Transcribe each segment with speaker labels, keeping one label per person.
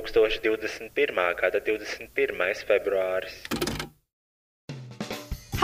Speaker 1: 2021. gada 21. februāris.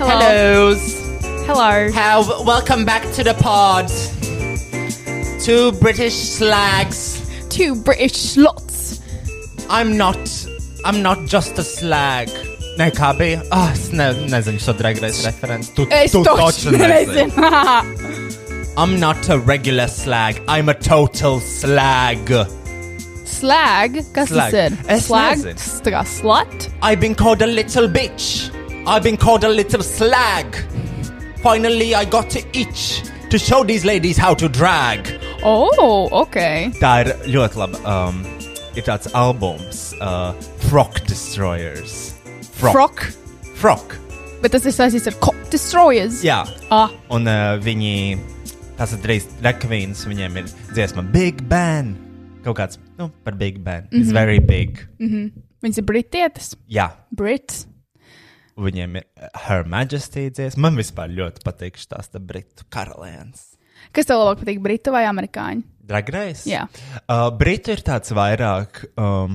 Speaker 2: Hello.
Speaker 3: Hellos.
Speaker 2: Hello.
Speaker 3: How welcome back to the pod. Two British slags.
Speaker 2: Two British slots.
Speaker 3: I'm not. I'm not just a slag.
Speaker 4: Nē, kā bija? Ah, es ne, nezinu, šo dragrēs referents. Tu,
Speaker 2: Es
Speaker 4: tu
Speaker 2: toču nezinu.
Speaker 3: I'm not a regular slag. I'm a total slag.
Speaker 2: Slēg, kas
Speaker 4: Slag.
Speaker 2: tas ir?
Speaker 4: Es
Speaker 2: Slēg,
Speaker 4: nezinu.
Speaker 2: tas tā kā slat.
Speaker 3: I've been called a little bitch. I've been called a little slag. Finally, I got to itch to show these ladies how to drag.
Speaker 2: Oh, ok.
Speaker 4: Tā ir ļoti laba. Um, ir tāds albums, uh, Frog Destroyers.
Speaker 2: Frok,
Speaker 4: Frog.
Speaker 2: bet tas ir saistīts ar Cop Destroyers.
Speaker 4: Jā,
Speaker 2: Ah,
Speaker 4: un uh, viņi. Tas ir drīz Rekvīns. Viņiem ir dziesma Big Ben. Kaut kāds nu, par Big Ben. Mm -hmm. It's very big. Mm.
Speaker 2: viņas ir britietis,
Speaker 4: Jā,
Speaker 2: brits.
Speaker 4: viņiem ir uh, Her Majesty dziesma. Man vispār ļoti patīk šīs tā Britu karalienes.
Speaker 2: Kas tev labāk patīk, britu vai amerikāņu?
Speaker 4: Dragrais?
Speaker 2: Jā.
Speaker 4: Uh, Britu ir tāds vairāk, um,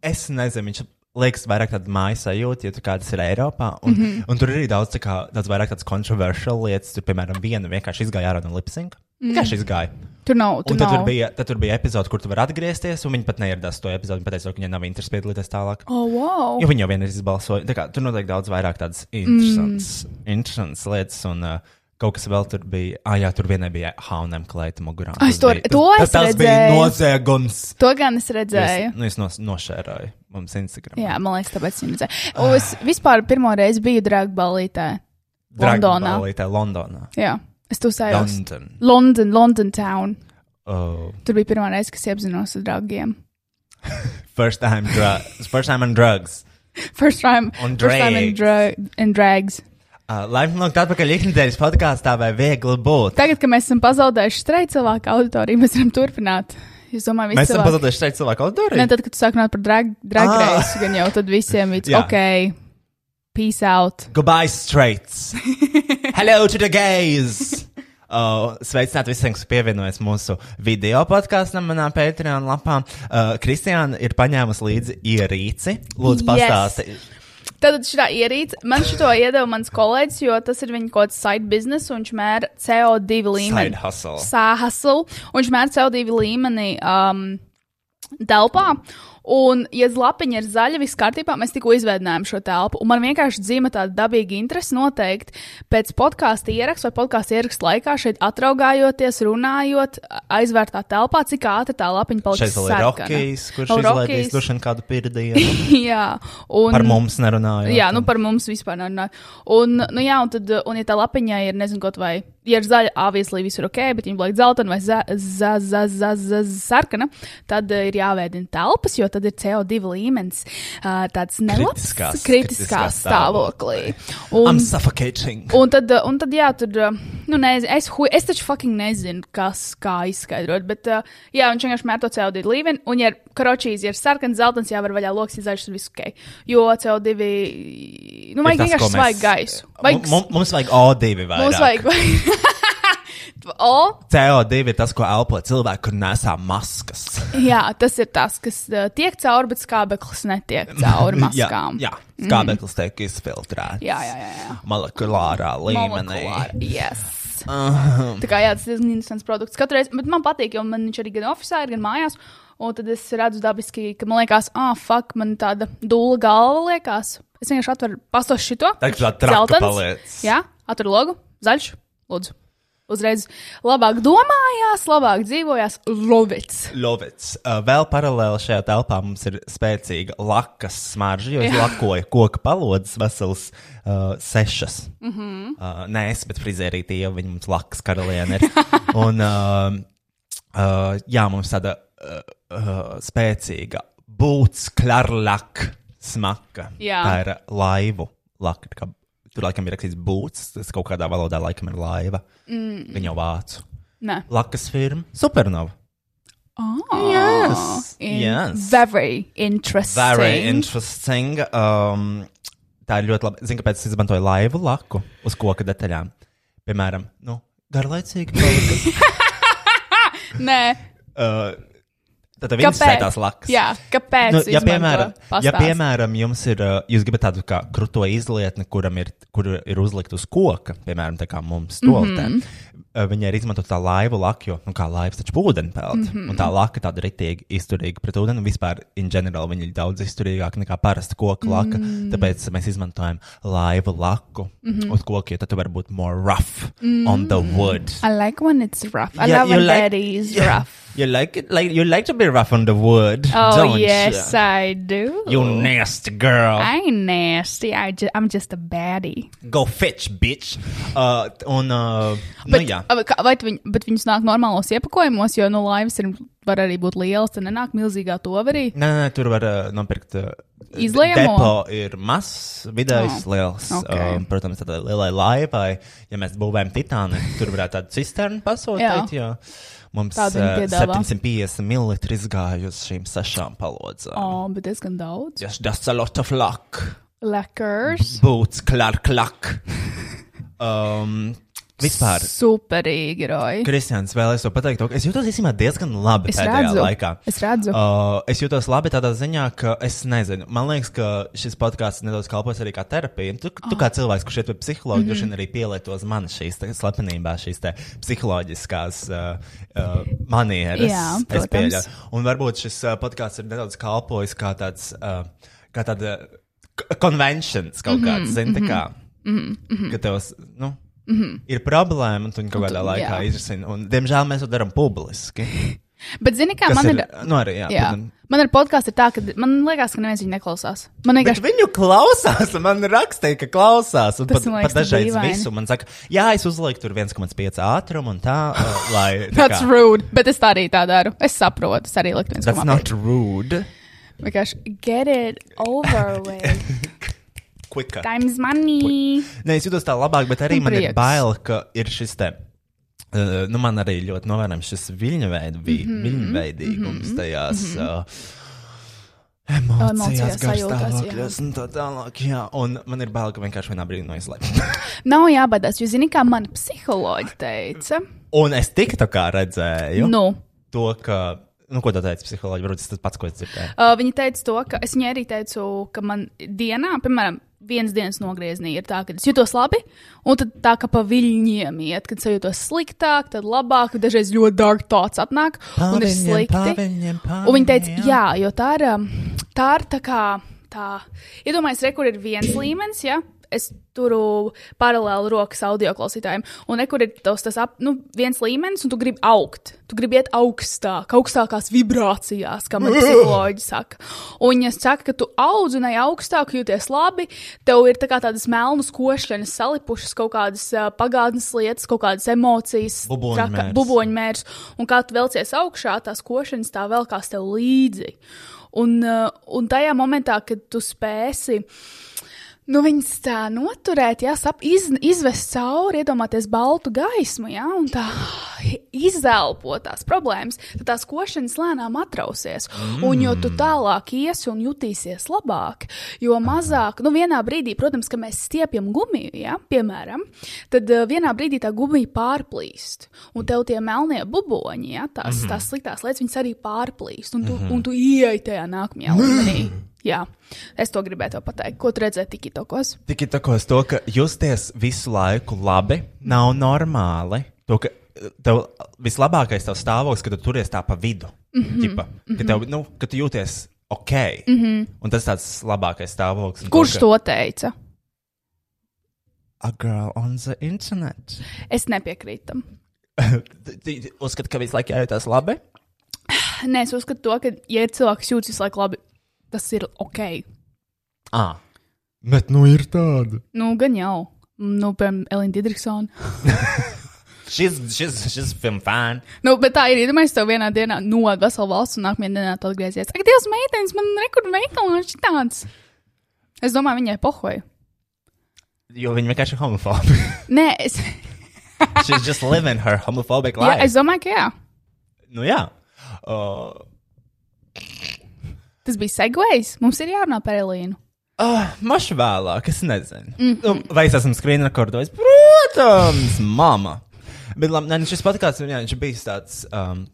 Speaker 4: es nezinu, viņš liekas vairāk tāds mājas sajūta, ja tu kādas ir Eiropā. Un, mm -hmm.
Speaker 2: Mhm.
Speaker 4: un tur ir arī daudz, tā kā, daudz vairāk tādas kontroversiālas lietas. Tur, piemēram, viena vienkārši izgāja ārā no lipsinga. Mm. Vienkārši izgāja.
Speaker 2: Tur nav,
Speaker 4: Un
Speaker 2: tur
Speaker 4: tad
Speaker 2: Mhm. nav.
Speaker 4: tur, bija, tad tur bija epizode, kur tu vari atgriezties, un viņi pat neieradās to epizodu. Viņi pateica, ka viņai nav interesi piedalīties tālāk.
Speaker 2: Oh, wow.
Speaker 4: Jo viņi jau vienreiz izbalsoja. Tā kā, tur notiek daudz vairāk tādas interesantas, mm. interesantas lietas. Un, uh, Kaut kas vēl tur bija. Ah, jā, tur vienai bija haunam klāta mugurā.
Speaker 2: Ah, es
Speaker 4: Tas
Speaker 2: to-
Speaker 4: bija-
Speaker 2: to
Speaker 4: tas-
Speaker 2: es
Speaker 4: tas bija
Speaker 2: redzēju.
Speaker 4: noziegums.
Speaker 2: To gan es
Speaker 4: Es,
Speaker 2: redzēju.
Speaker 4: nu, es nos, nošērāju mums Instagram.
Speaker 2: Jā, man liekas, tāpēc viņa redzēja.
Speaker 4: Ah.
Speaker 2: Un Es vispār pirmo reizi biju dragbalītē. Londonā.
Speaker 4: Tā Londonā.
Speaker 2: Jā, es tu sajūtu.
Speaker 4: London.
Speaker 2: London, London town.
Speaker 4: Oh,
Speaker 2: Tur bija pirmā reize, kas iepazinos ar draugiem.
Speaker 4: first time drugs. First time on drugs.
Speaker 2: First time,
Speaker 4: Un
Speaker 2: first time in,
Speaker 4: drags.
Speaker 2: dra in drags.
Speaker 4: Uh, Laipni lūgt atpakaļ ikdienas podkāstā vai viegli būt.
Speaker 2: Tagad, kad mēs esam pazaudējuši streju cilvēku auditoriju, mēs varam turpināt. Es domāju, visi
Speaker 4: Mēs esam
Speaker 2: cilvēki-
Speaker 4: pazuduši šeit cilvēku auditoriju.
Speaker 2: Ne, tad, kad tu sāk runāt par drag, drag
Speaker 4: Ah.
Speaker 2: race, gan jau tad visiem ir
Speaker 4: Jā.
Speaker 2: ok, peace out.
Speaker 4: Goodbye, straights! Hello to the gays! Uh, sveicināti visiem, kas pievienojas mūsu video podkāstam, manā Patreon lapā. Uh, Kristiāna ir paņēmusi līdzi ierīci.
Speaker 2: Yes.
Speaker 4: Lūdzu, pastāsti,
Speaker 2: Tad šī ierīce, man šito iedeva mans kolēģis, jo tas ir viņa kaut kāds side business, un viņš mēra CO2 līmeni.
Speaker 4: Side hustle.
Speaker 2: Sāhaslu, un viņš mēra CO2 līmeni um, telpā. Un, ja zlapiņa ir zaļa, viss kārtībā, mēs tikko izveidojām šo telpu. Un man vienkārši dzīvo tāda dabīga interese noteikti pēc podkāstu ieraksta vai podkāstu ieraksta laikā šeit atraugājoties, runājot, aizvērtā telpā, cik ātri tā lapiņa paliks.
Speaker 4: Šeit vēl ir Rokijs, kurš
Speaker 2: Vēl
Speaker 4: izlaidīs
Speaker 2: Rockies.
Speaker 4: droši vien kādu pirdienu.
Speaker 2: Jā, un.
Speaker 4: Par mums nerunājot.
Speaker 2: Jā, nu par mums vispār nerunā. Un, nu, jā, un, tad, un ja tā lapiņā ir, nezinu, kaut vai, ja ir zaļa, avieslī viss ir ok, bet viņa blakus zeltaina vai za- za- za- za- za- sarkana, tad eh, ir jāveidina telpas, jo tad ir CO2 līmenis eh, tāds nelabs,
Speaker 4: Kritiskās-
Speaker 2: kritiskā
Speaker 4: kritiskā
Speaker 2: stāvoklī.
Speaker 4: I'm
Speaker 2: Un,
Speaker 4: suffocating.
Speaker 2: un, tad, eh, un tad, jā, tur, eh, nu, nezinu, es, hu- es taču fucking nezinu, kas kā izskaidrot, bet, eh, jā, viņš vienkārši mēr to CO2 līmeni, un, ja ir karočīs, ja ir sarkans, zeltains, jāvar vaļā loks, izaļš, tur viss ok. Jo CO2, nu, vajag
Speaker 4: Ir tas, ko
Speaker 2: vienkārši
Speaker 4: mēs-
Speaker 2: svaig gaisu. Vajag,
Speaker 4: Mu- mu- mums vajag O2 vairāk.
Speaker 2: mums vajag, vajag. O,
Speaker 4: CO2 ir tas, ko elpo cilvēki, kur nesā maskas.
Speaker 2: jā, tas ir tas, kas eh, tiek cauri, bet skābeklis netiek cauri maskām. Mhm.
Speaker 4: jā, jā. skābeklis tiek izfiltrēts.
Speaker 2: jā, jā, jā. jā.
Speaker 4: Molekulārā līmenī.
Speaker 2: Molekulāri, Yes.
Speaker 4: Um,
Speaker 2: Tā kā jā, tas ir diezgan interesants produkts. Katru reizi, bet man patīk, jo man viņš arī gan oficiālā, gan mājās. Un tad es redzu dabiski, ka man liekas, ah, fuck, man tāda dūla galva liekas. Es vienkārši atveru pastošu šito.
Speaker 4: Tā kā tā traka
Speaker 2: Zeltens.
Speaker 4: paliec.
Speaker 2: Jā, atveru logu, zaļš, lūdzu. Uzreiz labāk domājās, labāk dzīvojās, lovits.
Speaker 4: Lovits. Uh, vēl paralēli šajā telpā mums ir spēcīga lakas smarža, jo es
Speaker 2: Jā.
Speaker 4: lakoju koku palodzes vesels uh, sešas. Mm
Speaker 2: Mhm.
Speaker 4: -hmm. uh, nē, es, bet frizērītī jau viņa mums lakas karaliene ir. Un, uh, uh, jā, mums tāda uh, uh, spēcīga būts klarlak smaka.
Speaker 2: Jā.
Speaker 4: Tā ir laivu laka. kā- Tur laikam ir rakstīts būts, tas kaut kādā valodā laikam ir laiva. Mm. Viņa jau vācu.
Speaker 2: Nē,
Speaker 4: Lakas firma Supernova.
Speaker 2: oh,
Speaker 4: yes.
Speaker 2: Very interesting.
Speaker 4: Very interesting. Um, tā ir ļoti labi. Zinu, kāpēc es izmantoju laivu laku uz koka detaļām. Piemēram, nu, garlaicīgi. palika.
Speaker 2: Nē,
Speaker 4: uh, tad tev
Speaker 2: kāpēc?
Speaker 4: interesē tās lakas.
Speaker 2: Jā, kāpēc?
Speaker 4: Nu, ja,
Speaker 2: izmanto?
Speaker 4: piemēram, ja
Speaker 2: Pastāsti.
Speaker 4: piemēram, jums ir, uh, jūs gribat tādu kā krūto izlietni, kuram ir, kur ir uzlikt uz koka, piemēram, tā kā mums stoltē,
Speaker 2: Mhm.
Speaker 4: mm -hmm. viņi arī izmanto tā laivu laku, jo, nu, kā laivas taču ūdeni peld, mm
Speaker 2: Mhm.
Speaker 4: -hmm. un tā laka tāda ritīgi izturīga pret ūdeni, un vispār, in general, viņi ir daudz izturīgāki nekā parasta koka laka, mm -hmm. tāpēc mēs izmantojam laivu laku mm
Speaker 2: Mhm.
Speaker 4: -hmm. uz koka, jo tad tu vari būt more rough mm -hmm. on the wood.
Speaker 2: I like when it's rough. I
Speaker 4: Yeah,
Speaker 2: love
Speaker 4: you
Speaker 2: when
Speaker 4: like-
Speaker 2: daddy is
Speaker 4: yeah.
Speaker 2: rough.
Speaker 4: You like it? Like you like to be rough on the wood.
Speaker 2: Oh
Speaker 4: don't
Speaker 2: yes,
Speaker 4: You?
Speaker 2: I do.
Speaker 4: You nasty girl.
Speaker 2: I ain't nasty. I ju- I'm just a baddie.
Speaker 4: Go fetch, bitch! Uh, un, uh, nu, jā,
Speaker 2: Vai kā- vai tu viņ, bet viņus nāk normālos iepakojumos, jo nu laivas ir, var arī būt lielas, tad nenāk milzīgā toverī.
Speaker 4: nē, nē, tur var uh, nopirkt. Uh,
Speaker 2: Izliejamo?
Speaker 4: Depo ir mazs,
Speaker 2: Oh,
Speaker 4: vidējs, oh, liels.
Speaker 2: okay.
Speaker 4: Um, protams, tādai lielai laivai, ja mēs būvējam titānu, tur varētu tādu cisternu pasūtīt. Jā. Mums
Speaker 2: Tādu viņi
Speaker 4: uh,
Speaker 2: piedāvā.
Speaker 4: 750 ml izgāja uz šīm sešām palodzēm. Oh.
Speaker 2: Oh, bet diezgan daudz.
Speaker 4: Yes, that's a lot of luck.
Speaker 2: Lekars.
Speaker 4: Boots, klark, klak. Um, vispār.
Speaker 2: Superīgi, Roy.
Speaker 4: Kristians, vēlēs to pateikt. to, ka Es jūtos īstenībā diezgan labi
Speaker 2: Es
Speaker 4: pēdējā
Speaker 2: redzu.
Speaker 4: laikā.
Speaker 2: Es redzu.
Speaker 4: Uh, es jūtos labi tādā ziņā, ka es nezinu. Man liekas, ka šis podkāsts nedaudz kalpos arī kā terapija. Un Tu, tu kā cilvēks, kurš iet pie psihologa, droši vien arī pielietos man šīs te slepenībā, šīs te psiholoģiskās uh, uh, manieres.
Speaker 2: Jā,
Speaker 4: es
Speaker 2: protams.
Speaker 4: pieļauju. Un varbūt šis uh, podkāsts ir nedaudz kalpojis kā tāds. Uh, kā tāda konvencijas kaut kāda, zini, tā kā. Ka tev, s- nu, ir problēma, un tu viņu kaut
Speaker 2: tu-
Speaker 4: kādā
Speaker 2: jā.
Speaker 4: laikā izrisini. Un, Diemžēl mēs to darām publiski.
Speaker 2: Bet zini, kā
Speaker 4: Kas
Speaker 2: Ah, man ir.
Speaker 4: ir, nu, arī, jā,
Speaker 2: Jā.
Speaker 4: protams.
Speaker 2: Man ir podkāsts, ir tā, ka man liekas, ka neviens viņu neklausās. Man
Speaker 4: Bet
Speaker 2: vienkārši.
Speaker 4: viņu klausās, un man rakstīja, ka klausās. Un
Speaker 2: Tas
Speaker 4: pat,
Speaker 2: man
Speaker 4: pat
Speaker 2: liekas
Speaker 4: dažreiz
Speaker 2: dīvaini.
Speaker 4: visu man saka, jā, es uzlieku tur 1,5 ātrumu un tā, uh, lai. tā
Speaker 2: That's
Speaker 4: kā-
Speaker 2: rude, bet es tā arī tā daru. Es saprotu, es arī liktu viens
Speaker 4: That's not rude.
Speaker 2: Vienkārši get it over with.
Speaker 4: Quicker.
Speaker 2: Time's money.
Speaker 4: Nē, es jūtos tā labāk, bet arī
Speaker 2: Un
Speaker 4: man
Speaker 2: prieks.
Speaker 4: ir bail, ka ir šis te. Uh, nu, man arī ļoti novērojams šis viļņu veid- vi-
Speaker 2: Mhm.
Speaker 4: viļņveidīgums tajās. Uh, Emocijās,
Speaker 2: Emocijās, sajūtās,
Speaker 4: garš
Speaker 2: jā.
Speaker 4: stāvokļos un tā tālāk. Jā, un man ir bail, ka vienkārši vienā brīdī no izlaiž.
Speaker 2: Nav jābaidās, jo zini, kā man psiholoģi teica.
Speaker 4: un es tik tā kā redzēju
Speaker 2: Nu,
Speaker 4: to, ka, nu, ko tā teica psiholoģija, varbūt tas tas pats, ko es dzirdēju.
Speaker 2: uh, viņa teica to, ka es viņai arī teicu, ka man dienā, piemēram, viens dienas nogriezienī ir tā, ka es jūtos labi, un tad tā kā pa viļņiem iet, kad es jūtos sliktāk, tad labāk, kad dažreiz ļoti dārgi tāds atnāk, un ir
Speaker 4: Paviņiem,
Speaker 2: slikti.
Speaker 4: paviņiem,
Speaker 2: Un viņi teica,
Speaker 4: paviņiem.
Speaker 2: jā, jo tā ir, um, tā ir tā kā, tā, iedomājieties, re, kur ir viens līmenis, ja? Es turu paralēli rokas audio klausītājiem, un nekur ir tas, tas ap, nu, viens līmenis, un tu gribi augt. Tu gribi iet augstāk, augstākās vibrācijās, kā man psiholoģi saka. Un viņi saka, ka tu audz un ej augstāk, jūties labi, tev ir tā kā tādas melnas košļanas salipušas, kaut kādas uh, pagātnes lietas, kaut kādas emocijas,
Speaker 4: Buboņu
Speaker 2: traka-
Speaker 4: mērs.
Speaker 2: buboņu buļbuļmērs, un kā tu velcies augšā, tās košanas tā vēl kā tev līdzi. Un, uh, un tajā momentā, kad tu spēsi. Nu, viņas tā noturēt, jā, sap, iz, izvest cauri, iedomāties baltu gaismu, jā, un tā izelpot tās problēmas, tad tās košanas lēnām atrausies. Mm. Un jo tu tālāk iesi un jutīsies labāk, jo mazāk, nu, vienā brīdī, protams, ka mēs stiepjam gumiju, jā, piemēram, tad uh, vienā brīdī tā gumija pārplīst, un tev tie melnie buboņi, jā, tās, mm. tās sliktās lietas, viņas arī pārplīst, un tu, mm. un tu ieej tajā nākamajā līmenī. Jā, es to gribēju tev pateikt. Ko tu redzēji TikTokos?
Speaker 4: Tikai tā, ko es to, ka justies visu laiku labi nav normāli. To, ka eh, tev vislabākais tev stāvoklis, kad tu turies tā pa vidu. Mm
Speaker 2: Mhm,
Speaker 4: -hmm. Ķipa, ka, tev, nu, ka tu jūties ok. Mm -hmm. Un tas tāds labākais stāvoklis. Un
Speaker 2: Kurš
Speaker 4: ka-
Speaker 2: to teica?
Speaker 4: A girl on the internet.
Speaker 2: Es nepiekrītu tam.
Speaker 4: Uzskatu, ka visu laiku jūtas labi.
Speaker 2: Nē, es uzskatu to, ka, ja ir cilvēks jūtas visu laiku labi, tas ir ok.
Speaker 4: Ah. Bet nu ir tāda.
Speaker 2: Nu, gan jau. Nu, piemēram, Elīna Digitrisona.
Speaker 4: Šis, šis, šis film fan.
Speaker 2: Nu, bet tā ir iedomājies, tev vienā dienā no vesela valsts, un nākamajā dienā tu atgriezies. Ak, Dievs, meitenes, man rekords veikalā ir šitāds. Es domāju, viņai pohoja.
Speaker 4: Jo viņi vienkārši ir homofobi.
Speaker 2: Nē, es,
Speaker 4: She's just living her homophobic
Speaker 2: jā,
Speaker 4: life.
Speaker 2: es domāju, ka jā.
Speaker 4: Nu jā. Uh,
Speaker 2: Tas bija segvejs. Mums ir jārunā par Elīnu.
Speaker 4: Uh, Mašu vēlāk, es nezinu.
Speaker 2: Mhm.
Speaker 4: Mm -hmm. nu, vai es esmu screen rekordojis? Protams, mama. Bet labi, nē, nu šis patīkās, jā, viņš bija tāds. Um,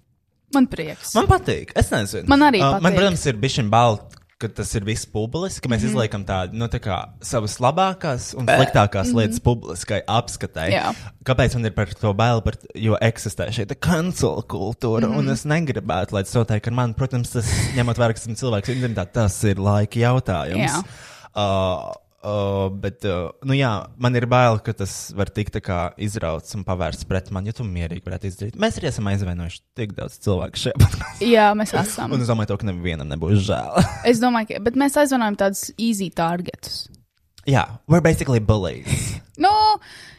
Speaker 2: Man prieks.
Speaker 4: man patīk, es nezinu. Uh,
Speaker 2: Man arī
Speaker 4: man,
Speaker 2: patīk. Mhm.
Speaker 4: protams, ir bijis šim balts. Ka tas ir viss publiski, ka mēs mm -hmm. izliekam tādu nu, tā kā savas labākās un sliktākās mm -hmm. lietas publiskai apskatai.
Speaker 2: Mhm. Jā.
Speaker 4: Kāpēc man ir par to bail? Par, jo eksistē šī kancela kultūra, mm -hmm. un es negribētu, lai tas notiek ar mani. Protams, tas ņemot vērā, ka esmu cilvēks identitāte, tas ir laika jautājums.
Speaker 2: Jā.
Speaker 4: Uh, uh, bet, uh, nu jā, man ir bail, ka tas var tikt tā kā izrauts un pavērsts pret mani, ja tu mierīgi varētu izdarīt. Mēs arī esam aizvainojuši tik daudz cilvēku šajā podkāstā.
Speaker 2: Jā, mēs esam.
Speaker 4: Un es domāju, to, ka nevienam nebūs žēl.
Speaker 2: Es domāju, ka bet mēs aizvainojam tādus easy targetus.
Speaker 4: jā, we're basically bullies.
Speaker 2: Nu,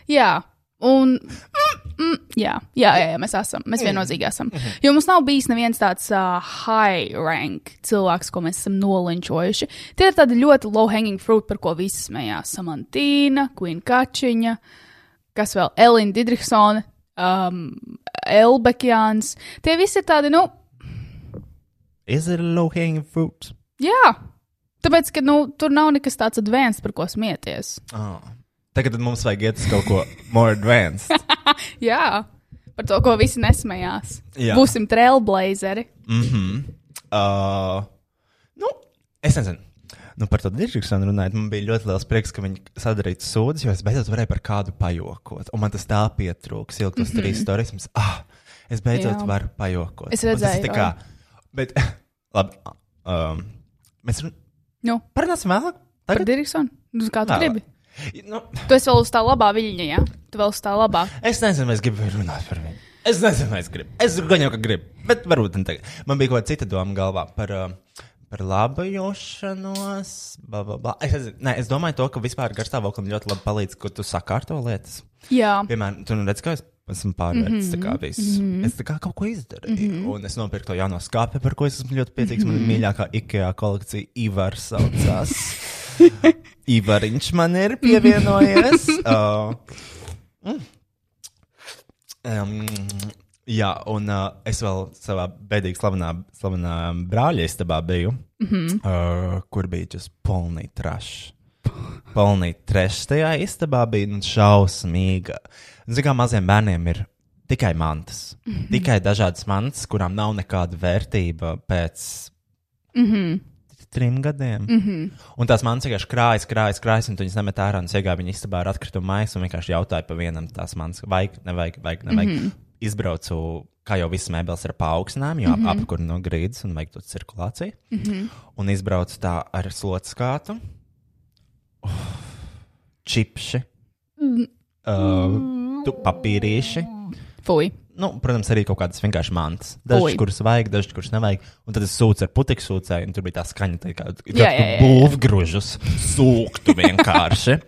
Speaker 2: jā. Un, mm, mm, jā, jā, jā, jā, mēs esam. Mēs viennozīmīgi esam. Jo mums nav bijis neviens tāds uh, high rank cilvēks, ko mēs esam nolinčojuši. Tie ir tādi ļoti low hanging fruit, par ko visi smējās. Samantīna, Queen Kačiņa, kas vēl Elīna Digitrisona, um, Elbekjāns. Tie visi ir tādi, nu,
Speaker 4: Is it a low hanging fruit?
Speaker 2: jā. Tāpēc, ka nu, tur nav nekas tāds advanced, par ko smieties.
Speaker 4: Oh. Tagad mums vajag iet uz kaut ko more advanced.
Speaker 2: Jā, par to, ko visi nesmējās.
Speaker 4: Jā.
Speaker 2: Būsim trailblazeri.
Speaker 4: Mm-hmm. Uh, nu, es nezinu. Nu, par to Digitrisonu runājot, man bija ļoti liels prieks, ka viņi sadarīja sūdzes, jo es beidzot varēju par kādu pajokot. Un man tas tā pietrūks, ilgi tas trīs stāstus. Ah, es beidzot
Speaker 2: Mhm. Jā.
Speaker 4: Jā. varu pajokot.
Speaker 2: Es
Speaker 4: Un tas
Speaker 2: redzēju,
Speaker 4: ir tā kā. Bet, labi. Um, mēs run...
Speaker 2: Nu,
Speaker 4: parunāsim vēlāk.
Speaker 2: par
Speaker 4: Tagad?
Speaker 2: Digitrisonu. Nu, kā tu
Speaker 4: Vēlāk.
Speaker 2: gribi?
Speaker 4: Nu,
Speaker 2: Tu esi vēl uz tā labā viļņa, jā? Tu vēl uz tā labā.
Speaker 4: Es nezinu, vai es gribu runāt par viņu. Es nezinu, vai es gribu. Es gan jau ka gribu, bet varbūt ne tagad. Man bija kaut kāda cita doma galvā par, uh, par labu jūšanos. Bla, bla, bla. Es, nezinu. Nē, es domāju, to, ka vispār garstāvoklim ļoti labi palīdz, ka tu sakārto lietas.
Speaker 2: Jā,
Speaker 4: Piemēram, tu nu redz, ka es esmu pārvērtis mm -hmm. visu. Mm -hmm. Es tā kā kaut ko izdarīju. Mm -hmm. Un es nopirku to jauno skāpi, par ko es esmu ļoti priecīgs. Mm -hmm. Man mīļākā IKEA kolekcija Ivar saucās. Ivariņš man ir pievienojies. uh, Um, jā, un uh, es vēl savā bēdīgi slavenā, slavenā brāļa istabā biju, mm -hmm. uh, kur bija tas polnīgi trašs. Polnīgi trašs tajā istabā bija nu, šausmīga. Zinām, kā maziem bērniem ir tikai mantas. Mm -hmm. Tikai dažādas mantas, kurām nav nekāda vērtība pēc. Mm -hmm. trim gadiem. Mm -hmm. Un tās manas vienkārši krājas, krājas, krājas, un tu viņas nemet ārā un iegāja viņa istabā ar atkritumu maisu un vienkārši jautāja pa vienam tās manas, vajag, nevajag, vajag, nevajag. Mm -hmm. Izbraucu, kā jau viss mēbeles ir paaugstinājums, jo mm -hmm. apkurina no grīdas un vajag to cirkulāciju. Mm -hmm. Un izbraucu tā ar slodzskātu, čipši, mm. uh, tu- papīrīši.
Speaker 2: Fui.
Speaker 4: Nu, protams, arī kaut kādas vienkārši mantas.
Speaker 2: Oi.
Speaker 4: Dažas, kuras vajag, dažas, kuras nevajag. Un tad es sūdzu ar putekļu sūcēju, un tur bija tā skaņa, tā kā
Speaker 2: Jā, jā, jā, jā.
Speaker 4: būvgrūžus sūktu vienkārši.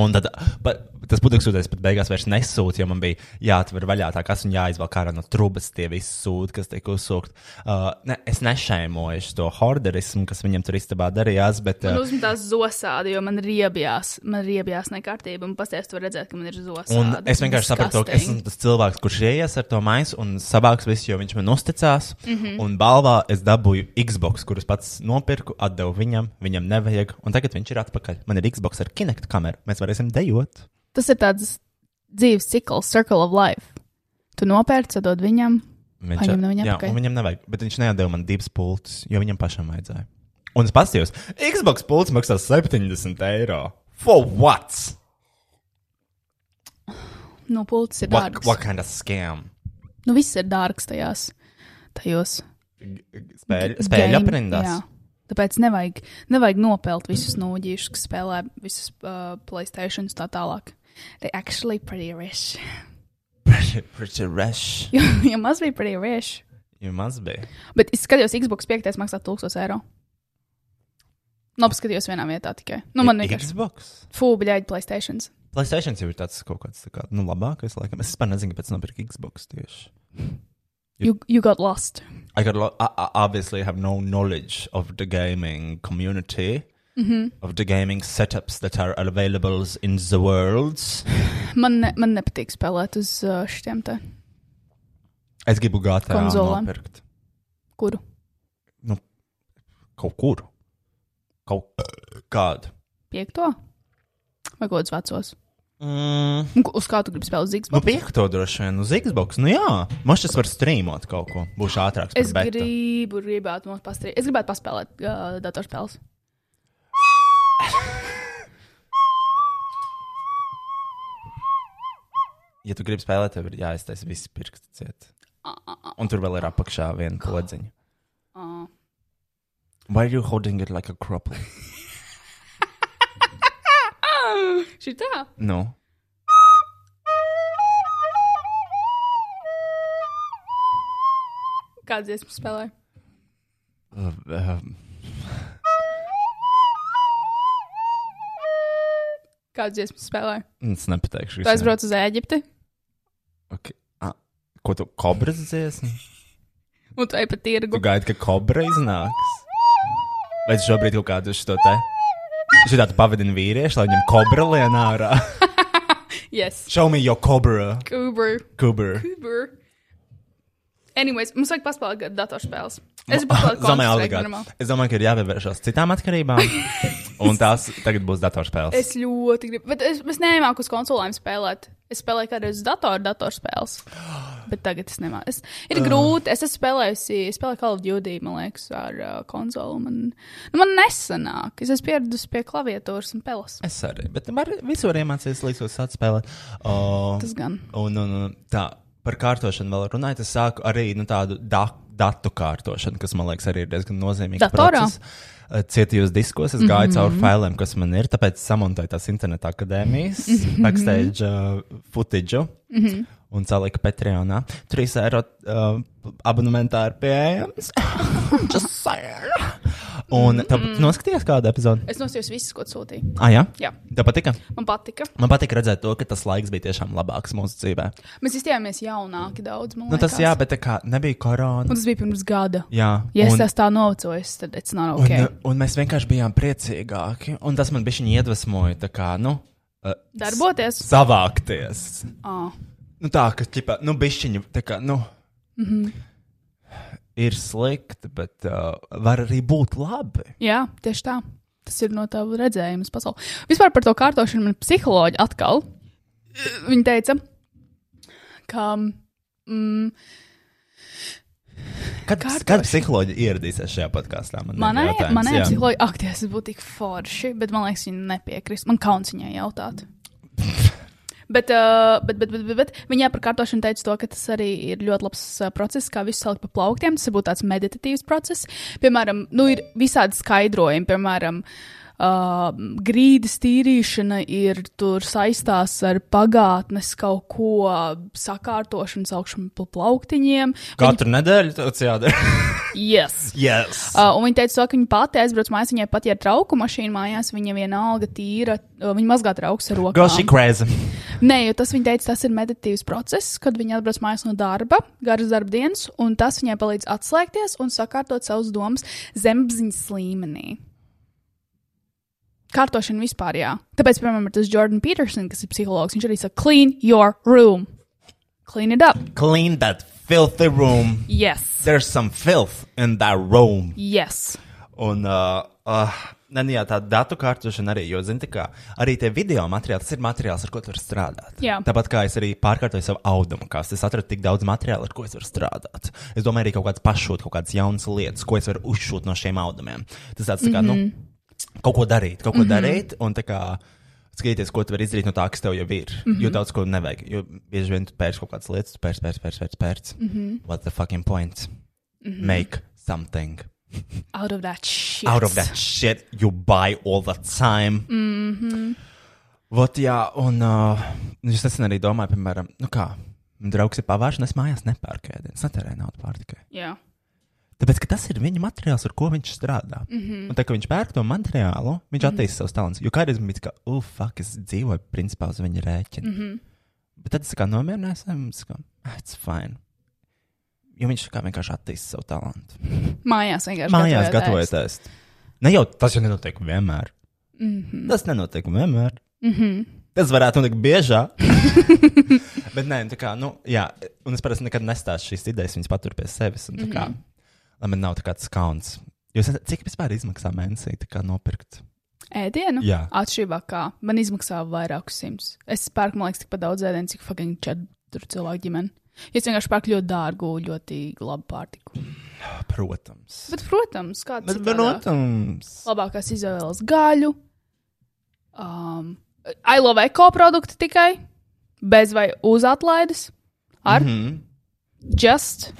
Speaker 4: Un tad pa, tas putekļu sūcējs pat beigās vairs nesūta, jo man bija jāatver vaļā tā kas un jāizvelk ārā no trubas tie visi sūdi, kas tiek uzsūkti. Uh, ne, es nešēmoju to horderismu, kas viņam tur istabā darījās, bet
Speaker 2: Man
Speaker 4: uh,
Speaker 2: uzmetās zosādi, jo man riebjās, man riebjās nekārtība. Un pasties, tu vari redzēt, ka man ir zosādi.
Speaker 4: Un es vienkārši sapratu, ka es esmu tas cilvēks, kurš ienāks ar to maisu un savāks visu, jo viņš man uzticās. Mm
Speaker 2: Mhm.
Speaker 4: -hmm. Un balvā es dabūju Xbox, kurus pats nopirku, atdevu viņam, viņam nevajag. Un tagad viņš ir atpakaļ. Man ir Xbox ar Kinect kameru. Mēs varēsim dejot.
Speaker 2: Tas ir tāds dzīves cikls, circle of life. Tu nopērci, tad dod viņam.
Speaker 4: Viņš
Speaker 2: Paņem no viņa
Speaker 4: jā,
Speaker 2: atpakaļ.
Speaker 4: un viņam nevajag, bet viņš neatdeva man divas pultas, jo viņam pašam vajadzēja. Un es paskatījos, Xbox pults maksā 70 eiro. For what?
Speaker 2: Nu, pults ir
Speaker 4: What,
Speaker 2: dārgs.
Speaker 4: what kind of scam?
Speaker 2: Nu, viss ir dārgs tajās. tajos
Speaker 4: Spēļu, spēļu
Speaker 2: game-
Speaker 4: aprindās.
Speaker 2: jā. Tāpēc nevajag, nevajag nopelt visus nūģīšus, kas spēlē visus uh, Playstation un tā tālāk. They actually pretty rich.
Speaker 4: Pretty, pretty rush.
Speaker 2: Jo jo maz bija pretty rich.
Speaker 4: Jums maz bija.
Speaker 2: Bet es skatījos, Xbox 5 maksā 1000 eiro. Nopaskatījos vienā vietā tikai. Nu, man vienkārši
Speaker 4: Xbox.
Speaker 2: fūbiļāģi Playstation.
Speaker 4: Playstation jau ir tāds kaut kāds tā kā, nu, labākais, laikam. Es vispār nezinu, kāpēc nopirku Xbox tieši.
Speaker 2: You, you got lost.
Speaker 4: I, got a lot, I, I obviously have no knowledge of the gaming community,
Speaker 2: Mhm.
Speaker 4: of the gaming setups that are available in the world.
Speaker 2: Man, ne, man nepatīk spēlēt uz uh, šiem te
Speaker 4: Es gribu GTA
Speaker 2: Konzolēm.
Speaker 4: nopirkt.
Speaker 2: kuru.
Speaker 4: Kaut kur. Kaut kādu.
Speaker 2: Piekto? Vai kaut kādus vecos?
Speaker 4: Mm.
Speaker 2: Un ko- Uz kādu gribi spēlēt uz Xbox?
Speaker 4: Nu, piekto droši vien uz Xbox. Nu, jā, man šis var streamot kaut ko. Būšu ātrāks. par
Speaker 2: Es
Speaker 4: betu.
Speaker 2: gribu, gribētu mums pastrādāt. Es gribētu paspēlēt uh, datorspēles.
Speaker 4: ja tu gribi spēlēt, tev ir jāiztaisa visi pirksti ciet. Un tur vēl ir apakšā viena podziņa. Why are you holding it like a crop?
Speaker 2: Šī tā.
Speaker 4: No.
Speaker 2: Kāds dziesmu spēlē?
Speaker 4: Uh, uh,
Speaker 2: Kāds dziesmu spēlē?
Speaker 4: es nepateikšu.
Speaker 2: Tu aizbrauc uz Ēģipti,
Speaker 4: Okay. Ah, ko tu kobras dziesmi?
Speaker 2: un tu ej pa
Speaker 4: Tu
Speaker 2: tirgu.
Speaker 4: gaidi, ka kobra iznāks. Vai tu šobrīd kaut kādu šo te? Šitā tu pavadini vīriešu, lai viņam kobra lien ārā.
Speaker 2: Yes.
Speaker 4: Show me your cobra.
Speaker 2: Uber.
Speaker 4: Cobra.
Speaker 2: Uber. Anyways, mums vajag paspēlēt gadu datorspēles. Es gribu paspēlēt
Speaker 4: Zomai
Speaker 2: Counter-Strike
Speaker 4: obligāti.
Speaker 2: normāli.
Speaker 4: Es domāju, ka ir jāpievēršas citām atkarībām. Un tās tagad būs datorspēles.
Speaker 2: Es ļoti gribu, bet es, es nemāku uz konsolēm spēlēt. Es spēlēju kādreiz uz datoru, datorspēles. Bet tagad es nemāku. Es,
Speaker 4: Ah.
Speaker 2: ir uh. grūti. Es esmu spēlējusi, spēlēju Call of Duty, man liekas, ar uh, konsoli. Man, nu, man nesanāk. Es esmu pieradusi pie klaviatūras un pelas.
Speaker 4: Es arī, bet var, visu var iemācīties, līdz es sāku spēlēt. Uh,
Speaker 2: Tas gan.
Speaker 4: Un, un, un tā, par kārtošanu vēl runājot, es sāku arī nu, tādu da, datu kārtošanu, kas man liekas arī ir diezgan nozīmīgs.
Speaker 2: Datorā?
Speaker 4: process. Uh, Cietījos diskos, es gāju mm -hmm. cauri failiem, kas man ir, tāpēc samontoju tās interneta akadēmijas, mm -hmm. backstage uh, footage. Mm -hmm. Un celiku Patreonā. 3 eiro uh, abonementā ir pieejams. Just saying. Un tu mm. noskaties kādu epizodi?
Speaker 2: Es nosījos visus, ko tu sūtīji.
Speaker 4: Ah, jā?
Speaker 2: Jā,
Speaker 4: Tev patika?
Speaker 2: man patika.
Speaker 4: Man patīk redzēt, to, ka tas laiks bija tiešām labāks mūsu dzīvē.
Speaker 2: Mēs izstājāmies jaunāki daudz. man
Speaker 4: Nu, tas
Speaker 2: liekas.
Speaker 4: jā, bet tā kā nebija korona.
Speaker 2: Un tas bija pirms gada.
Speaker 4: Jā,
Speaker 2: Ja es
Speaker 4: un-
Speaker 2: tas tā novecojos, tad tas nav
Speaker 4: Un, uh,
Speaker 2: ok. Un,
Speaker 4: un mēs vienkārši bijām priecīgāki. Un tas man bija iedvesmoja, tā kā, nu, uh,
Speaker 2: Darboties.
Speaker 4: savākties.
Speaker 2: Ah.
Speaker 4: Nu, tā, ka, tipā, nu, bišķiņi, tā kā, nu, mm -hmm.
Speaker 2: Mhm.
Speaker 4: ir slikti, bet uh, var arī būt labi.
Speaker 2: Jā, tieši tā. Tas ir no tava redzējuma pasaulē. Vispār par to kārtošanu man psiholoģi atkal. eh, Viņa teica, ka. Mm,
Speaker 4: Kad,
Speaker 2: Kārtoši.
Speaker 4: kad psiholoģija ieradīsies šajā podkāstā? Man ir
Speaker 2: Manai,
Speaker 4: jautājums,
Speaker 2: manai
Speaker 4: jā.
Speaker 2: psiholoģijai, ak, tas būtu tik forši, bet man liekas, viņa nepiekrist. Man kauns viņai jautāt. Bet, uh, bet, bet, bet, bet, bet viņa par kārtošanu teica, to, ka tas arī ir ļoti labs uh, process, kā visu salikt pa plauktiem. Tas būtu tāds meditatīvs process. Piemēram, nu, ir visādi skaidrojumi, piemēram, uh, grīdas tīrīšana ir tur saistās ar pagātnes kaut ko sakārtošanu, saukšanu pa plauktiņiem.
Speaker 4: Katru nedēļu tas jādara.
Speaker 2: Yes.
Speaker 4: yes.
Speaker 2: Uh, un viņa teica, to, ka viņa pati aizbrauc mājās, viņai pat ir trauku mašīna mājās, viņa vienalga tīra, uh, viņa mazgā trauks ar
Speaker 4: Go she
Speaker 2: rokām.
Speaker 4: crazy.
Speaker 2: Nē, jo tas viņa teica, tas ir meditīvs process, kad viņa atbrauc mājās no darba, garas darba dienas, un tas viņai palīdz atslēgties un sakārtot savus domas zemapziņas līmenī. Kārtošana vispār, jā. Tāpēc, piemēram, ir tas Jordan Peterson, kas ir psihologs, viņš arī saka, clean your room. Clean it up.
Speaker 4: Clean that filthy room.
Speaker 2: Yes.
Speaker 4: There's some filth in that room.
Speaker 2: Yes.
Speaker 4: Un, uh, uh, nē, nu jā, tā datu kārtošana arī, jo, zini, tā kā arī tie video materiāli, tas ir materiāls, ar ko tu vari strādāt.
Speaker 2: Jā.
Speaker 4: Tāpat kā es arī pārkārtoju savu audumu, kā es atradu tik daudz materiālu, ar ko es varu strādāt. Es domāju, arī kaut kāds pašūt, kaut kādas jaunas lietas, ko es varu uzšūt no šiem audumiem. Tas tāds, tā kā, mm -hmm. nu, kaut ko darīt, kaut ko mm -hmm. darīt. Un, tā kā, Skaties, ko tu vari izdarīt no tā, kas tev jau ir. Mm -hmm. Jo daudz ko nevajag. Jo bieži vien tu pērci kaut kādas lietas, tu pērci, pērci, pērci. pērci, pērci. Mm -hmm. What's the fucking point? Mm -hmm. Make something
Speaker 2: Out of that shit.
Speaker 4: out of that shit you buy all the time.
Speaker 2: Mm.
Speaker 4: Mm-hmm.
Speaker 2: Mhm.
Speaker 4: Vot, jā, un uh, es nesen arī domāju, piemēram, nu kā, man draugs ir pavāršana, es mājās nepērku ēdienu, es netērēju naudu pārtikai.
Speaker 2: Yeah.
Speaker 4: Tāpēc, ka tas ir viņa materiāls, ar ko viņš strādā. Mm -hmm. Un tā kā viņš pērk to materiālu, viņš attīstīja mm -hmm. savus talantus. Jo kādreiz man bija tā, ka, uf, fuck, es dzīvoju principā uz viņa rēķina. Mm -hmm. Bet tad es tā kā nomierinājos, un es saku, ah, it's fine. Jo viņš tā kā vienkārši attīstīja savu talantu.
Speaker 2: Mājās vienkārši.
Speaker 4: Mājās
Speaker 2: gatavojot ēst.
Speaker 4: gatavojoties. Ne jau tas jau nenotiek vienmēr. Mm
Speaker 2: Mhm.
Speaker 4: -hmm. Tas nenotiek vienmēr. Mm -hmm. Tas varētu notikt biežāk. Bet nē, nu, tā kā, nu, jā, un es parasti nekad nestāstu šīs idejas, viņas patur pie sevis. Un, tā kā, mm -hmm. Lai man nav tāds kauns. Jūs esat, cik vispār izmaksā mēnesī tā kā nopirkt?
Speaker 2: Ēdienu?
Speaker 4: Jā.
Speaker 2: Atšķirībā kā. Man izmaksā vairākus simtus. Es pērku, man liekas, tikpat daudz ēdienu, cik fucking četru cilvēku ģimeni. Es vienkārši pērku ļoti dārgu, ļoti labu pārtiku.
Speaker 4: Protams.
Speaker 2: Bet, protams, kāds
Speaker 4: Bet,
Speaker 2: ir
Speaker 4: bet,
Speaker 2: tādā-
Speaker 4: protams.
Speaker 2: labākās izvēles gaļu. Um, I love eko produktu tikai, bez vai uz atlaides. Ar? Mm -hmm.
Speaker 4: Mhm.
Speaker 2: Just.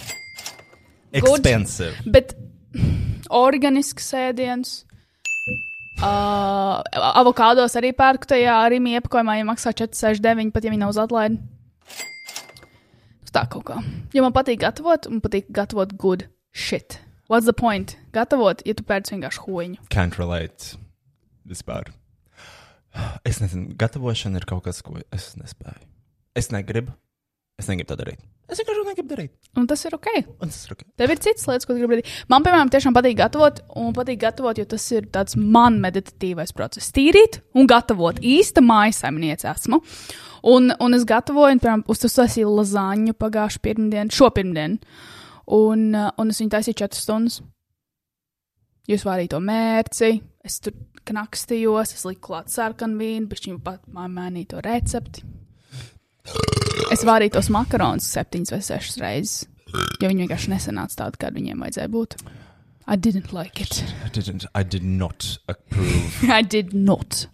Speaker 2: Good.
Speaker 4: Expensive.
Speaker 2: Bet organisks sēdiens. Uh, avokados arī pērku tajā arī iepakojumā, ja maksā 4,69, pat ja viņi nav uz atlaidi. Tā kaut kā. Jo man patīk gatavot, un patīk gatavot good shit. What's the point? Gatavot, ja tu pērci vienkārši hoņu.
Speaker 4: Can't relate. Vispār. Es nezinu, gatavošana ir kaut kas, ko es nespēju. Es negribu. Es negribu to darīt. Es vienkārši negribu darīt.
Speaker 2: Un tas ir ok.
Speaker 4: Un tas ir ok.
Speaker 2: Tev ir citas lietas, ko tu gribi darīt. Man, piemēram, tiešām patīk gatavot, un patīk gatavot, jo tas ir tāds man meditatīvais process. Tīrīt un gatavot. Īsta maisaimniece esmu. Un, un es gatavoju, un, piemēram, uztaisīju lazāņu pagājušā pirmdienā, šo pirmdienu. Un, uh, un es viņu taisīju četras stundas. Jūs vārīju to mērci, es tur knakstījos, es liku klāt sarkanu vīnu, bet viņi pat man mainīja to recepti. Es vārīju tos makaronus septiņas vai sešas reizes. Jo viņi vienkārši nesenāca tādu, kāda viņiem vajadzēja būt. I didn't like it.
Speaker 4: I didn't, I did not approve.
Speaker 2: I did not.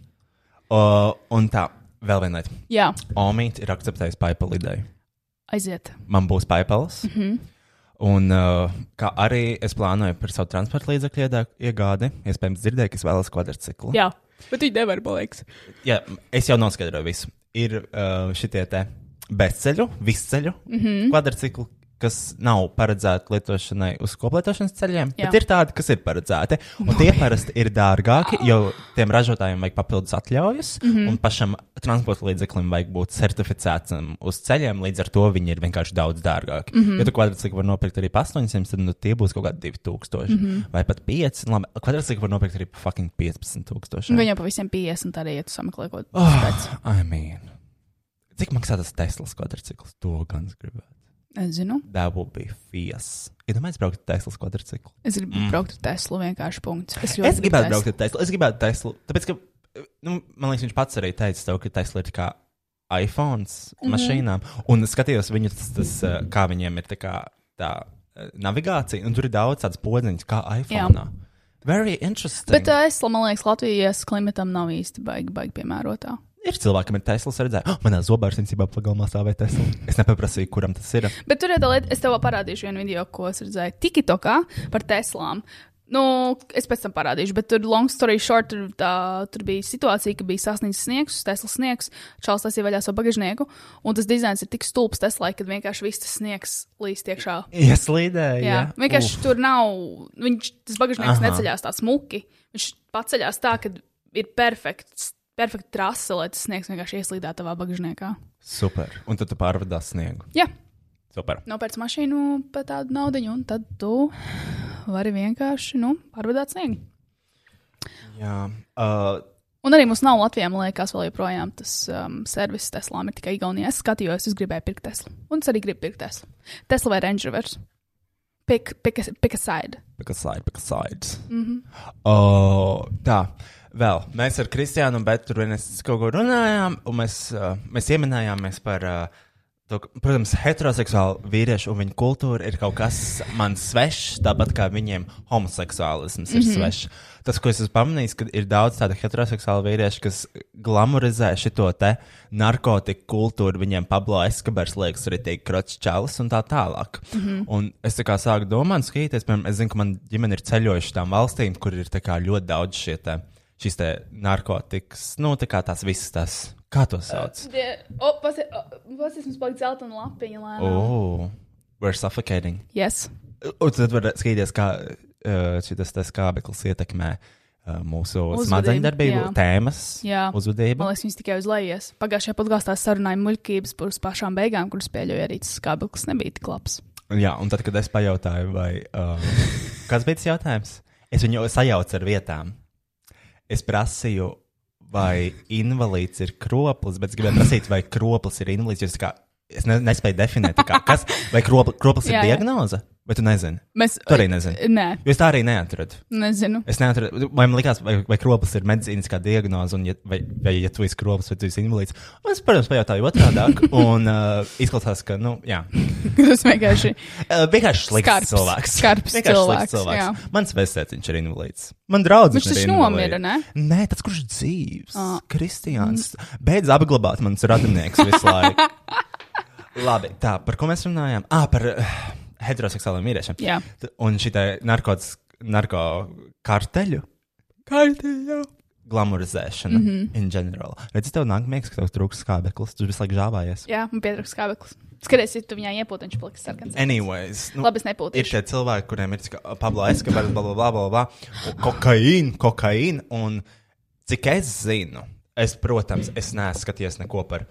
Speaker 4: uh, un tā, vēl viena lieta.
Speaker 2: Jā,
Speaker 4: Omīte ir akceptējusi PayPal ideju.
Speaker 2: aiziet.
Speaker 4: Man būs PayPals. Mm -hmm. Un uh, kā arī es plānoju par savu transporta līdzekļu iedā- iegādi, iespējams, dzirdēju, ka es vēlos kvadrciklu.
Speaker 2: Jā, bet viņi nevar, man liekas.
Speaker 4: Jā, es jau noskaidroju visu. Ir uh, šitie te bezceļu, visceļu mm -hmm.
Speaker 2: Mhm.
Speaker 4: kvadrcikli, kas nav paredzēti lietošanai uz koplietošanas ceļiem,
Speaker 2: Jā.
Speaker 4: Jā. bet ir tādi, kas ir paredzēti. Un tie parasti ir dārgāki, jo tiem ražotājiem vajag papildus atļaujas, mm -hmm. un pašam transporta līdzeklim vajag būt certificētam uz ceļiem, līdz ar to viņi ir vienkārši daudz dārgāki. Mm -hmm. Ja tu kvadrcikli var nopirkt arī par 800, tad nu, tie būs kaut kādi 2000 mm -hmm. vai pat 5. Labi, kvadrcikli var nopirkt arī par fucking 15,000.
Speaker 2: Viņam pavisam 50 arī, ja tu sameklē kaut ko
Speaker 4: Oh,
Speaker 2: tādu.
Speaker 4: I mean. Cik maksā tas Teslas kvadrcikls? To gan es gribētu.
Speaker 2: Es zinu,
Speaker 4: That would be fierce. Ja domājat, braukt ar Teslas kvadrciklu?
Speaker 2: es gribu mm. braukt ar Teslu vienkārši punktu. Es, ļoti
Speaker 4: Es gribētu
Speaker 2: Teslu.
Speaker 4: braukt ar Teslu. Es gribētu Teslu. Tāpēc, ka, nu, man liekas, viņš pats arī teica, tev, ka Tesla ir tā kā
Speaker 2: Mhm.
Speaker 4: eh, iPhone mm -hmm. mašīnām. Un es skatījos viņu, tas, tas, uh, kā viņiem ir tā kā tā eh, navigācija, un tur ir daudz tādas podziņas, kā
Speaker 2: Jā.
Speaker 4: iPhone. Very interesting.
Speaker 2: Bet uh, es man liekas, Latvijas klimatam nav īsti baigi, baigi piemērotā.
Speaker 4: Ir cilvēki, kam ir Tesla. Es redzēju, oh, manā zobārā principā pagalmā stāvēja Tesla. Es nepaprasīju, kuram tas ir.
Speaker 2: Bet tur ir tā lieta, es tev parādīšu vienu video, ko es redzēju TikTokā par Teslām. Nu, es pēc tam parādīšu, bet tur, long story short, tur, tā, tur bija situācija, ka bija sasniegts sniegs, Tesla sniegs, Čāles tas ievaļā savu bagāžnieku, un tas dizains ir tik stulbs Teslai, ka vienkārši viss tas sniegs līst iekšā.
Speaker 4: Ieslīdēja.
Speaker 2: Jā, vienkārši Uf. tur nav, viņš, tas bagāžnieks
Speaker 4: Aha.
Speaker 2: neceļās tā smuki, viņš paceļās tā, ka ir perfekts, perfekta trase, lai tas sniegs vienkārši ieslīdā tavā bagāžniekā.
Speaker 4: Super. Un tad tu pārvadās sniegu.
Speaker 2: Jā.
Speaker 4: Super.
Speaker 2: nopērts mašīnu par tādu naudu, un tad tu vari vienkārši nu, pārvadāt sniegu.
Speaker 4: Jā. Uh,
Speaker 2: Un arī mums nav Latvijā, man liekas, vēl joprojām tas um, servis Teslām ir tikai Igaunijā. Es skatījos, es gribēju pirkt Teslu. Un es arī gribu pirkt Teslu. Tesla vai Range Rover? Pick, pick, a- pick a side.
Speaker 4: Pikas side, pikas side. Mm -hmm. oh, tā, vēl. Mēs ar Kristiānu un Bētu tur vienreiz kaut ko runājām, un mēs, uh, mēs ieminējāmies par. Uh, to, ka, Protams, heteroseksuāli vīrieši un viņu kultūra ir kaut kas man svešs, tāpat kā viņiem homoseksuālisms ir mm -hmm. svešs. Tas, ko es esmu pamanījis, ka ir daudz tādu heteroseksuālu vīriešu, kas glamorizē šo te narkotiku kultūru, viņiem Pablo Eskabers liekas, arī tiek kroķis čalis un tā tālāk. Mm -hmm. Un es tā kā sāku domāt, skatīties, piemēram, es zinu, ka man ģimene ir ceļojuši tām valstīm, kur ir tā kā ļoti daudz šie te, šīs te narkotikas, nu, tā kā tās visas tās, kā to sauc?
Speaker 2: Pats mums paliek zelta un lapiņa lēna.
Speaker 4: Oh, we're suffocating.
Speaker 2: Yes.
Speaker 4: Un tad var skatīties, kā uh, šis te skābeklis ietekmē uh, mūsu
Speaker 2: Uzvedību,
Speaker 4: smadzeņu darbību,
Speaker 2: jā.
Speaker 4: tēmas,
Speaker 2: Jā.
Speaker 4: uzvedību.
Speaker 2: Man liekas, viņas tikai uz lejas. Pagājušajā podkāstā sarunājām muļķības par uz pašām beigām, kuras pieļauja arī tas skābeklis nebija tik labs.
Speaker 4: Jā, un tad, kad es pajautāju, vai, uh, kas bija tas jautājums, es viņu sajaucu ar vietām. Es prasīju, vai invalīds ir kroplis, bet es gribēju prasīt, vai kroplis ir invalīds. jo es tā Kā, es ne, nespēju definēt, tā kā, kas, vai kropl, kroplis ir
Speaker 2: Jā, jā.
Speaker 4: diagnoze, vai tu nezini.
Speaker 2: Mēs
Speaker 4: Tu arī nezini.
Speaker 2: Nē,
Speaker 4: Jo es tā arī neatradu.
Speaker 2: nezinu.
Speaker 4: Es neatradu, vai man liekas, vai, vai kroplis ir medicīniskā diagnoze, un, ja, vai, vai ja tu esi kroplis, vai tu esi invalīds. Un es, protams, pajautāju otrādi, un uh, izklausās, ka, nu, jā,
Speaker 2: Tas vienkārši
Speaker 4: uh, vienkārši slikts
Speaker 2: Skarbs,
Speaker 4: cilvēks.
Speaker 2: skarbs
Speaker 4: vienkārši
Speaker 2: cilvēks,
Speaker 4: slikts cilvēks.
Speaker 2: jā.
Speaker 4: Mans vēstēciņš ir invalīds. Man draugs
Speaker 2: Viņš taču nomira, ne?
Speaker 4: Nē, tas, kurš dzīves,
Speaker 2: Ah.
Speaker 4: oh. Kristians, beidz apglabāt mans radinieks visu laiku. Labi, tā, par ko mēs runājām? Ah, par uh, heteroseksuāliem vīriešiem.
Speaker 2: Jā.
Speaker 4: T- Un šī narkotikas, narko karteļu. Karteļu. Glamorizēšana mm
Speaker 2: Mhm.
Speaker 4: -hmm. in general. Redzi, tev nāk miegs, ka tev trūks skābeklis, tu visu laiku žāvājies.
Speaker 2: Jā, man pietrūkst skābeklis. Skaties, ja tu viņā iepūti, viņš paliks sarkans.
Speaker 4: Anyways, nu,
Speaker 2: Labi, es
Speaker 4: ir
Speaker 2: nepūtīšu.
Speaker 4: šie cilvēki, kuriem ir ska- Pablo Eskabars, bla, bla, bla, bla, bla, kokaīna, kokaīna. Un cik es zinu, es, protams, es neesmu skatījies neko par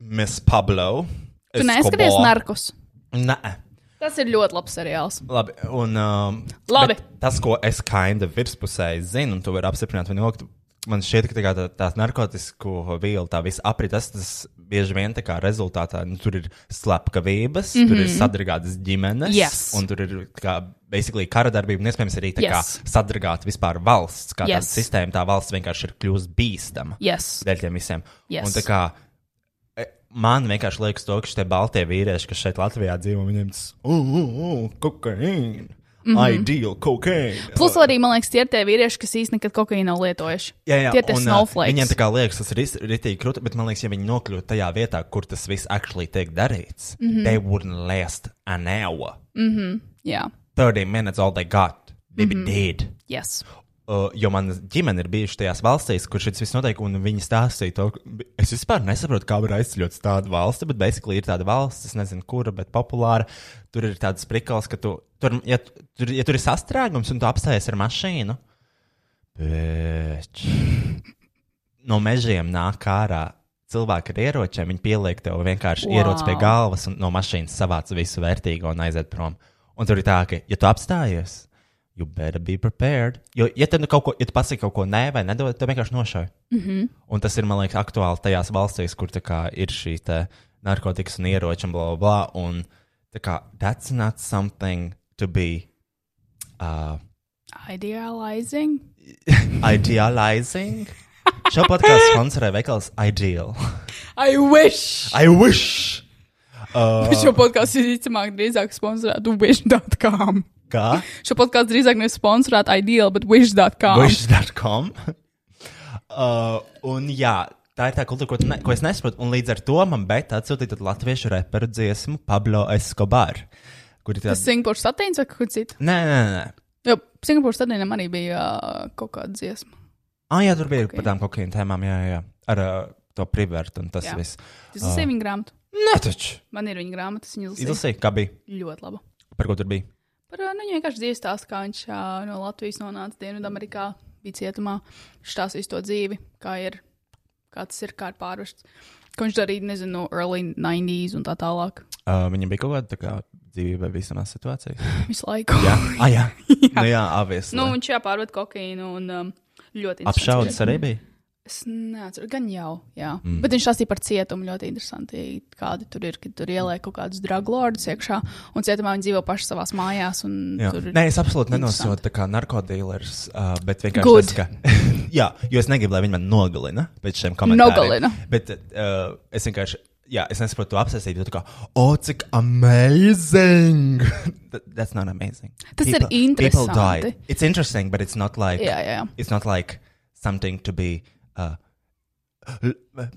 Speaker 4: Miss Pablo.
Speaker 2: Tu neskaties narkos.
Speaker 4: Nē.
Speaker 2: Tas ir ļoti labs seriāls.
Speaker 4: Labi, un, um,
Speaker 2: Labi.
Speaker 4: bet Tas, ko es kinda virspusēji zinu, un to var apstiprināt, vai nokļūt. Man šķiet, ka tā kā tā, tās narkotiku vielu, tā visa aprit, tas, tas bieži vien tā kā rezultātā nu, tur ir slepkavības, mm -hmm. tur ir sadragātas ģimenes,
Speaker 2: Mhm. Yes.
Speaker 4: un tur ir tā kā, basically kara darbība, un iespējams arī tā
Speaker 2: Yes.
Speaker 4: kā sadragāta vispār valsts, kā yes.
Speaker 2: Yes.
Speaker 4: tāda sistēma, tā valsts vienkārši ir kļūst bīstama
Speaker 2: Yes.
Speaker 4: dēļ tiem visiem.
Speaker 2: Yes.
Speaker 4: Un tā kā e, man vienkārši liekas, to, ka šie baltie vīrieši, kas šeit Latvijā dzīvo, viņiem tas kokaīna,
Speaker 2: Mhm.
Speaker 4: ideāla kokaīna.
Speaker 2: Plus, arī man liekas, tie ir tie vīrieši, kas īstenībā nekad kokaīnu nav lietojuši. tie ir tie
Speaker 4: un, uh,
Speaker 2: snowflakes.
Speaker 4: Viņiem tā kā liekas, tas ir rītīgi krūti, bet man liekas, ja viņi nokļūtu tajā vietā, kur tas viss actually tiek darīts, mm
Speaker 2: Mhm.
Speaker 4: -hmm. they wouldn't last an hour.
Speaker 2: Jā,
Speaker 4: 30 minutes all they got, they
Speaker 2: Mhm.
Speaker 4: mm -hmm. did.
Speaker 2: yes.
Speaker 4: Uh, jo mana ģimene ir bijusi tajās valstīs, kur šis viss notiek, un viņi stāstīja to. ka- Es vispār nesaprotu, kā var aizceļot tādu valsti, bet basically ir tāda valsts, es nezinu, kura, bet populāra. Tur ir tāds prikals, ka tu, tur, ja, tu- tur, ja tur ir sastrēgums un tu apstājies ar mašīnu, bet no mežiem nāk ārā. Cilvēki ar ieročiem, viņi pieliek tev vienkārši wow. ieroci pie
Speaker 2: Wow.
Speaker 4: galvas un no mašīnas savāc visu vērtīgo un aiziet prom. Un tur ir tā, ka, ja tu apstājies, you better be prepared. Jo, ja tu nu kaut ko, ja tu pasaki kaut ko nē, vai nedod, tad vienkārši nošauj. Mm -hmm. Un tas ir, man liekas, aktuāli tajās valstīs, kur tā kā ir šī te narkotikas un ieroči un bla, bla, bla. Un tā kā that's not something to be uh,
Speaker 2: Idealizing.
Speaker 4: idealizing. Šo podkāstu sponsorē veikals Ideal.
Speaker 2: I wish!
Speaker 4: I wish!
Speaker 2: Uh. Šo podkāstu visticamāk drīzāk sponsorētu wish.com.
Speaker 4: Kā?
Speaker 2: Šo podkāstu drīzāk nevis sponsorētu ideal, bet wish.com. Wish.
Speaker 4: Wish.com. Uh, un jā, tā ir tā kultūra, ko, tu ne, ko es nesaprotu. Un līdz ar to man bet atsūtīja tad latviešu reperu dziesmu Pablo Escobar. Kur ir tāds?
Speaker 2: Singapūras satīns vai kaut kas cits?
Speaker 4: Nē, nē, nē.
Speaker 2: Jo Singapūras satīnam arī bija uh, kaut kāda dziesma.
Speaker 4: Ah, jā, tur bija okay. par tām kokaīna tēmām, jā, jā, jā. Ar uh, to privērtu un tas
Speaker 2: Jā.
Speaker 4: jā. viss.
Speaker 2: Es lasīju viņa grāmatu.
Speaker 4: Nē, taču.
Speaker 2: Man ir viņa grāmata, es viņu lasīju.
Speaker 4: Izlasīju, kā bija.
Speaker 2: Ļoti labi.
Speaker 4: Par ko tur bija?
Speaker 2: Par ā, nu, viņu vienkārši dzīves stāstu, kā viņš ā, no Latvijas nonāca Dienvidamerikā, bija cietumā, stāstīs to dzīvi, kā ir, kā tas ir, kā ir pārvarsts. Ko viņš darīja, nezinu, no early 90s un tā tālāk.
Speaker 4: Uh, viņam bija kaut kāda tā kā dzīvība visām situācijām.
Speaker 2: Visu laiku.
Speaker 4: Jā, ah, jā. jā. Nu, jā avies.
Speaker 2: nu, viņš jā, pārved kokainu un um, ļoti interesants
Speaker 4: Apšaudas arī bija.
Speaker 2: Es neatceros, gan jau. Jā. Mm. Bet viņš stāstīja par cietumu. Ļoti interesanti, kādi tur ir. Kad tur ielēk kaut kādus druglordus iekšā, un cietumā viņi dzīvo paši savā mājās. un
Speaker 4: Jā.
Speaker 2: Tur...
Speaker 4: Nē, es absolūti
Speaker 2: interesanti.
Speaker 4: nenosodu tā kā narkotikas, uh, bet vienkārši
Speaker 2: Good.
Speaker 4: tas, ka. jā, jo es negribu, lai viņi man nogalina pēc šiem komentāriem.
Speaker 2: Nogalina.
Speaker 4: Bet uh, es vienkārši, jā, es nesaprotu to apsēstību. jo Tu kā, o, cik amazing! Th- That's not amazing.
Speaker 2: Tas ir
Speaker 4: People
Speaker 2: interesanti.
Speaker 4: died. It's interesting, but it's not like.
Speaker 2: Jā, jā, jā.
Speaker 4: It's not like something to be. Uh,
Speaker 2: Haba,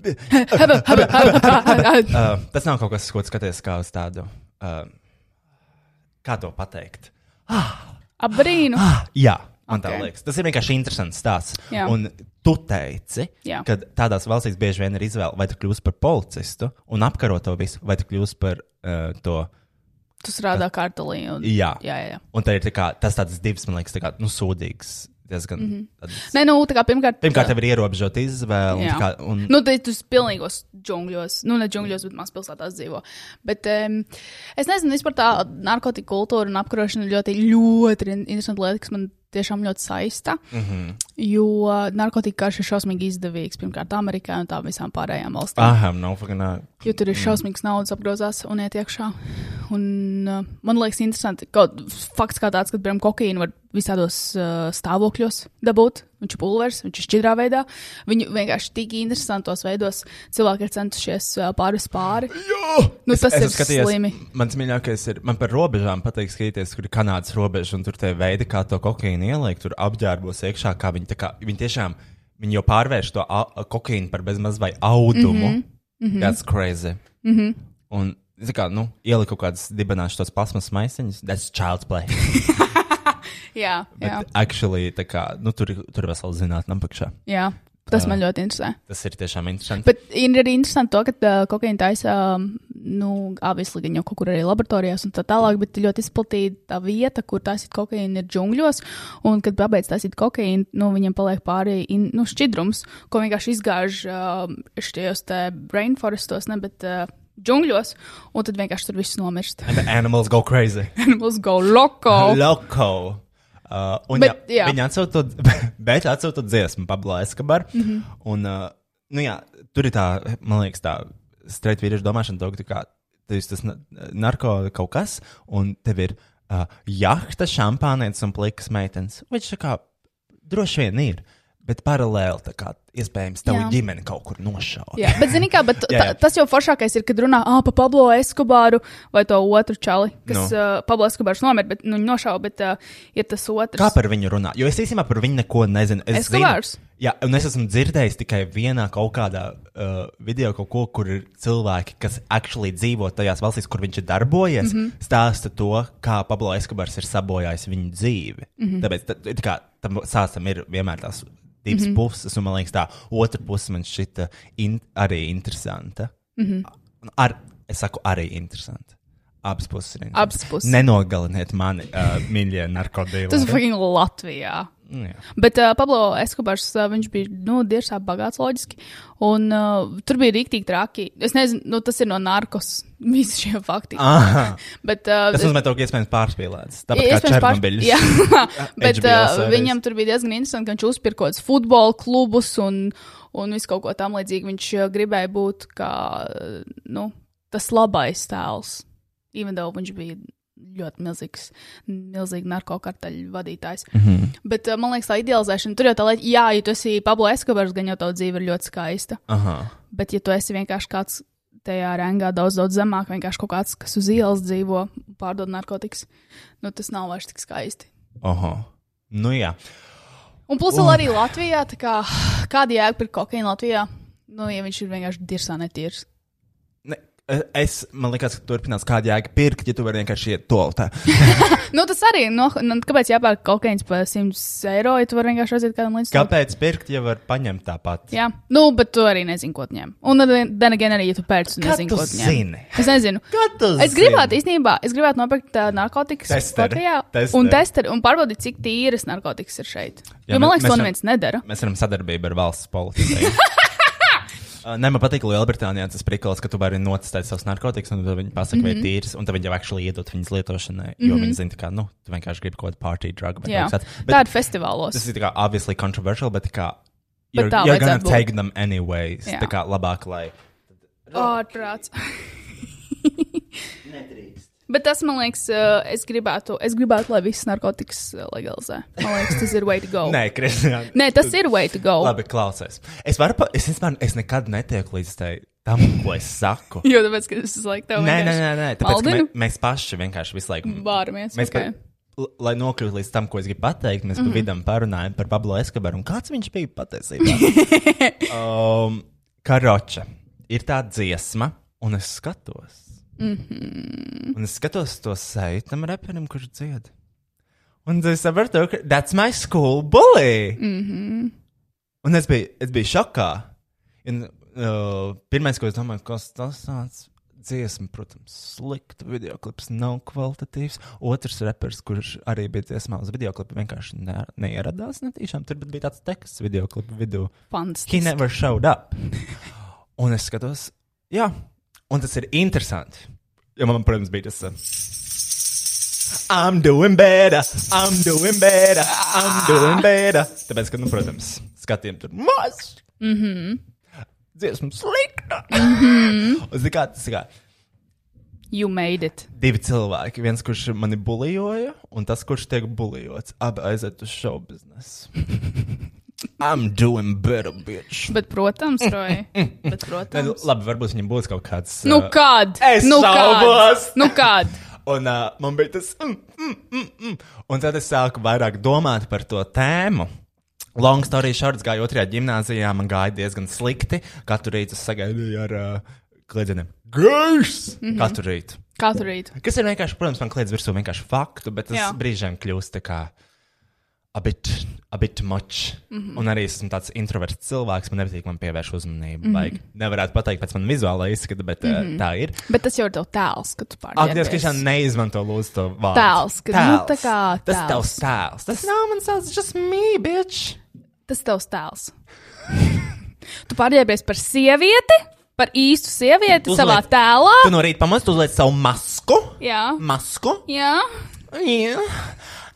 Speaker 2: haba, haba, haba, haba.
Speaker 4: Uh, tas nav kaut kas, ko tu skaties kā uz tādu. Uh, kā to pateikt?
Speaker 2: Apbrīnu.
Speaker 4: Ah, jā, man okay.
Speaker 2: Ok.
Speaker 4: tā liekas. Tas ir vienkārši interesants stāsts.
Speaker 2: Jā.
Speaker 4: Un tu teici,
Speaker 2: Jā.
Speaker 4: ka tādās valstīs bieži vien ir izvēle, vai tu kļūsi par policistu un apkaro to visu, vai tu kļūsi par uh, to.
Speaker 2: Tu strādā kartelī. Un...
Speaker 4: Jā.
Speaker 2: jā, jā. jā.
Speaker 4: Un tā ir tā kā, tas tāds divs, man liekas, tā kā, nu, sūdīgs. Diezgan, mm -hmm. tāds,
Speaker 2: Nē, nu, tā kā pirmkārt.
Speaker 4: pirmkārt, tev ir ierobežota izvēle. un
Speaker 2: Jā.
Speaker 4: tā Kā, un,
Speaker 2: Nu, tad tu esi pilnīgos džungļos, nu, ne džungļos, bet mazpilsētās dzīvo. Bet um, es nezinu, vispār tā narkotika kultūra un apkarošana ir ļoti, ļoti in- interesanta lieta, kas man tiešām ļoti saista. Mm -hmm.
Speaker 4: Mhm.
Speaker 2: Jo narkotika karš ir šausmīgi izdevīgs pirmkārt Amerikā un tām visām pārējām valstīm.
Speaker 4: I have no fucking. uh,
Speaker 2: Jo tur ir šausmīgs naudas apgrozās un iet iekšā. Un, uh, man liekas, interesanti, ka fakts kā tāds, ka, piemēram, kokaīnu var visādos uh, stāvokļos dabūt. Viņš ir pulveris, viņš ir šķidrā veidā. Viņu vienkārši tik interesantos veidos cilvēki ir centušies uh, pārvis pāri. Nu, tas
Speaker 4: esmu
Speaker 2: ir slimi.
Speaker 4: Mans mīļākais ir, man par robežām patīk skatīties, kur ir kanādas robeža un tur tie veidi, kā to kokaīnu ielikt, tur apģērbos iekšā, kā viņi, tā kā, viņi tiešām, viņi jau pārvērš to a- a- kokaīnu par bezmaz vai audumu.
Speaker 2: Mhm,
Speaker 4: Mm -hmm. That's crazy. Mm -hmm. Un, tā kā, nu, ielikt kaut kādas dibenāšu tos plasmas maisiņus, that's child's play.
Speaker 2: Jā, jā,
Speaker 4: Bet actually, tā kā, nu, tur, ir- tur ir vesela zinātnē apakšā.
Speaker 2: jā. Tas man ļoti interesē.
Speaker 4: Tas ir tiešām interesanti.
Speaker 2: Bet ir arī interesanti, to, ka uh, kokaīna taisa, um, nu, obviously, gan jau kaut kur arī laboratorijās un tā tālāk, bet ļoti izplatīta tā vieta, kur taisīt kokaīnu, ir džungļos. Un, kad pabeidz taisīt kokaīnu, nu, viņiem paliek pāri in, nu, šķidrums, ko vienkārši izgāž um, šajos te brainforestos, ne, bet uh, džungļos, un tad vienkārši tur viss nomirst.
Speaker 4: The animals go crazy.
Speaker 2: Animals go loco!
Speaker 4: Loko. Uh, un
Speaker 2: Bet,
Speaker 4: bet,
Speaker 2: jā.
Speaker 4: jā, viņa atsūta, bet atsūta dziesmu, Pablo Escobar. Mm
Speaker 2: Mhm.
Speaker 4: -hmm. Un, uh, nu jā, tur ir tā, man liekas, tā straight vīriešu domāšana, to, ka tu kā tev ir tas na- narko kaut kas, un tev ir uh, jahta, šampānietis un plikas meitenes. Viņš tā kā droši vien ir, bet paralēli tā kā iespējams
Speaker 2: Jā.
Speaker 4: tavu ģimeni kaut kur nošaut.
Speaker 2: Jā, bet, zini, kā, bet
Speaker 4: Jā, jā.
Speaker 2: tā, tas jau foršākais ir, kad runā ah, par Pablo Escobaru vai to otru čali, kas no.
Speaker 4: Nu.
Speaker 2: uh, Pablo Escobars nomira, bet nu, nošāva, bet uh, ir tas otrs.
Speaker 4: Kā par viņu runā? Jo es īstenībā par viņu neko nezinu. Es
Speaker 2: Escobars?
Speaker 4: zinu, jā, un es esmu dzirdējis tikai vienā kaut kādā uh, video, kaut ko, kur ir cilvēki, kas actually dzīvo tajās valstīs, kur viņš ir darbojies,
Speaker 2: Mhm.
Speaker 4: mm -hmm. stāsta to, kā Pablo Escobars ir sabojājis viņu dzīvi. Mm
Speaker 2: Mhm.
Speaker 4: -hmm. Tāpēc tā, tā kā, tam sāstam ir vienmēr tās divas mm
Speaker 2: Mhm.
Speaker 4: -hmm. puses, un man liekas, tā otra puse man šķita in, arī interesanta. Mm
Speaker 2: Mhm.
Speaker 4: -hmm. Ar, es saku, arī interesanta. Abas puses ir. interesantas.
Speaker 2: Abas puses.
Speaker 4: Nenogaliniet mani, uh, mīļie narkotiķi.
Speaker 2: Tas ir fucking Latvijā.
Speaker 4: Nu Jā.
Speaker 2: Bet uh, Pablo Escobars, uh, viņš bija nu, diezgan bagāts loģiski. Un uh, tur bija rīktīgi traki. Es nezinu, nu, tas ir no narkos visi šie fakti.
Speaker 4: Aha,
Speaker 2: Bet, uh,
Speaker 4: Ah. tas
Speaker 2: es-
Speaker 4: nozīmē, ka iespējams pārspīlēts. Tāpat kā
Speaker 2: Iespējams, pārs-
Speaker 4: Černobiļs.
Speaker 2: Jā, bet
Speaker 4: HBO
Speaker 2: uh,
Speaker 4: series.
Speaker 2: viņam tur bija diezgan interesanti, ka viņš uzpirka kaut kādus futbola klubus un, un visu kaut ko tam līdzīgu. Viņš uh, gribēja būt kā uh, nu, tas labais tēls. Even though viņš bija ļoti milzīgs, milzīgi narkotiku vadītājs. Mm
Speaker 4: Mhm.
Speaker 2: -hmm. Bet uh, man liekas, tā idealizēšana tur jau tā, lai, jā, ja tu esi Pablo Escobars, gan jau tā dzīve ir ļoti skaista.
Speaker 4: Aha.
Speaker 2: Bet, ja tu esi vienkārši kāds tajā rangā daudz, daudz zemāk. Vienkārši kaut kāds, kas uz ielas dzīvo, pārdod narkotikas. Nu, tas nav vairs tik skaisti.
Speaker 4: Aha. Nu jā.
Speaker 2: Un plus vēl arī Latvijā, tā kā, kāda jēga par kokainu Latvijā? Nu, ja viņš ir vienkārši dirsā netīrs.
Speaker 4: Ne, es, man liekas, ka turpinās kāda jēga pirkt, ja tu vari vienkārši iet to tā.
Speaker 2: Nu, tas arī, no, nu, kāpēc jāpērk kokains par 100 eiro, ja tu vari vienkārši aiziet kādam līdz tam?
Speaker 4: Kāpēc pirkt, ja var paņemt tāpat?
Speaker 2: Jā, nu, bet tu arī nezini, ko tu ņem. Un then again, arī, ja tu pērci, tu
Speaker 4: Kā
Speaker 2: nezini,
Speaker 4: tu
Speaker 2: ko tu ņem.
Speaker 4: zini?
Speaker 2: Es nezinu.
Speaker 4: Kā tu
Speaker 2: Es gribētu, īstenībā, es gribētu nopirkt uh, narkotikas
Speaker 4: Testeri.
Speaker 2: Latvijā
Speaker 4: Testeri.
Speaker 2: un testeri un pārbaudīt, cik tīras narkotikas ir šeit.
Speaker 4: Jā,
Speaker 2: Jo man
Speaker 4: mē-
Speaker 2: liekas,
Speaker 4: mēs
Speaker 2: to
Speaker 4: varam-
Speaker 2: neviens nedara.
Speaker 4: Mēs varam sadarbību ar valsts policiju. Uh, Ne, man patīk Lielbritānijā tas priklis, ka tu vari notestēt savus narkotikas, un tad viņi pasaka,
Speaker 2: Mhm.
Speaker 4: mm -hmm. vai tīrs, un tad viņi jau actually iedod viņas lietošanai, jo mm -hmm. viņi zina, ka, nu, tu vienkārši gribi kaut kādu party drug. vai
Speaker 2: Jā,
Speaker 4: kaut kas tāds. Bet
Speaker 2: tāda festivālos.
Speaker 4: Tas ir tā kā obviously controversial, bet tā kā
Speaker 2: Bet
Speaker 4: you're,
Speaker 2: tā
Speaker 4: you're gonna
Speaker 2: vajadzētu būt.
Speaker 4: take them anyways.
Speaker 2: Jā.
Speaker 4: Tā kā labāk, lai.
Speaker 2: ārprāts. Bet tas, man liekas, uh, es gribētu, es gribētu, lai visas narkotikas uh, legalizē. Man liekas, tas ir way to go.
Speaker 4: Nē, Kristija.
Speaker 2: Oh. Nē, tas ir way to go.
Speaker 4: Labi, klausies. Es varu, pa... es, vispār, es nekad netieku līdz tai- tam, ko es saku.
Speaker 2: Jo tāpēc, ka es laiku tev
Speaker 4: Nē, nē, nē, nē. Tāpēc, ka mē,
Speaker 2: maldinu.
Speaker 4: mēs paši vienkārši visu laiku
Speaker 2: Bāramies,
Speaker 4: Mēs
Speaker 2: okay.
Speaker 4: pa- l- Lai nokļūtu līdz tam, ko es gribu pateikt, mēs mm -hmm. pa vidam parunājam par Pablo Eskabaru. Un Kāds viņš bija patiesībā? um, Karoča ir tā dziesma, un es skatos. Mm -hmm. Un es skatos to seju tam reperim, kurš dzied. Un es sapratu, ka that's my school bully. Mm -hmm.
Speaker 2: Mm-hmm.
Speaker 4: Un es biju, es biju šokā. Un, uh, pirmais, ko es domāju, kas tas tāds - dziesma, protams, slikta. Video klips nav kvalitatīvs. Otrs reperis, kurš arī bija dziesmā uz video klipa, vienkārši ne, neieradās. Netīšām. Tur pat bija tāds teksts video klipa vidū. He
Speaker 2: Fantastiski.
Speaker 4: never showed up. Un es skatos, jā, un tas ir interesanti. Jo man, protams, bija tas. uh, I'm doing better, I'm doing better, I'm doing better. Tāpēc, ka, nu, protams, skatiem tur maz. Mhm. Mm Dziesmu slikta. Un zini kā, tas ir kā
Speaker 2: You made it.
Speaker 4: divi cilvēki. Viens, kurš mani bulijoja, un tas, kurš tiek bulijots. Abi aiziet uz show biznesu. I'm doing better, bitch.
Speaker 2: Bet, protams, Roja. Bet,
Speaker 4: Tad,
Speaker 2: protams.
Speaker 4: labi, varbūt viņam būs kaut kāds.
Speaker 2: Nu
Speaker 4: ā,
Speaker 2: kād?
Speaker 4: eh, Es
Speaker 2: nu kād?
Speaker 4: šaubos.
Speaker 2: Nu kād?
Speaker 4: Un uh, man bija tas. Mm, mm, mm, mm. Un tad es sāku vairāk domāt par to tēmu. Long story short, gāju otrajā gimnājā, man gāja diezgan slikti. Katru rītu es sagaidīju ar uh, kliedzieniem. Gaiss! Mm -hmm. Katru rītu.
Speaker 2: Katru rītu.
Speaker 4: Kas ir vienkārši, protams, man kliedz virsū vienkārši faktu, bet tas
Speaker 2: Jā.
Speaker 4: brīžiem kļūst tā kā a bit, a bit much. Mm
Speaker 2: Mhm.
Speaker 4: -hmm. Un arī esmu tāds introverts cilvēks, man nepatīk, man pievērš uzmanību.
Speaker 2: Mhm.
Speaker 4: Mm -hmm. Nevarētu pateikt pēc manas vizuālā izskata, bet mm -hmm. tā ir.
Speaker 2: Bet tas jau ir tev tēls, ka tu
Speaker 4: Ak, Dievs,
Speaker 2: pārdzīvo.
Speaker 4: ka viņš neizmanto lūdzu to vārdu.
Speaker 2: Tēls, ka- nu, tā kā
Speaker 4: tas
Speaker 2: tēls.
Speaker 4: tavs tēls. Tas nav mans tēls, tas ir mī, bitch.
Speaker 2: tas tavs tēls. tu pārģērbies par sievieti, par īstu sievieti
Speaker 4: Uzliec.
Speaker 2: savā tēlā.
Speaker 4: Tu no rīta pamosties, uzliec savu masku.
Speaker 2: Ah! Jā,
Speaker 4: Masku.
Speaker 2: jā,
Speaker 4: Jā.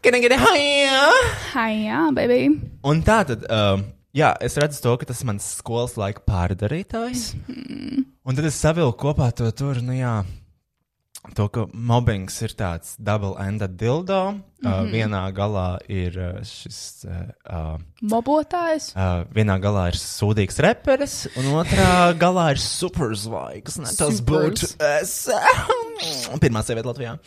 Speaker 4: Gana, gana, jā.
Speaker 2: Hi, jā, baby.
Speaker 4: Un tā tad, um, jā, es redzu to, ka tas ir mans skolas laika pārdarītājs.
Speaker 2: Mhm.
Speaker 4: Un tad es savilku kopā to tur, nu jā. To, ka mobbings ir tāds double-ended dildo. Mm -hmm.
Speaker 2: Mhm.
Speaker 4: uh, vienā galā ir uh, šis uh, uh,
Speaker 2: Mobotājs.
Speaker 4: Uh, vienā galā ir sūdīgs reperis, un otrā galā ir superzvaigznes. Tas būtu es. Pirmā sieviete Latvijā.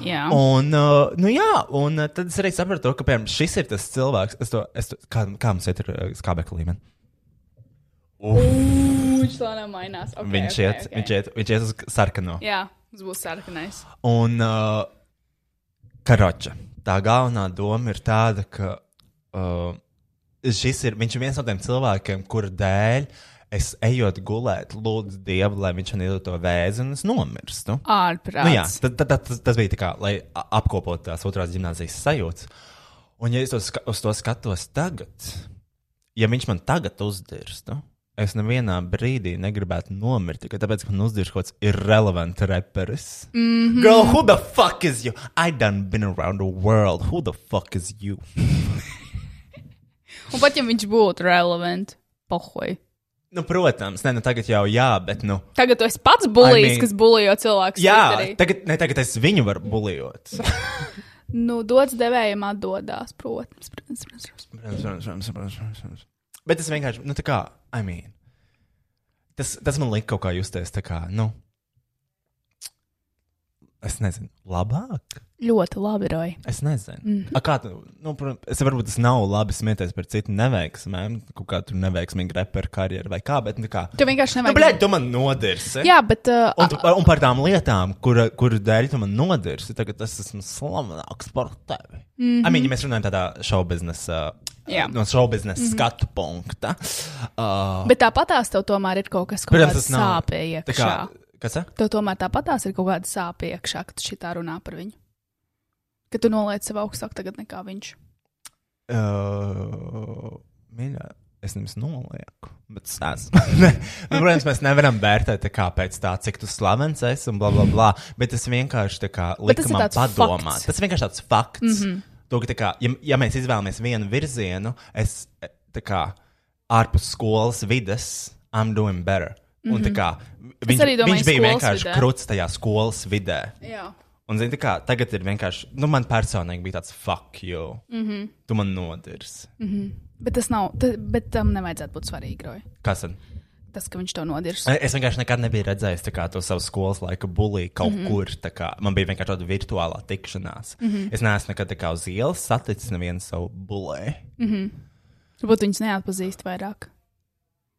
Speaker 2: Jā,
Speaker 4: Un, uh, nu jā, un uh, tad es arī sapratu, to, ka piemēram, šis ir tas cilvēks, es to, es to, kā, kā mums iet ar uh, skābekļa līmeni.
Speaker 2: viņš tā nemainās. Okay,
Speaker 4: Viņš
Speaker 2: okay,
Speaker 4: iet,
Speaker 2: okay.
Speaker 4: viņš iet, viņš iet uz sarkano.
Speaker 2: Jā, tas būs sarkanais.
Speaker 4: Un, uh, karoča. Tā galvenā doma ir tāda, ka uh, šis ir, viņš ir viens no tiem cilvēkiem, kuru dēļ es ejot gulēt, lūdzu Dievu, lai viņš man iedod to vēzi un es nomirstu.
Speaker 2: Ārprāts.
Speaker 4: Nu, jā, tad, tad, tad, tas- tas bija tā kā, lai a- apkopot tās otrās gimnāzijas sajūtas. Un, ja es to ska uz to skatos tagad, ja viņš man tagad uzdirstu, es nevienā brīdī negribētu nomirt, tikai tāpēc, ka man uzdirst kaut kāds irrelevant reperis. Mm -hmm. Girl, who the fuck is you? I done been around the world. Who the fuck is you?
Speaker 2: Un pat ja viņš būtu relevant, pohoj.
Speaker 4: Nu, protams, ne, nu tagad jau jā, bet nu.
Speaker 2: Tagad tu esi pats bulījis, I
Speaker 4: I
Speaker 2: mean,
Speaker 4: mean-
Speaker 2: kas bulījo cilvēku.
Speaker 4: Jā, tagad, ne, tagad es viņu varu bulijot.
Speaker 2: nu, dots devējiem atdodās, protams. protams, protams.
Speaker 4: Protams, protams, protams, protams, protams. Bet tas vienkārši, nu, tā kā, I mean, Tas, tas man lika kaut kā justies tā kā, nu, es nezinu, labāk.
Speaker 2: Ļoti labi, Roja.
Speaker 4: Es nezinu. Mm -hmm. kā, tu- nu, protams, es varbūt tas nav labi smieties par citu neveiksmēm, kaut kā tur neveiksmīgi reperu karjeru vai kā, bet nu kā.
Speaker 2: Tev vienkārši
Speaker 4: Nu,
Speaker 2: nevajag.
Speaker 4: blēdi, tu man nodirsi.
Speaker 2: Jā, bet uh,
Speaker 4: Un, tu, un par tām lietām, kura, kuru dēļ tu man nodirsi, tagad es esmu slavenāks par tevi. Mm -hmm. I mean, ja mēs runājam tādā uh, šovu biznesa,
Speaker 2: Jā. Mhm.
Speaker 4: no šovu biznesa mm -hmm. skatu punkta. Uh,
Speaker 2: Bet tāpatās tev tomēr ir kaut kas, kas
Speaker 4: protams,
Speaker 2: tāds
Speaker 4: tas nav.
Speaker 2: sāpīgi
Speaker 4: tā
Speaker 2: iekšā.
Speaker 4: kā- Kas? eh?
Speaker 2: Tev tomēr tāpatās ir kaut kāda sāpīga iekšā, ka tu šitā runā par viņu. Ka tu noliec sev augstāk tagad nekā viņš.
Speaker 4: Uh, mīļā, es jums nolieku, bet es esmu. Nē, nu, protams, mēs nevaram vērtēt, tā kā, pēc tā, cik tu slavens esi un bla, bla, bla. Bet tas vienkārši tā kā
Speaker 2: Bet tas
Speaker 4: lika
Speaker 2: ir
Speaker 4: man
Speaker 2: tāds
Speaker 4: padomāt.
Speaker 2: fakts. Mhm.
Speaker 4: Tas ir vienkārši tāds fakts. Mm -hmm. to, ka, tā kā, ja, ja mēs izvēlamies vienu virzienu, es eh, tā kā ārpus skolas vides, I'm doing better. Mm -hmm. Un, tā kā, viņš,
Speaker 2: Mhm. arī domāju,
Speaker 4: viņš bija
Speaker 2: skolas
Speaker 4: vienkārši
Speaker 2: vidē.
Speaker 4: krūts tajā skolas vidē.
Speaker 2: Jā.
Speaker 4: Un, zini, tā kā tagad ir vienkārši, nu, man personīgi bija tāds, fuck you. Mm -hmm. Tu man nodirsi. Mm.
Speaker 2: Bet tas nav, ta, bet tam nevajadzētu būt svarīgi, Roja.
Speaker 4: Kas tad?
Speaker 2: Tas, ka viņš to nodirs.
Speaker 4: Es vienkārši nekad nebiju redzējis tā kā, to savu skolas laika bulīju kaut mm -hmm. kur. tā Kā, man bija vienkārši tāda virtuālā tikšanās. Mm -hmm. Es neesmu nekad tā kā uz ielas saticis nevienu savu bulēju.
Speaker 2: Varbūt viņus neatpazīst vairāk.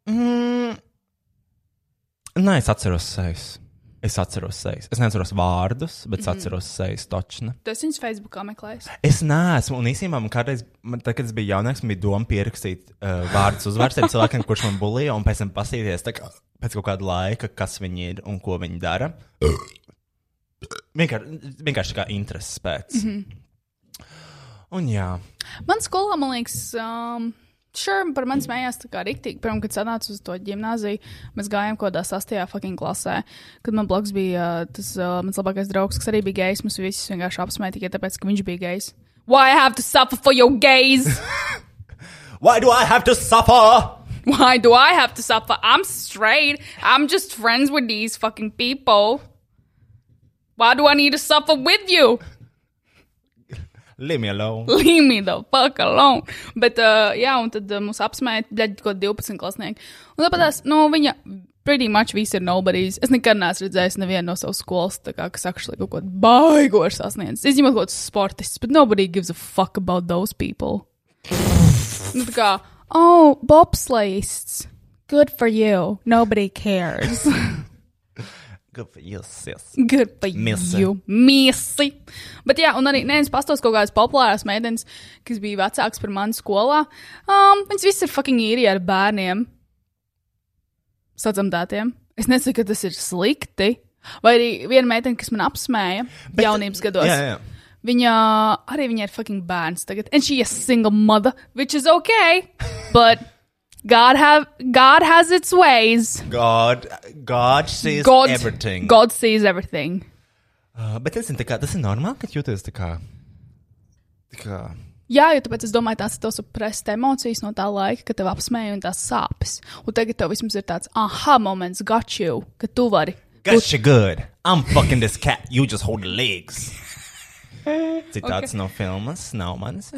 Speaker 4: Mm. Nē, es atceros sejas. Es atceros sejas. Es neatceros vārdus, bet mm -hmm. es atceros sejas točni.
Speaker 2: Tu esi viņus Facebookā meklējis.
Speaker 4: Es neesmu, un īstenībā man kādreiz, man, tad, kad es biju jaunāks, man bija doma pierakstīt uh, vārdus uzvārds tiem cilvēkiem, kurš man bulīja, un pēc tam paskatīties tā kā, pēc kaut kāda laika, kas viņi ir un ko viņi dara. Vienkārši, vienkārši tā kā intereses pēc.
Speaker 2: Mhm.
Speaker 4: Mm -hmm. Un jā,
Speaker 2: Man skolā, man liekas, um, šurm par mani smējās tā kā riktīgi. Pirmā, kad sanāca uz to gimnāziju, mēs gājām kaut kādā sastajā fucking klasē, kad man blakus bija uh, tas uh, mans labākais draugs, kas arī bija gejs. Mums visus vienkārši apsmēja tikai tāpēc, ka viņš bija gejs. Why I have to suffer for your gays?
Speaker 4: why do I have to suffer?
Speaker 2: Why do I have to suffer? I'm straight. I'm just friends with these fucking people. Why do I need to suffer with you?
Speaker 4: Leave me alone.
Speaker 2: Leave me the fuck alone. Bet, uh, jā, un tad uh, mums apsmēja, bļaļ, ko 12 klasnieki. Un tāpat tās, nu, viņa pretty much visi ir nobodies. Es nekad neesmu redzējis nevienu no savas skolas, tā kā, kas akšli kaut ko baigoši sasniedzis. Izņemot kaut kādus sportistus, bet nobody gives a fuck about those people. nu, tā kā, oh, bobsleists. Good for you. Nobody cares.
Speaker 4: Good for you, sis.
Speaker 2: Good for
Speaker 4: Misi.
Speaker 2: you. Misi. Bet, jā, un arī neviens pastāstīs kaut kādas populāras meitenes, kas bija vecākas par mani skolā. Um, viņas visas ir fucking īri ar bērniem. Sadzemdētiem. Es nesaku, ka tas ir slikti. Vai arī viena meitene, kas man apsmēja Bet, jaunības gados.
Speaker 4: Jā, jā.
Speaker 2: Viņa arī viņa ir fucking bērns tagad. And she is single mother, which is okay. But God, have, God has its ways.
Speaker 4: God, God sees
Speaker 2: God,
Speaker 4: everything.
Speaker 2: God sees everything.
Speaker 4: Uh, bet es zinu, tā kā, tas ir normāli, ka jūties tā kā. Tā kā
Speaker 2: Jā, jo tāpēc es domāju, tās ir tās suprestas emocijas no tā laika, kad tev apsmēja un tās sāpes. Un tagad tev vismaz ir tāds aha moments, got you, ka tu vari.
Speaker 4: Gotcha good. I'm fucking this cat. You just hold the legs. Citāts okay. no filmas, nav mans.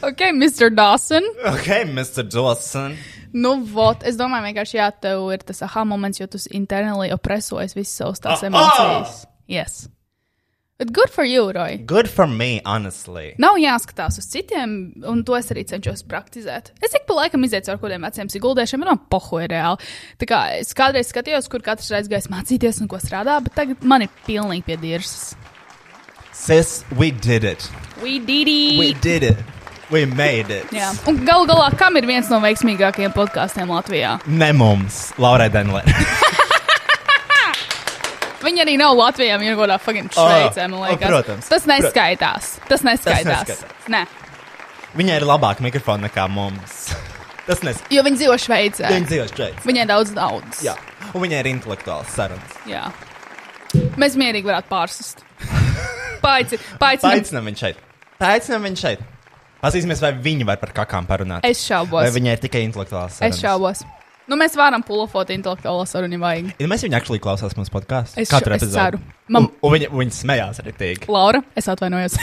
Speaker 2: Ok, Mr. Dawson.
Speaker 4: Ok, Mr. Dawson.
Speaker 2: Nu, vot, es domāju, vienkārši jā, tev ir tas aha moments, jo tu internally opresojies visas savas tās
Speaker 4: Aha!
Speaker 2: emocijas. Yes. Bet good for you, Roy.
Speaker 4: Good for me, honestly.
Speaker 2: Nav jāskatās uz citiem, un to es arī cenšos praktizēt. Es ik pa laikam izietu ar kaut kādiem veciem siguldēšiem, man poho ir reāli. Tā kā es kādreiz skatījos, kur katrs reiz gājis mācīties un ko strādā, bet tagad man ir pilnīgi pie dirzas.
Speaker 4: Sis, we did it.
Speaker 2: We
Speaker 4: We
Speaker 2: did it!
Speaker 4: did it. We made it.
Speaker 2: Jā. Un galu galā, kam ir viens no veiksmīgākajiem podkāstiem Latvijā?
Speaker 4: Ne mums, Laura Denler.
Speaker 2: Viņi arī nav Latvijā, viņi ir kaut kādā fucking Šveicē, man
Speaker 4: o,
Speaker 2: liekas.
Speaker 4: protams.
Speaker 2: Tas neskaitās. Tas neskaitās.
Speaker 4: Tas
Speaker 2: Nē,
Speaker 4: Viņai ir labāk mikrofona nekā mums. Tas nes.
Speaker 2: jo viņi dzīvo Šveicē.
Speaker 4: Viņa dzīvo šeit.
Speaker 2: Viņai daudz naudas.
Speaker 4: Jā. Un viņai ir intelektuāls sarunas.
Speaker 2: Jā. Mēs mierīgi varētu pārsist. Paici, paici.
Speaker 4: Aicinām viņu šeit. Aicinām viņu šeit. Paskatīsimies, vai viņi var par kakām parunāt.
Speaker 2: Es
Speaker 4: Vai
Speaker 2: šaubos.
Speaker 4: viņai ir tikai intelektuāls sarunas.
Speaker 2: Es šaubos. Nu, mēs varam pulofot intelektuālo sarunu, ja vajag.
Speaker 4: Ja mēs viņu aktuāli klausās mūsu podkāstā.
Speaker 2: Es šo- es ceru. Man-
Speaker 4: Un viņa, viņa smējās arī tīk.
Speaker 2: Laura, es atvainojos.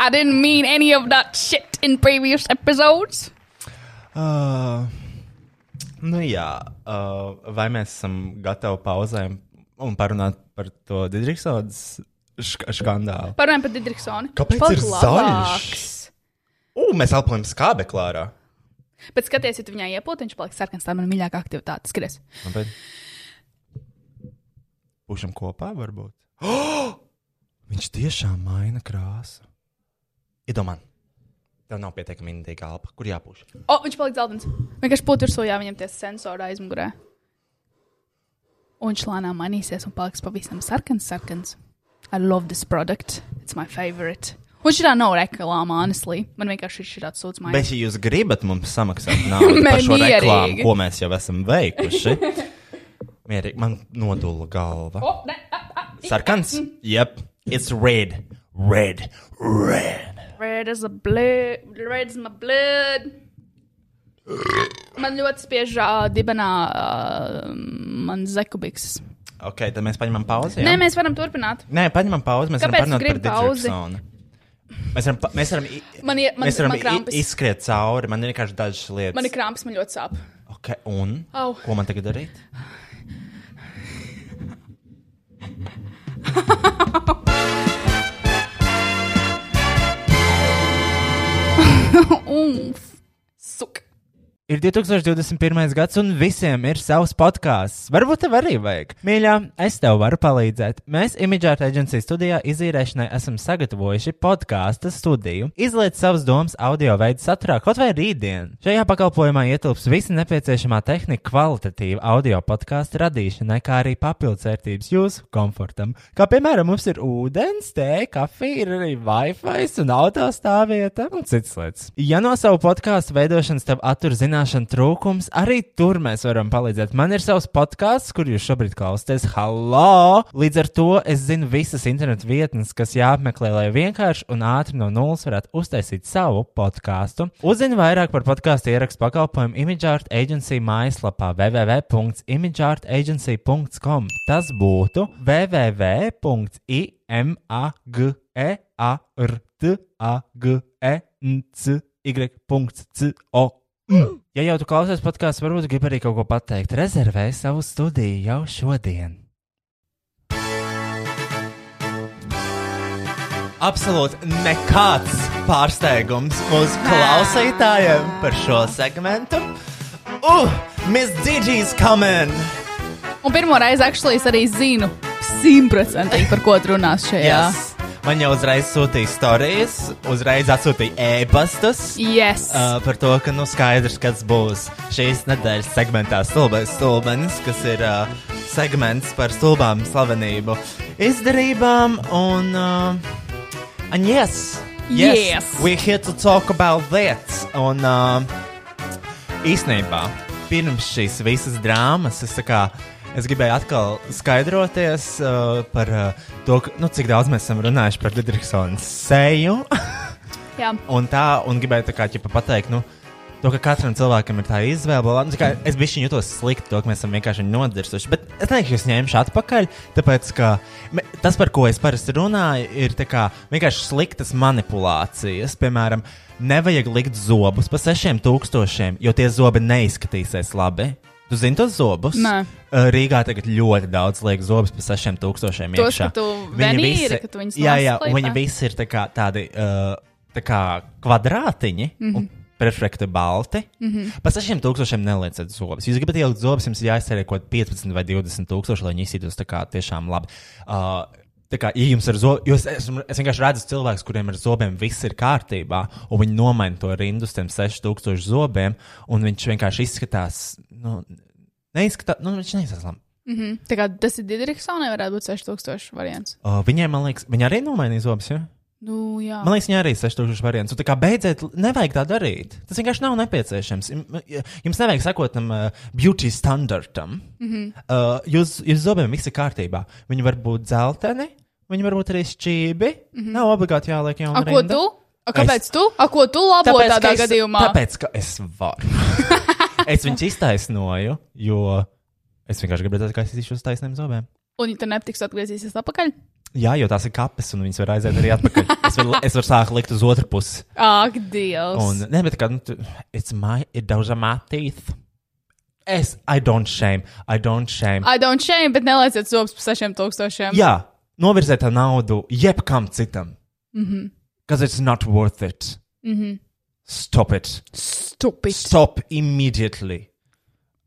Speaker 2: I didn't mean any of that shit in previous episodes.
Speaker 4: Uh, Nu jā, uh, vai mēs esam gatavi pauzēm un parunāt par to Digitsodas šk skandālu?
Speaker 2: Parunājam par Digitrisonu.
Speaker 4: Kāpēc ir zaļš? U, mēs elpojam skābeklā ārā.
Speaker 2: Bet skaties, ja tu viņai iepūti, viņš paliks sarkans. Tā ir mana mīļākā aktivitāte. Skaties,
Speaker 4: Tāpēc... Būšam kopā, varbūt. Oh! Viņš tiešām maina krāsu. Iedomājieties, tev nav pietiekami indīga alpa, kur jāpūš.
Speaker 2: o, viņš paliks zeltains. Vienkārši putursojā viņam tie sensori aizmugurē. Un viņš lēnām mainīsies un paliks pavisam sarkans, sarkans. I love this product. It's my favorite. Un šī tā nav reklāma, honestly. Man vienkārši šī tā sūdz mājās.
Speaker 4: Bet, ja jūs gribat mums samaksāt naudu par šo
Speaker 2: Mierīgi.
Speaker 4: reklāmu, ko mēs jau esam veikuši, mierīgi man nodula galva.
Speaker 2: Oh, ne, ah, ah,
Speaker 4: Sarkans? Yep, it's red, red, red.
Speaker 2: Red is a blood, red is my blood. Man ļoti spiež uh, dibenā uh, mans zekubiks.
Speaker 4: Ok, tad mēs paņemam pauzi. jā?
Speaker 2: Nē, mēs varam turpināt.
Speaker 4: Nē, paņemam pauzi. Mēs
Speaker 2: Kāpēc
Speaker 4: varam
Speaker 2: tu
Speaker 4: parunāt par
Speaker 2: gribi pauzi?
Speaker 4: Digitsonu. Mēs varam, pa- mēs varam, i-
Speaker 2: Man ir- man-
Speaker 4: mēs varam
Speaker 2: man krampis.
Speaker 4: i- izskriet cauri. Man ir vienkārši dažas lietas.
Speaker 2: Man ir krāpes, man ļoti sāp.
Speaker 4: Ok, un
Speaker 2: Au.
Speaker 4: ko man tagad darīt?
Speaker 2: Umf, suk.
Speaker 4: Ir 2021. gads, un visiem ir savs podkāsts. Varbūt tev arī vajag. Mīļā, es tev varu palīdzēt. Mēs Imigēta aģentūras studijā izīrēšanai esam sagatavojuši podkāstu studiju. Izliet savas domas audio veidu saturā, kaut vai rītdien. Šajā pakalpojumā ietilps visa nepieciešamā tehnika kvalitatīva audio podkāstu radīšanai, kā arī papildvērtības jūsu komfortam. Kā piemēram, mums ir ūdens, tēja, kafija, ir arī Wi-Fi un autostāvvieta un citas lietas. Ja no savu podkāstu veidošanas tev attur zināšanu trūkums, arī tur mēs varam palīdzēt. Man ir savs podkāsts, kur jūs šobrīd klausāties. Halo! Līdz ar to es zinu visas internetu vietnes, kas jāapmeklē, lai vienkārši un ātri no nulles varētu uztaisīt savu podkāstu. Uzzini vairāk par podkāstu ierakstu pakalpojumu ImageArt Agency mājaslapā www.imageartagency.com. Tas būtu www.i M, A, G, E, A, R, T, A, G, E, N, C, Y, punkts, C, O. M. Ja jau tu klausies podkāstu, varbūt gribi arī kaut ko pateikt. Rezervēj savu studiju jau šodien. Absolūti nekāds pārsteigums mūsu klausītājiem par šo segmentu. Uh,
Speaker 3: Oh, Miss Gigi's coming.
Speaker 2: Un pirmo reizi, actually, es arī zinu simtprocentīgi, par ko tu runās šajā.
Speaker 4: Yes. Man jau uzreiz sūtīja stāstus, uzreiz atsūtīja ēpastus.
Speaker 2: Yes.
Speaker 4: Uh, par to, ka nu skaidrs, kas būs šīs nedēļas segmentā Stulbais stulbenis, kas ir uh, segments par stulbām slavenību izdarībām. Un, uh, and yes, yes,
Speaker 2: Yes.
Speaker 4: we're here to talk about that. Un uh, īsnībā, pirms šīs visas drāmas, es, tā kā, es gribēju atkal skaidroties uh, par uh, to, ka, nu, cik daudz mēs esam runājuši par Digitrisonu seju.
Speaker 2: Jā.
Speaker 4: Un tā, un gribēju tā kā ķipa pateikt, nu, to, ka katram cilvēkam ir tā izvēle. bla, bla. Nu, tā kā Es biju jutos slikti, to, ka mēs esam vienkārši nodirsuši. Bet es nedomāju, ka jūs ņemšu atpakaļ, tāpēc, ka me- tas, par ko es parasti runāju, ir tā kā vienkārši sliktas manipulācijas. Piemēram, nevajag likt zobus pa sešiem tūkstošiem, jo tie zobi neizskatīsies labi. Tu zini tos zobus?
Speaker 2: Nē.
Speaker 4: Uh, Rīgā tagad ļoti daudz liek zobus pa sešiem tūkstošiem.
Speaker 2: Tos,
Speaker 4: iekšā.
Speaker 2: ka tu
Speaker 4: Viņi
Speaker 2: venīri,
Speaker 4: visi-
Speaker 2: ka tu viņus
Speaker 4: jā, jā,
Speaker 2: noslēpē.
Speaker 4: un viņi visi ir tā kā tādi uh, tā kā kvadrātiņi. Mm
Speaker 2: Mhm.
Speaker 4: -hmm. Perfekti balti. Mm -hmm. Pēc tam tūkstošiem nelieciet zobus. Jūs gribat ielikt zobus, jums ir jāizsērē kaut kādi 15 vai 20 tūkstoši, lai viņi izsītos tā kā tiešām labi. Uh, Tā kā, ja jums ir zobi, jo es, esmu- es vienkārši redzu cilvēkus, kuriem ar zobiem viss ir kārtībā, un viņi nomaina to rindu uz tiem 6000 zobiem, un viņš vienkārši izskatās, nu, neizskatās, nu, viņš neizskatās labi.
Speaker 2: Tā kā tas ir Digitrisonai, varētu būt 6000 variants.
Speaker 4: Uh, viņiem, man liekas, viņi arī nomainīja zobus. Ja?
Speaker 2: Nu, jā.
Speaker 4: Man liekas, viņa arī ir 6000 variants. Un tā kā beidzot, nevajag tā darīt. Tas vienkārši nav nepieciešams. Im- Jums nevajag sekot tam uh, beauty standartam. Mm
Speaker 2: Mhm.
Speaker 4: -hmm. uh, jūs, jūs zobiem viss ir kārtībā. Viņi var būt dzelteni, viņi var būt arī šķībi. Mm -hmm. Nav obligāti jāliek jaunu
Speaker 2: Mhm. A, ko
Speaker 4: rindu.
Speaker 2: tu? A, kāpēc es... tu? A, ko tu labo
Speaker 4: Tāpēc,
Speaker 2: tādā
Speaker 4: ka es,
Speaker 2: gadījumā?
Speaker 4: Tāpēc, ka es varu. es viņus iztaisnoju, jo es vienkārši gribu redzēt, kā es iziešu uz taisniem zobiem.
Speaker 2: Un, ja tu nepatiks, atgriezīsies atpakaļ?
Speaker 4: Jā, jo tās ir kapes, un viņas var aiziet arī atpakaļ. es, varu, es varu sākt likt uz otru pusi.
Speaker 2: Ak, Dievs!
Speaker 4: Un, nē, bet kā, nu, tu, it's my, ir daudz matīt. Es, I don't shame, I don't shame.
Speaker 2: I don't shame, bet nelaiciet zobus par 6000.
Speaker 4: Jā, novirzēt tā naudu jebkam citam. Because it's not worth it. Stop it.
Speaker 2: Stupid.
Speaker 4: Stop immediately.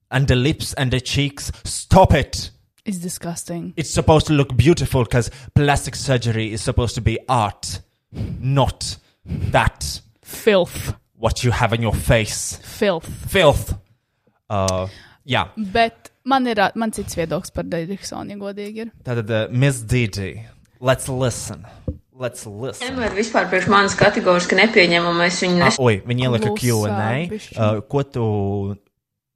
Speaker 4: And the lips and the cheeks, stop it.
Speaker 2: It's disgusting.
Speaker 4: It's supposed to look beautiful because plastic surgery is supposed to be art, not that
Speaker 2: Filth.
Speaker 4: what you have in your face.
Speaker 2: Filth.
Speaker 4: Filth. Uh, yeah.
Speaker 2: Bet man ir ā- man cits viedoklis par Digitālu, ja godīgi ir.
Speaker 4: Tātad, uh, Miss Didi, let's listen. Let's listen.
Speaker 5: Nevar vispār priekš manas kategoriski nepieņemamais viņu
Speaker 4: Ah,
Speaker 5: nes.
Speaker 4: Oi, viņi ielika
Speaker 2: Klusā
Speaker 4: QA.
Speaker 2: bišķiņ.
Speaker 4: Uh, ko tu,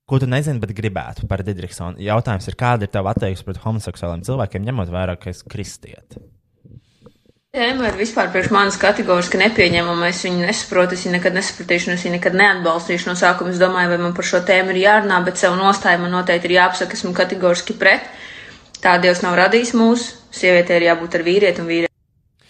Speaker 4: ko tu nezini, bet gribētu par Digriksonu? Jautājums ir, kāda ir tava attieksme pret homoseksuāliem cilvēkiem, ņemot vērā, ka es kristieti?
Speaker 5: Nevar vispār priekš manas kategoriski nepieņemamais viņu nesaprotu, es viņu nekad nesapratīšu, un es viņu nekad neatbalstīšu no sākuma. Es domāju, vai man par šo tēmu ir jārunā, bet savu nostāju man noteikti ir jāapsaka, esmu kategoriski pret. Tā Dievs nav radījis mūs, sievietē ir jābūt ar vīrieti un vīrieti.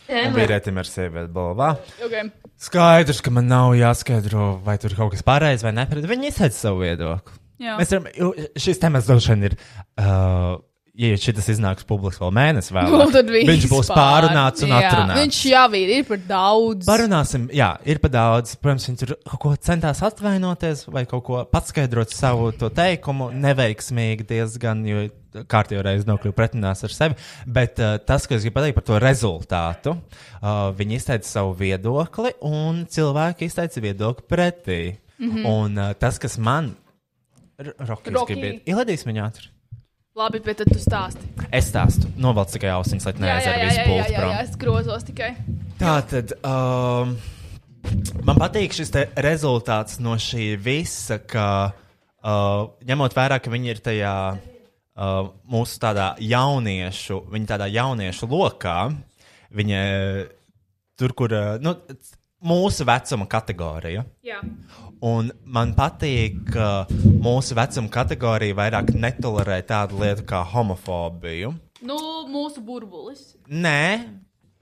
Speaker 5: Nevar
Speaker 4: Vīrietim ir sieviete, blabā.
Speaker 2: Okay.
Speaker 4: Skaidrs, ka man nav jāskaidro, vai tur kaut kas pareizs vai nepareizi. Viņi izsaka savu viedokli.
Speaker 2: Jā.
Speaker 4: Mēs varam, jo šis temats droši vien ir. Uh, Ja šis iznāks publiski vēl mēnesi,
Speaker 2: Nu,
Speaker 4: vēlāk,
Speaker 2: tad
Speaker 4: viņš būs
Speaker 2: vispār.
Speaker 4: pārunāts un
Speaker 2: Jā,
Speaker 4: atrunāts.
Speaker 2: Viņš jau ir, ir par daudz.
Speaker 4: Parunāsim, jā, ir pa daudz. Protams, viņš tur kaut ko centās atvainoties vai kaut ko paskaidrot savu to teikumu. Neveiksmīgi diezgan, jo kārtībā reizē nokļuva pretinās ar sevi. Bet uh, tas, ko es gribu pateikt par to rezultātu, uh, viņi izteica savu viedokli un cilvēki izteica viedokli pretī. Mm
Speaker 2: Mhm.
Speaker 4: -hmm. Un uh, tas, kas man ir rokas,
Speaker 2: Rocky.
Speaker 4: ir ielādījis viņu ātri.
Speaker 2: Labi, bet tad tu stāsti.
Speaker 4: Es stāstu, novelc tikai ausis, lai neaizvērt visu
Speaker 2: jā,
Speaker 4: pultu
Speaker 2: jā,
Speaker 4: prom.
Speaker 2: jā, es grozos tikai.
Speaker 4: Tā tad um, man patīk šis te rezultāts no šī visa, ka uh, ņemot vērā, ka viņi ir tajā uh, mūsu tādā jauniešu, viņi tādā jauniešu lokā, viņi eh, tur, kur eh, nu, c- mūsu vecuma kategorija.
Speaker 2: Jā.
Speaker 4: Un man patīk, ka mūsu vecuma kategorija vairāk netolerē tādu lietu kā homofobiju.
Speaker 2: Nu, mūsu burbulis.
Speaker 4: Nē,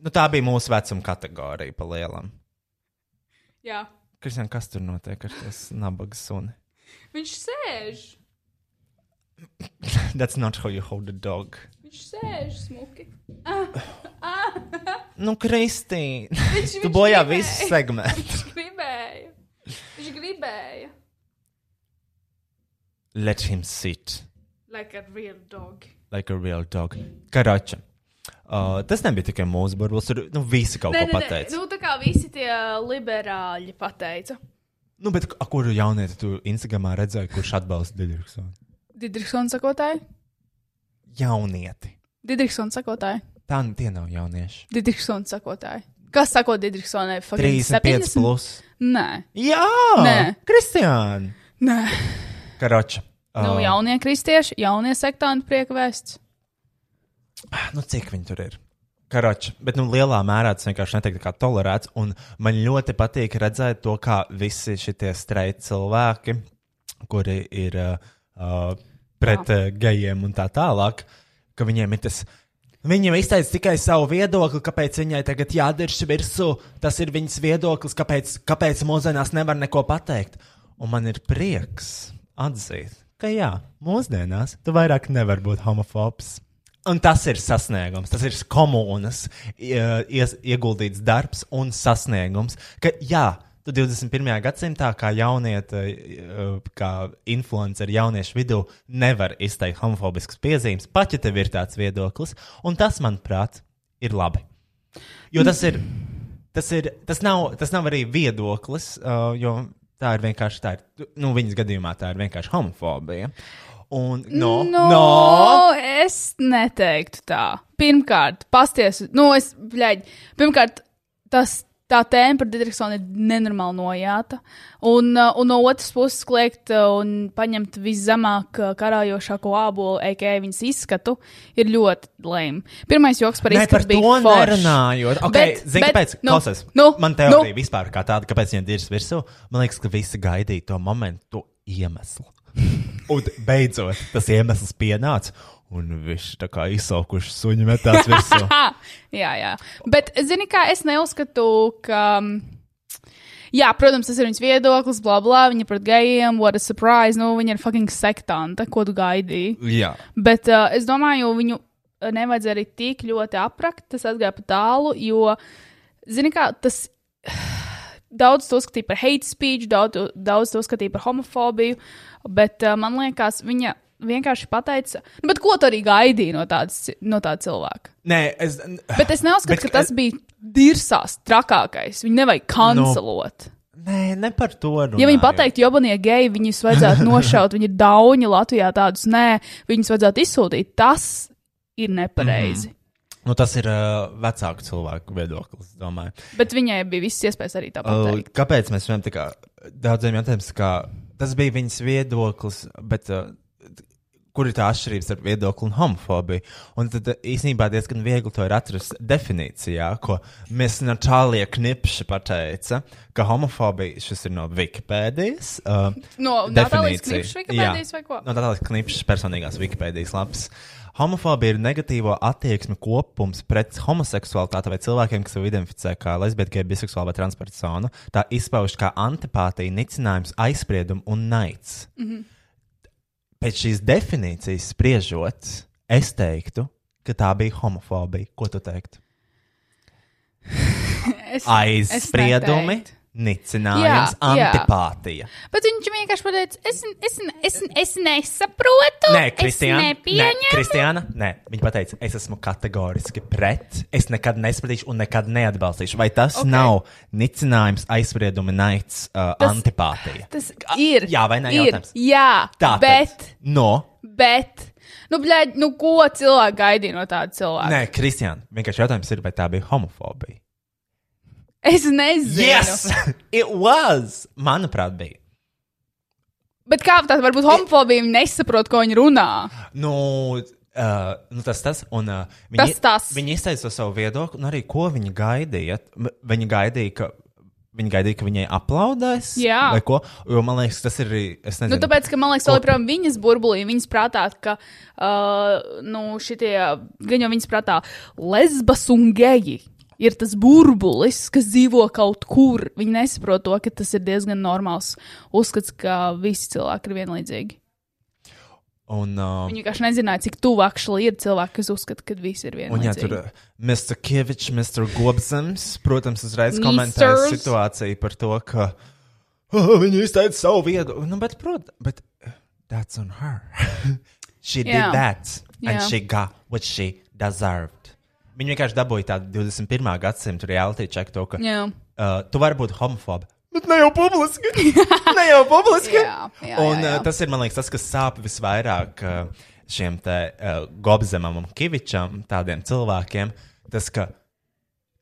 Speaker 4: nu, tā bija mūsu vecuma kategorija pa lielam.
Speaker 2: Jā.
Speaker 4: Kristian, kas tur notiek ar nu tos nabaga suni?
Speaker 2: Viņš sēž.
Speaker 4: That's not how you hold a dog.
Speaker 2: Viņš sēž smuki.
Speaker 4: Nu, Kristīna,
Speaker 2: Viņš,
Speaker 4: tu bojā
Speaker 2: e.
Speaker 4: visu segmentu.
Speaker 2: Viņš gribēja. Viņš gribēja.
Speaker 4: Let him sit
Speaker 2: Like a real dog.
Speaker 4: like a real dog. Karača. Uh, tas nebija tikai mūsu burbulis, tur nu, visi kaut ko pateica.
Speaker 2: Nu, tā kā visi tie liberāļi pateica.
Speaker 4: Nu, bet a, kuru jaunieti tu Instagramā redzēji, kurš atbalsta Digriksonu?
Speaker 2: Didriksona sakotāji.
Speaker 4: Jaunieti.
Speaker 2: Didriksona sakotāji.
Speaker 4: Tā tie nav jaunieši.
Speaker 2: Didriksona sakotāji. Kas sako Didriksonai? Fucking
Speaker 4: 35
Speaker 2: 70?
Speaker 4: plus.
Speaker 2: Nē,
Speaker 4: Jā!
Speaker 2: Nē.
Speaker 4: Kristian!
Speaker 2: nē.
Speaker 4: Karača.
Speaker 2: Nu, jaunie kristieši, jaunie sektāni priekvēsts.
Speaker 4: nu, cik viņi tur ir. Karoči, bet nu, lielā mērā tas vienkārši netiek tā kā tolerēts. un Man ļoti patīk redzēt to, kā visi šie streiti cilvēki, kuri ir uh, uh, pret uh, gejiem un tā tālāk, ka viņiem ir tas. Viņam izteica tikai savu viedokli, kāpēc viņai tagad jādirž virsū. Tas ir viņas viedoklis, kāpēc, kāpēc mūsdienās nevar neko pateikt. Un man ir prieks atzīt, ka jā, mūsdienās tu vairāk nevari būt homofobs. Un tas ir sasniegums, tas ir komunas ie- ies- ieguldīts darbs un sasniegums. Ka, jā, tu 21. gadsimtā kā jaunieta, kā influenceri jauniešu vidū nevar izteikt homofobiskas piezīmes, pat ja tev ir tāds viedoklis, un tas, manuprāt, ir labi. Jo tas ir, tas ir, tas nav, tas nav arī viedoklis, uh, jo tā ir vienkārši, tā ir, nu, viņas gadījumā tā ir vienkārši homofobija. Un, no,
Speaker 2: no,
Speaker 4: no,
Speaker 2: Nu, es neteiktu tā. Pirmkārt, pasties, nu, es, bļaigi, pirmkārt, tas, tā tēma par Digitrisonu ir nenormāli nojāta. Un, uh, un no otras puses, kliegt uh, un paņemt viszemāk uh, karājošāko ābolu, aka viņas izskatu, ir ļoti lēm. Pirmais joks par
Speaker 4: Nē, par
Speaker 2: izskatu
Speaker 4: to
Speaker 2: bija foršs.
Speaker 4: nerunājot. Okay,
Speaker 2: Bet-
Speaker 4: Zini,
Speaker 2: bet-
Speaker 4: kāpēc?
Speaker 2: nu,
Speaker 4: Klausies,
Speaker 2: nu,
Speaker 4: man teorija
Speaker 2: nu.
Speaker 4: vispār kā tāda, kāpēc viņa dirs virsū, man liekas, ka visi gaidīja to momentu, to iemeslu. Un beidzot, tas iemesls pienāca, un viņš tā kā izsaukuši suņu metās virsū.
Speaker 2: Ha! Jā, jā. Bet, zini, kā es neuzskatu, ka. mm, Jā, protams, tas ir viņas viedoklis, bla bla, viņa pret gejiem, what a surprise, nu, viņa ir fucking sektanta, ko tu gaidīji.
Speaker 4: Jā.
Speaker 2: Bet uh, es domāju, viņu uh, nevajadzēja arī tik ļoti aprakt. Tas aizgāja pa tālu, jo, zini, kā tas. Daudz to skatīja par hate speech, daudz, daudz to skatīja par homofobiju, bet uh, man liekas, viņa vienkārši pateica, "Nu, bet ko tu arī gaidīji no tādas ci- no tā cilvēka?
Speaker 4: Nē, es.
Speaker 2: Bet es neuzskatu,
Speaker 4: Bet
Speaker 2: bet, ka tas
Speaker 4: es- Nu,
Speaker 2: bija dirsās trakākais. Viņu nevajag kancelot. No.
Speaker 4: Nē, ne par to. Runāju.
Speaker 2: Ja viņi pateiktu, jobanie geji, viņus vajadzētu nošaut, viņi ir dauni Latvijā, tādus nē, viņus vajadzētu izsūtīt. Tas ir nepareizi. Mm.
Speaker 4: Nu, tas ir uh, vecāku cilvēku viedoklis, domāju.
Speaker 2: Bet viņai bija visas iespējas arī tā
Speaker 4: Uh,
Speaker 2: pateikt.
Speaker 4: kāpēc mēs viņam tā kā daudziem jautājumiem, kā tas bija viņas viedoklis, bet uh, kur ir tā atšķirība starp viedokli un homofobiju? Un tad uh, īsnībā diezgan viegli to ir atrast definīcijā, ko mēs Natālija Knipša pateica, ka homofobija šis ir no Wikipēdijas. Uh,
Speaker 2: No Natālijas Knipšas Wikipēdijas vai ko?
Speaker 4: No tādas knipšas personīgās Wikipēdijas lapas. Homofobija ir negatīvo attieksmi kopums pret homoseksualitāti vai cilvēkiem, kas sevi identificē kā lesbieti, geji, biseksuāli vai transpersonu. Tā izpaužas kā antipātija, nicinājums, aizspriedums un naids. Mm -hmm. Pēc šīs definīcijas spriežot, es teiktu, ka tā bija homofobija. Ko tu teiktu?
Speaker 2: Es, es
Speaker 4: Aizspriedumi,
Speaker 2: neteiktu.
Speaker 4: nicinājums,
Speaker 2: Jā, jā.
Speaker 4: antipātija.
Speaker 2: Bet viņš vienkārši pateica, es, es, es, es nesaprotu.
Speaker 4: Nē,
Speaker 2: es
Speaker 4: Kristiāna. Nē,
Speaker 2: nepieņemu.
Speaker 4: Kristiāna. Nē, viņa teica, es esmu kategoriski pret. Es nekad nespratīšu un nekad neatbalstīšu. Vai tas
Speaker 2: Ok.
Speaker 4: okay. nav nicinājums, aizspriedumi, naids, uh,
Speaker 2: Tas-
Speaker 4: antipātija?
Speaker 2: Tas ir.
Speaker 4: Jā vai nē,
Speaker 2: Ir.
Speaker 4: jautājums?
Speaker 2: Jā,
Speaker 4: Tā,
Speaker 2: bet.
Speaker 4: No.
Speaker 2: Bet, nu, blēģi, nu, ko cilvēki gaidīja no tāda cilvēka?
Speaker 4: Nē, Kristiāna. Vienkārši jautājums ir, vai tā bija homofobija?
Speaker 2: Es nezinu.
Speaker 4: Yes! It was! Manuprāt, bija.
Speaker 2: Bet kā tā var būt homofobija, viņi nesaprot, ko viņi runā?
Speaker 4: Nu, Uh, nu tas tas, un uh,
Speaker 2: Tas tas.
Speaker 4: Viņi izteica savu viedokli, un arī ko viņi gaidīja. M- Viņi gaidīja, ka, viņi gaidīja, ka viņai aplaudēs.
Speaker 2: Jā.
Speaker 4: vai ko. Jo man liekas, tas ir arī. Es nezinu,
Speaker 2: Nu, tāpēc, ka man liekas, vēl
Speaker 4: Ko-
Speaker 2: joprojām viņas burbulī, viņas prātā, ka uh, nu, šitie, gan jau viņas prātā, lesbas un geji. Ir tas burbulis, kas dzīvo kaut kur. Viņi nesaprot to, ka tas ir diezgan normāls uzskats, ka visi cilvēki ir vienlīdzīgi.
Speaker 4: Un, uh,
Speaker 2: Viņi vienkārši nezināja, cik tuvu akšlī ir cilvēki, kas uzskata, ka visi ir vienlīdzīgi.
Speaker 4: Un, ja tur uh, Mr. Kevičs, Mr. Gobsams, protams, uzreiz
Speaker 2: Misters.
Speaker 4: komentēja situāciju par to, ka oh, viņi izteica savu viedokli. Nu, bet, protams, bet uh, that's on her. she
Speaker 2: Jā.
Speaker 4: did that, and
Speaker 2: Jā.
Speaker 4: she got what she deserved. Viņa vienkārši dabūja tādu 21. gadsimta reality check, to, ka
Speaker 2: Jā.
Speaker 4: uh, tu vari būt homofobs. Bet ne jau publiski. ne jau publiski.
Speaker 2: Jā, jā,
Speaker 4: un
Speaker 2: jā, jā.
Speaker 4: uh, tas ir, man liekas, tas, kas sāp visvairāk uh, šiem te uh, gobzemam un kivičam, tādiem cilvēkiem. Tas, ka,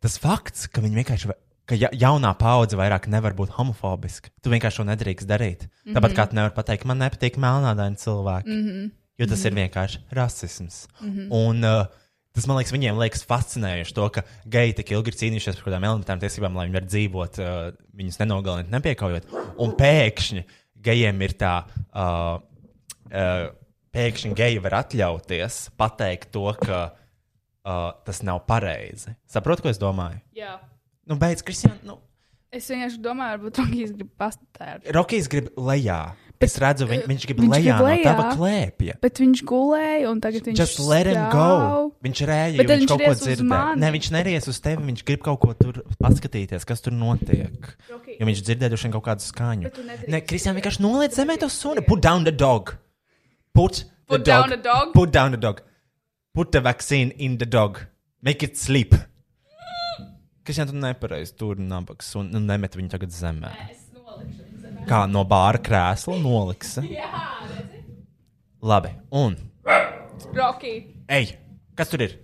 Speaker 4: tas fakts, ka viņi vienkārši. va- Ka ja, jaunā paudze vairs nevar būt homofobiska. Tu vienkārši to nedrīkst darīt. Mm -hmm.
Speaker 2: Mhm.
Speaker 4: Tāpat kā tu nevari pateikt, man nepatīk melnādaini cilvēki. Mm -hmm. Jo tas mm -hmm. ir vienkārši rasisms. Mm -hmm. Un uh, tas man liekas, viņiem liekas fascinējoši to, ka geji tik ilgi ir cīnījušies par kaut kādām elementārām tiesībām, lai viņi varētu dzīvot, uh, viņus nenogalināt, nepiekaujot. Un pēkšņi gejiem ir tā. Uh, uh, Pēkšņi geji var atļauties pateikt to, ka uh, tas nav pareizi. Saprotu, ko es domāju?
Speaker 2: Jā.
Speaker 4: Nu, beidz, Kristian, nu,
Speaker 2: Es vienkārši domāju, varbūt Rukijs grib pastāstīt.
Speaker 4: Rokijs grib lejā. Es redzu, viņ, viņš grib
Speaker 2: viņš
Speaker 4: viņš lejā
Speaker 2: grib
Speaker 4: no
Speaker 2: lejā.
Speaker 4: tava klēpja.
Speaker 2: Bet viņš gulēja, un tagad viņš
Speaker 4: Just let him
Speaker 2: stāv.
Speaker 4: go. Viņš rēģēja,
Speaker 2: Bet
Speaker 4: jo
Speaker 2: tad
Speaker 4: viņš
Speaker 2: viņš
Speaker 4: kaut ko
Speaker 2: ries uz
Speaker 4: dzirdēja.
Speaker 2: mani.
Speaker 4: Nē, viņš neries uz tevi, viņš grib kaut ko tur paskatīties, kas tur notiek.
Speaker 2: Roki.
Speaker 4: Jo viņš dzirdēja droši vien kaut kādu skaņu.
Speaker 2: Bet tu nedrīkst
Speaker 4: Nē, Kristian vienkārši noliec zemē to suni. Put down the dog. Put,
Speaker 2: Put
Speaker 4: the
Speaker 2: down
Speaker 4: dog.
Speaker 2: the dog?
Speaker 4: Put down the dog. Put the vaccine in the dog. Make it sleep. Kristian, tu nepareizi tur nabaks un nu, nemet viņu tagad zemē. Kā no bāra krēsla noliksi. Jā, Labi, un
Speaker 2: Roki,
Speaker 4: ej, kas tur ir?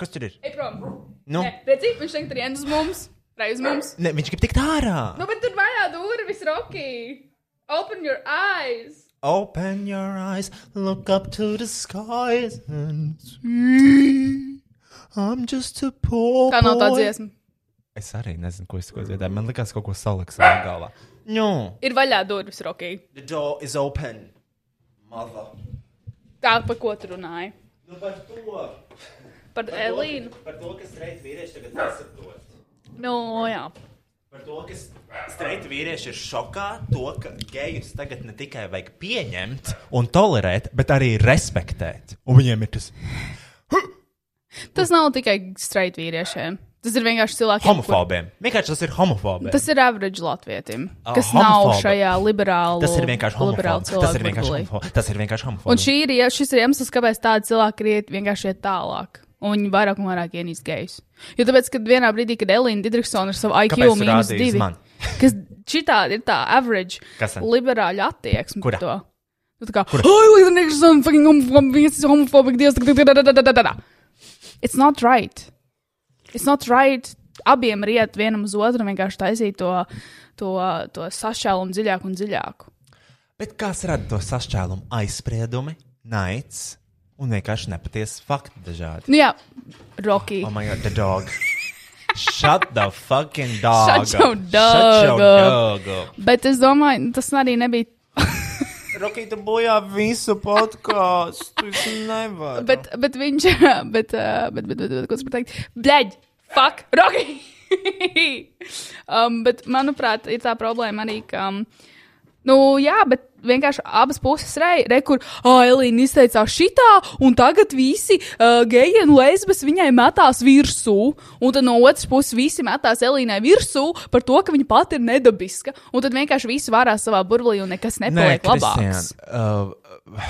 Speaker 4: Kas tur ir?
Speaker 2: ej prom.
Speaker 4: Nu?
Speaker 2: Nē, redzi, viņš tagad ir viens uz mums, vai uz mums.
Speaker 4: Ne, viņš grib tikt ārā.
Speaker 2: Nu, bet tur vajā durvis, Roki. Open your eyes.
Speaker 4: Open your eyes, look up to the skies and see. I'm just a poor.
Speaker 2: Kā nav tā
Speaker 4: boy.
Speaker 2: dziesma?
Speaker 4: Es arī nezinu, ko es tikko dzirdēju. Man likās, kaut ko saliks savā galvā. No,
Speaker 2: Ir vaļā durvis, Roki.
Speaker 4: the door is open. Mother.
Speaker 2: Tā, pa ko tu runāji?
Speaker 4: Nu, par to.
Speaker 2: Par Elīnu.
Speaker 4: Par to, kas reiz vīrieši tagad nesaprot.
Speaker 2: Nu, jā.
Speaker 4: Par to, ka streiti vīrieši ir šokā, to, ka gejus tagad ne tikai vajag pieņemt un tolerēt, bet arī respektēt. Un viņiem ir tas
Speaker 2: Tas nav tikai straight vīriešiem. Tas ir vienkārši cilvēkiem. kur-
Speaker 4: homofobiem. Vienkārši tas ir homofobiem.
Speaker 2: Tas ir average latvietim,
Speaker 4: Ah,
Speaker 2: kas nav
Speaker 4: homofoba.
Speaker 2: šajā liberālā.
Speaker 4: Tas ir vienkārši homofobs. Tas ir vienkārši homofobs. Tas ir vienkārši
Speaker 2: Un
Speaker 4: homofobs.
Speaker 2: šī ir, ie- šis ir iemesls, kāpēc tādi cilvēki iet vienkārši iet tālāk. Un viņi vairāk un vairāk ienīst gejus. Jo tāpēc, kad vienā brīdī, kad Elīna Digitrona ar savu IQ
Speaker 4: Kāpēc tu
Speaker 2: mīnus
Speaker 4: rādīji uz
Speaker 2: divi,
Speaker 4: mani?
Speaker 2: kas šitā ir tā average
Speaker 4: Kas tad?
Speaker 2: liberāļa attieksme
Speaker 4: Kurā?
Speaker 2: pret to. Nu, tā kā, oh, Elīna Digitrona, fucking homophobe, viens ir homophobe, dievs, tā, tā, tā, tā, tā, tā, tā, tā. It's not right. It's not right. Abiem riet vienam uz otru un vienkārši taisīt to, to, to sašķēlumu dziļāk un dziļāk.
Speaker 4: Bet kas rada to sašķēlumu? Aizspriedumi, naids un vienkārši nepatiesi fakti dažādi.
Speaker 2: Nu jā, Rocky.
Speaker 4: Oh my god, the dog. Shut the fucking dog.
Speaker 2: Shut your
Speaker 4: up.
Speaker 2: dog
Speaker 4: Shut your
Speaker 2: up.
Speaker 4: dog up.
Speaker 2: Bet es domāju, nu, tas arī nebija.
Speaker 4: Rokai, tu bojā visu podkāstu. Es nevaru.
Speaker 2: Bet, bet viņš. Bet, uh, bet, bet, bet, bet ko es gribu teikt? Bleģ! Fuck! Rogi! um, bet, manuprāt, ir tā problēma arī, ka. Um, nu, jā, bet vienkārši abas puses rei, re, kur oh, Elīna izteicās šitā, un tagad visi uh, geji un lesbas viņai metās virsū. Un tad no otras puses visi metās Elīnai virsū par to, ka viņa pati ir nedabiska. Un tad vienkārši visi vārā savā burblī un nekas nepaliek ne, labāks.
Speaker 4: Kristian, Uh,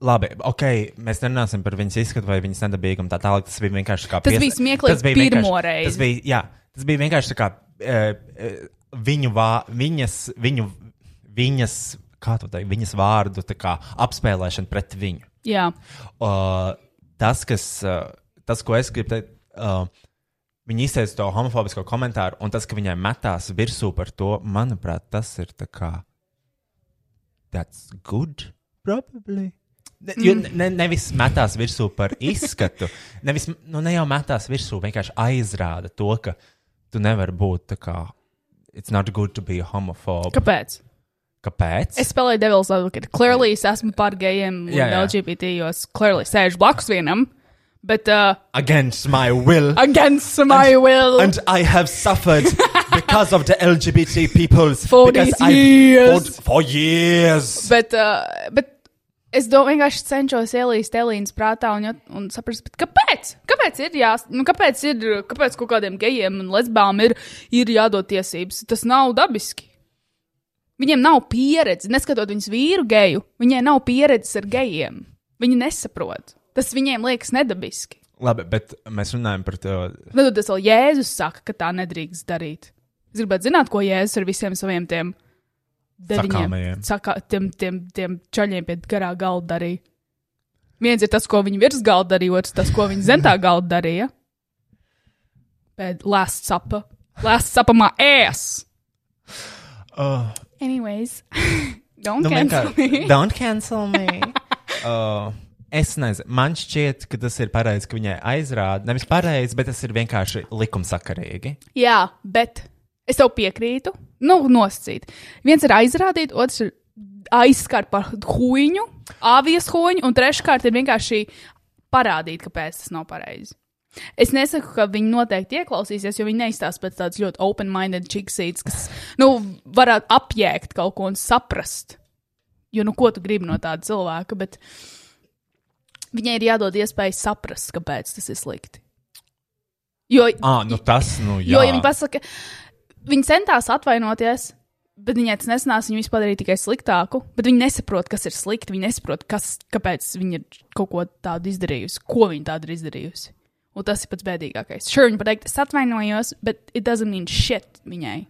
Speaker 4: labi, ok, mēs nerunāsim par viņas izskatu vai viņas nedabīgumu. Tā tālāk tas bija vienkārši kā
Speaker 2: Tas bija smieklīgi pirmo
Speaker 4: vienkārši-
Speaker 2: reizi.
Speaker 4: Tas bija, jā, tas bija vienkārši tā kā uh, uh, viņu, vā, viņas, viņu, viņas, kā to teikt, viņas vārdu tā kā apspēlēšana pret viņu.
Speaker 2: Jā.
Speaker 4: Uh, tas, kas, uh, tas, ko es gribu teikt, uh, viņi izteica to homofobisko komentāru, un tas, ka viņai metās virsū par to, manuprāt, tas ir tā kā. That's good, probably. Ne, jo ne- ne, nevis metās virsū par izskatu, nevis nu, ne jau metās virsū, vienkārši aizrāda to, ka tu nevari būt tā kā. It's not good to be a homophobe.
Speaker 2: Kāpēc?
Speaker 4: Kāpēc?
Speaker 2: Es spēlēju Devil's Advocate. Clearly, es esmu par gejiem un
Speaker 4: Jā, jā.
Speaker 2: LGBT, jo es clearly sēžu blakus vienam. Bet uh,
Speaker 4: Against my will.
Speaker 2: against my will.
Speaker 4: and I have suffered because of the LGBT peoples
Speaker 2: For
Speaker 4: because
Speaker 2: these
Speaker 4: I've
Speaker 2: years.
Speaker 4: fought for years.
Speaker 2: bet, uh, bet es do, vienkārši cenšos ielīst Elīnas prātā un, jot- un saprast, bet kāpēc? Kāpēc ir, jās, nu, kāpēc ir kāpēc kaut kādiem gejiem un lesbām ir, ir jādod tiesības? Tas nav dabiski. Viņiem nav pieredze, neskatot viņas vīru geju, viņai nav pieredzes ar gejiem. Viņi nesaprot. Tas viņiem liekas nedabiski.
Speaker 4: Labi, bet mēs runājam par to.
Speaker 2: Nu, tad tas vēl Jēzus saka, ka tā nedrīkst darīt. Es gribētu zināt, ko Jēzus ar visiem saviem tiem deviņiem,
Speaker 4: Sakāmajiem.
Speaker 2: saka, tiem, tiem, tiem čaļiem pie garā galda darīja. Viens ir tas, ko viņi virs galda darīja, otrs tas, ko viņi zentā galda darīja. Bet last sapa, last sapa mā ēs.
Speaker 4: Uh,
Speaker 2: Anyways, don't
Speaker 4: nu,
Speaker 2: nu, cancel
Speaker 4: vienkār-
Speaker 2: me.
Speaker 4: Don't cancel me. uh, es nezinu, man šķiet, ka tas ir pareizi, ka viņai aizrāda. Nevis pareizi, bet tas ir vienkārši likumsakarīgi.
Speaker 2: Jā, bet es tev piekrītu. Nu, nosacīt. Viens ir aizrādīt, otrs ir aizskart par huīņu, avijas huīņu, un treškārt ir vienkārši parādīt, kāpēc tas nav pareizi. Es nesaku, ka viņi noteikti ieklausīsies, jo viņi neizstāsta pēc tādas ļoti open-minded chicksītes, kas, nu, varētu apjēgt kaut ko un saprast. Jo, nu, ko tu gribi no tāda cilvēka, bet viņai ir jādod iespēja saprast, kāpēc tas ir slikti. Jo
Speaker 4: Ah, nu tas, nu jā.
Speaker 2: Jo ja viņi pasaka, viņi centās atvainoties, bet viņai tas nesanāca. Viņa vispār darīja tikai sliktāku. Bet viņi nesaprot, kas ir slikti. Viņi nesaprot, kas, kāpēc viņi ir kaut ko tādu izdarījusi, ko viņi tādu ir izdarījusi. Un tas ir pats bēdīgākais. Šur viņa pateikt, es atvainojos, bet it doesn't mean shit viņai.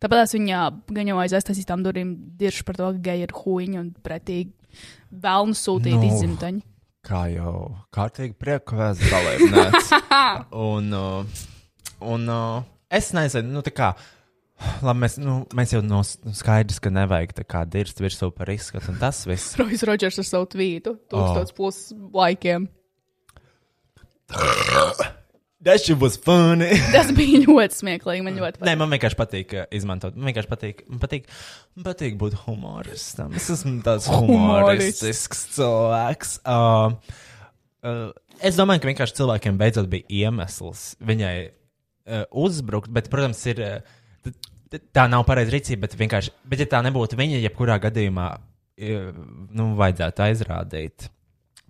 Speaker 2: Tāpēc tās viņa gaņojas aiz taisītām durvīm, dirž par to, ka geji ir huīņi un pretīgi vēlnu sūtīt no.
Speaker 4: Nu.
Speaker 2: izzimtaņu.
Speaker 4: kā jau kārtīgi prieku vēsta dalībnieks. un, uh, un uh, es nezinu, nu tā kā. Labi, mēs, nu, mēs jau no nu, skaidrs, ka nevajag tā kā dirzt virsū par izskatu un tas viss.
Speaker 2: Rojas Rodžers ar savu tvītu, tūkstots oh. plus laikiem.
Speaker 4: That shit was funny.
Speaker 2: Tas bija ļoti smieklīgi, man ļoti patīk.
Speaker 4: Nē, man vienkārši patīk uh, izmantot. Man vienkārši patīk, man patīk, man patīk būt humoristam. Es esmu tāds
Speaker 2: Humorists.
Speaker 4: humoristisks cilvēks. Uh, uh, es domāju, ka vienkārši cilvēkiem beidzot bija iemesls viņai uh, uzbrukt, bet, protams, ir. Uh, t- t- tā nav pareiza rīcība, bet vienkārši, bet ja tā nebūtu viņa, jebkurā gadījumā, e, nu, vajadzētu aizrādīt.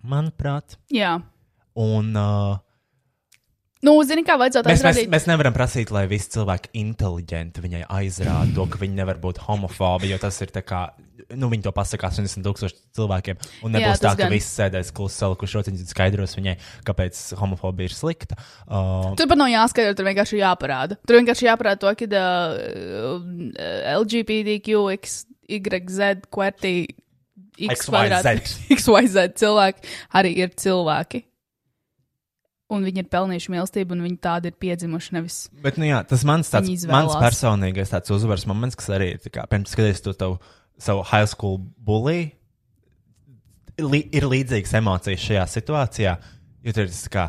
Speaker 4: Manuprāt,
Speaker 2: Jā.
Speaker 4: un uh,
Speaker 2: Nu, zini, kā vajadzētu
Speaker 4: mēs, mēs,
Speaker 2: aizrādīt.
Speaker 4: mēs nevaram prasīt, lai visi cilvēki inteliģenti viņai aizrāda to, ka viņi nevar būt homofobi, jo tas ir tā kā, nu, viņi to pasakās 70 tūkstoši cilvēkiem, un nebūs
Speaker 2: Jā,
Speaker 4: Jā, tā,
Speaker 2: tas
Speaker 4: ka
Speaker 2: gan.
Speaker 4: visi sēdēs klusi salikušot, viņi skaidros viņai, kāpēc homofobija ir slikta. Uh,
Speaker 2: Tur pat nav jāskatās, tur vienkārši jāparāda. Tur vienkārši jāparāda to, ka uh, LGBTQX, YZ, QWERTY, X, kvadrāti- XYZ cilvēki arī ir cilvēki. Un viņi ir pelnījuši mīlestību, un viņi tādi ir piedzimuši. Nevis.
Speaker 4: Bet, nu jā, tas mans, tāds,
Speaker 2: Viņi izvēlās.
Speaker 4: mans personīgais tāds uzvaras moments, kas arī ir tā kā, pirms skaties to tavu, savu high school bully, li, ir līdzīgas emocijas šajā situācijā. Jo tur ir tas, kā,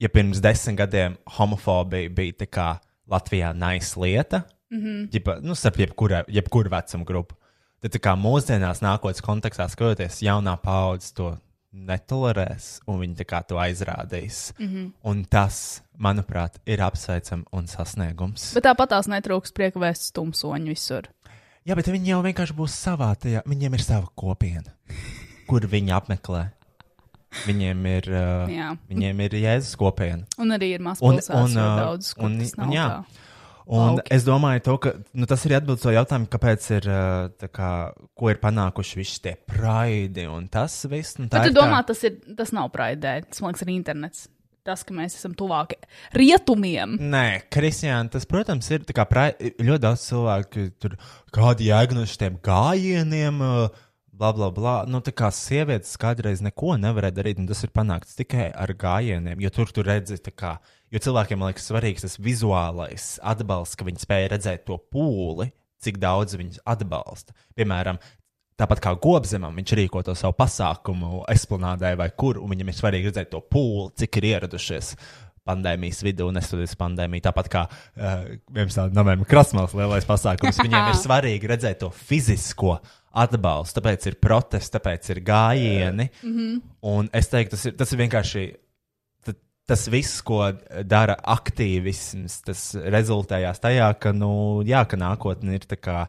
Speaker 4: ja pirms desmit gadiem homofobija bija tā kā Latvijā nais lieta, mm -hmm. jeb, nu, starp jebkura, jebkura vecuma grupu. Tad tā kā mūsdienās nākotnes kontekstā skatoties, jaunā paudze to netolerēs, un viņi tā kā to aizrādīs. Mm
Speaker 2: Mhm.
Speaker 4: -hmm. Un tas, manuprāt, ir apsveicams un sasniegums.
Speaker 2: Bet tāpat tās netrūks prieka vēsts tumsoņu visur.
Speaker 4: Jā, bet viņi jau vienkārši būs savā tajā. Viņiem ir sava kopiena, kur viņi apmeklē. Viņiem ir, uh,
Speaker 2: Jā.
Speaker 4: viņiem ir jēzus kopiena.
Speaker 2: Un arī ir maz
Speaker 4: Un-
Speaker 2: pilsētas,
Speaker 4: un,
Speaker 2: un
Speaker 4: ā,
Speaker 2: daudz, kur
Speaker 4: un-
Speaker 2: tas
Speaker 4: un
Speaker 2: nav.
Speaker 4: jā.
Speaker 2: tā.
Speaker 4: Un
Speaker 2: Lauki.
Speaker 4: okay. es domāju, to, ka nu, tas ir atbildes to jautājumu, kāpēc ir, uh, tā kā, ko ir panākuši visi tie praidi un tas viss. Un tā
Speaker 2: Bet
Speaker 4: ir
Speaker 2: tu domā,
Speaker 4: tā,
Speaker 2: tas, ir, tas nav praidē, tas man liekas, ir internets. Tas, ka mēs esam tuvāk rietumiem.
Speaker 4: Nē, Kristiāna, tas, protams, ir tā kā prai- ļoti daudz cilvēku, tur kādi jēga no šiem gājieniem, uh, bla, bla, bla. Nu, tā kā sievietes kādreiz neko nevarēja darīt, un tas ir panākts tikai ar gājieniem, jo tur tu redzi, tā kā, jo cilvēkiem man liekas svarīgs tas vizuālais atbalsts, ka viņi spēja redzēt to pūli, cik daudz viņus atbalsta. Piemēram, Tāpat kā Gobzemam, viņš rīko to savu pasākumu, esplanādē vai kur, un viņam ir svarīgi redzēt to pūli, cik ir ieradušies pandēmijas vidū, nestoties pandēmiju. Tāpat kā uh, 11. novembrī Krasnodēļas lielais pasākums, viņiem ir svarīgi redzēt to fizisko atbalstu. Tāpēc ir protesti, tāpēc ir gājieni. Mm -hmm. Un es teiktu, tas ir, tas ir vienkārši t- tas viss, ko dara aktīvisms, tas rezultējās tajā, ka, nu, jā, ka nākotne ir tā kā.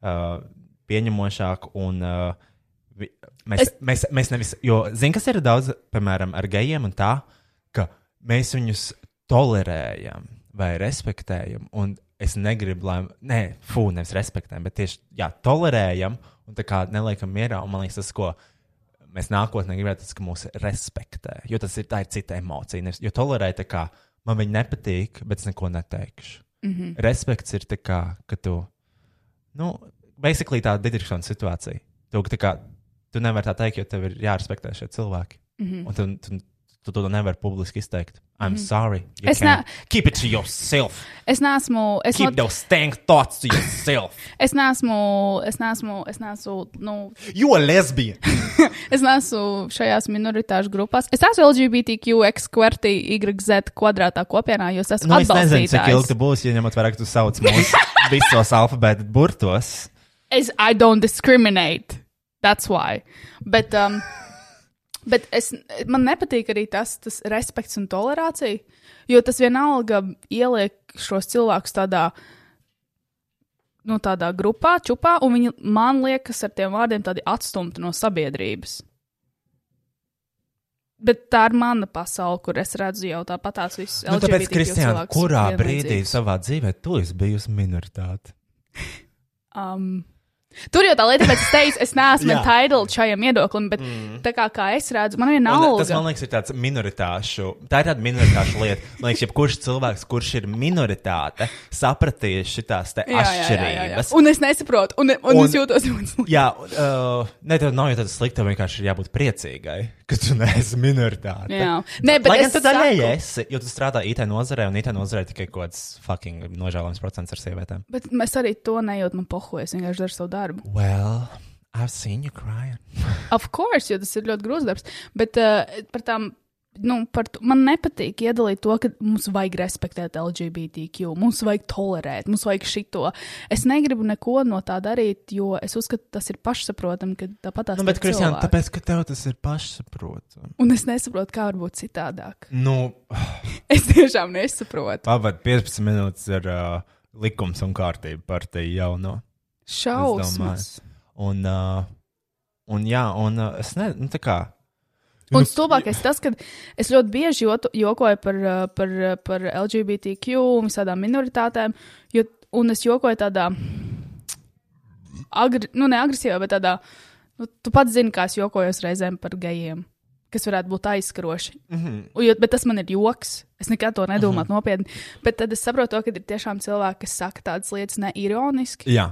Speaker 4: Uh, pieņemamāk, un uh, vi- mēs, es...
Speaker 2: Es-
Speaker 4: mēs, mēs nevis, jo zinu, kas ir daudz, piemēram, ar gejiem un tā, ka mēs viņus tolerējam vai respektējam, un es negribu, lai, nē, fū, nevis respektējam, bet tieši, jā, tolerējam un tā kā neliekam mierā, un man liekas, tas, ko. Mēs nākotnē gribētu, tas, ka mūsu respektē, jo tas ir tā ir cita emocija. nevis- Jo tolerēt, tā kā man viņa nepatīk, bet es neko neteikšu. Mm
Speaker 2: Mhm.
Speaker 4: -hmm. Respekts ir tā kā, ka tu nu, basically tā didakšanas situācija. Tu, tā kā, tu nevari tā teikt, jo tev ir jārespektē šie cilvēki. Mm
Speaker 2: Mhm.
Speaker 4: -hmm. Un tu, tu, tu to nevari publiski izteikt. I'm mm -hmm. sorry. you
Speaker 2: Es ne-
Speaker 4: can't. Keep it to yourself.
Speaker 2: Es neesmu, es,
Speaker 4: Keep
Speaker 2: not,
Speaker 4: those stank thoughts to yourself.
Speaker 2: es neesmu, es neesmu, es neesmu, nu,
Speaker 4: you are lesbian.
Speaker 2: es neesmu šajās minoritāšu grupās. Es neesmu LGBTQX, QWERTY, YZ kvadrātā kopienā, jo es esmu
Speaker 4: nu, es nezinu, cik ilgi tu
Speaker 2: atbalstītājs.
Speaker 4: būsi, ja ņemot vērā, ka tu sauc mūsu visos alfabēta burtos.
Speaker 2: Es, I don't discriminate. That's why. Bet, um, bet es, man nepatīk arī tas, tas respekts un tolerācija, jo tas vienalga ieliek šos cilvēkus tādā. Nu, tādā grupā, čupā, un viņi man liekas, ar tiem vārdiem tādi atstumti no sabiedrības. Bet tā ir mana pasaule, kur es redzu jau tāpat tās visas
Speaker 4: Nu, tāpēc,
Speaker 2: LGBTQ
Speaker 4: Kristiāna,
Speaker 2: cilvēkus
Speaker 4: kurā brīdī
Speaker 2: vienlīdzīgus.
Speaker 4: savā dzīvē tu esi bijusi minoritāte?
Speaker 2: Um, tur jau tā lieta, bet es teicu, es neesmu
Speaker 4: Jā.
Speaker 2: entitled šajam viedoklim, bet mm. tā kā, kā es redzu, man ir
Speaker 4: Un, tas,
Speaker 2: nauda.
Speaker 4: man liekas, ir tāds minoritāšu. Tā ir tāda minoritāšu lieta. Man liekas, jebkurš cilvēks, kurš ir minoritāte, sapratīs šīs atšķirības.
Speaker 2: Un es nesaprotu, un, un, un
Speaker 4: Un-
Speaker 2: es jūtos ļoti slikti.
Speaker 4: Jā, uh, ne, tev nav jau tāda slikta, tev vienkārši ir jābūt priecīgai, ka tu neesi minoritāte.
Speaker 2: Jā. Nē, bet
Speaker 4: Lai
Speaker 2: es
Speaker 4: gan tu daļēji
Speaker 2: saku-
Speaker 4: esi, jo tu strādā IT nozarē, un IT nozarē tikai kaut kāds fucking nožēlojams procents ar sievietēm.
Speaker 2: Bet mēs arī to nejūtam, man pohoju, es vienkārši daru savu darbu.
Speaker 4: Well, I've seen you crying.
Speaker 2: Of course, jo tas ir ļoti grūts darbs. Bet uh, par tām, nu, par to, man nepatīk iedalīt to, ka mums vajag respektēt LGBTQ, mums vajag tolerēt, mums vajag šito. Es negribu neko no tā darīt, jo es uzskatu, tas ir pašsaprotami, ka tāpat tās
Speaker 4: Nu, bet,
Speaker 2: ir
Speaker 4: Kristian,
Speaker 2: cilvēki.
Speaker 4: tāpēc, ka tev tas ir pašsaprotami.
Speaker 2: Un es nesaprotu, kā var būt citādāk.
Speaker 4: Nu,
Speaker 2: Es tiešām nesaprotu.
Speaker 4: pavad 15 minūtes ar uh, likums un kārtība par te jauno.
Speaker 6: Šausmas.
Speaker 4: Un, uh, un jā, un uh, es nezinu, nu, tā kā. Nu,
Speaker 2: Un stulbākais tas, ka es ļoti bieži jotu- jokoju par, uh, par, uh, par LGBTQ un visādām minoritātēm, jo, un es jokoju tādā, agri, nu, ne agresīvā, bet tādā, nu, tu pats zini, kā es jokojos reizēm par gejiem, kas varētu būt aizskaroši. Mm
Speaker 4: mhm.
Speaker 2: -hmm. jo, bet tas man ir joks. Es nekad to nedomāju mm -hmm. nopietni. Bet tad es saprotu, to, ka ir tiešām cilvēki, kas saka tādas lietas neironiski.
Speaker 4: Jā,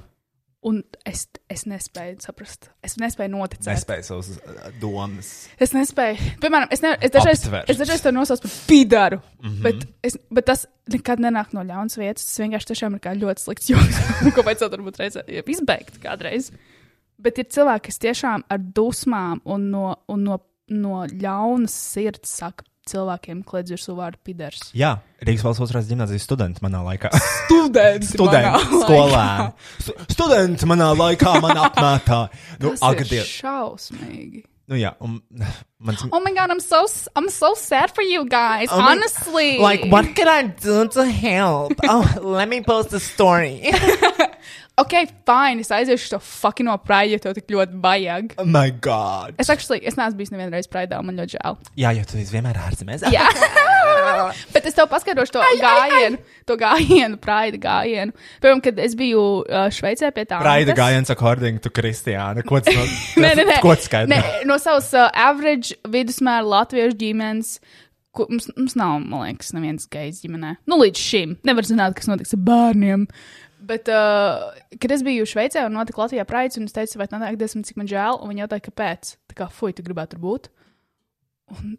Speaker 2: Un es, es nespēju saprast, es nespēju noticēt.
Speaker 4: nespēju savas uh, domas.
Speaker 2: Es nespēju, piemēram, es, ne, es, dažreiz,
Speaker 4: Aptverst.
Speaker 2: es dažreiz to nosaucu par pīdāru. Mm
Speaker 3: Mhm.
Speaker 2: -hmm. bet, es- bet tas nekad nenāk no ļaunas vietas. Tas vienkārši tiešām ir kā ļoti slikts joks, ko vajadzētu varbūt reizē jeb izbeigt kādreiz. Bet ir cilvēki, kas tiešām ar dusmām un no, un no, no ļaunas sirds saka cilvēkiem, kliedz virsū vārdu pīdārs.
Speaker 4: Jā, Rīgas valsts otrās gimnāzijas students manā laikā.
Speaker 2: Students!
Speaker 4: Students,
Speaker 2: manā
Speaker 4: skolēni. Stu- Students manā laikā, manā apmētā. Nu,
Speaker 2: Tas ir
Speaker 4: agadie.
Speaker 2: šausmīgi.
Speaker 4: Nu, jā, un mans.
Speaker 2: Oh my god, I'm so, s- I'm so sad for you guys,
Speaker 3: Oh my-
Speaker 2: honestly.
Speaker 3: Like, what can I do to help? Oh, let me post a story.
Speaker 2: ok, fine, es aiziešu to fucking no prāta, ja tev tik ļoti vajag.
Speaker 4: Oh my god.
Speaker 2: Es actually, es neesmu bijis nevienreiz praidā, man ļoti žēl.
Speaker 4: Jā, jo tu esi vienmēr ārzemēs.
Speaker 2: Jā, bet es tev paskaidrošu to gājienu, to gājienu, praida gājienu. Piemēram, kad es biju uh, Šveicē pie tā.
Speaker 4: Raida
Speaker 2: Antas-
Speaker 4: gājiens according to Kristiāna. Ko tas
Speaker 2: Nē, nē, nē.
Speaker 4: Ko tas skaidro?
Speaker 2: Nē, No savas uh, average vidusmēra latviešu ģimenes. Ko, mums, mums nav, man liekas, nevienas gejs ģimenē. Nu, līdz šim nevar zināt, kas notiks ar bērniem. Bet, uh, kad es biju Šveicē un notika Latvijā praids, un es teicu, vai tā nāk, desmit, cik man žēl, un viņi jautāja, kāpēc. Tā kā, fuj, tu gribētu tur būt. Un,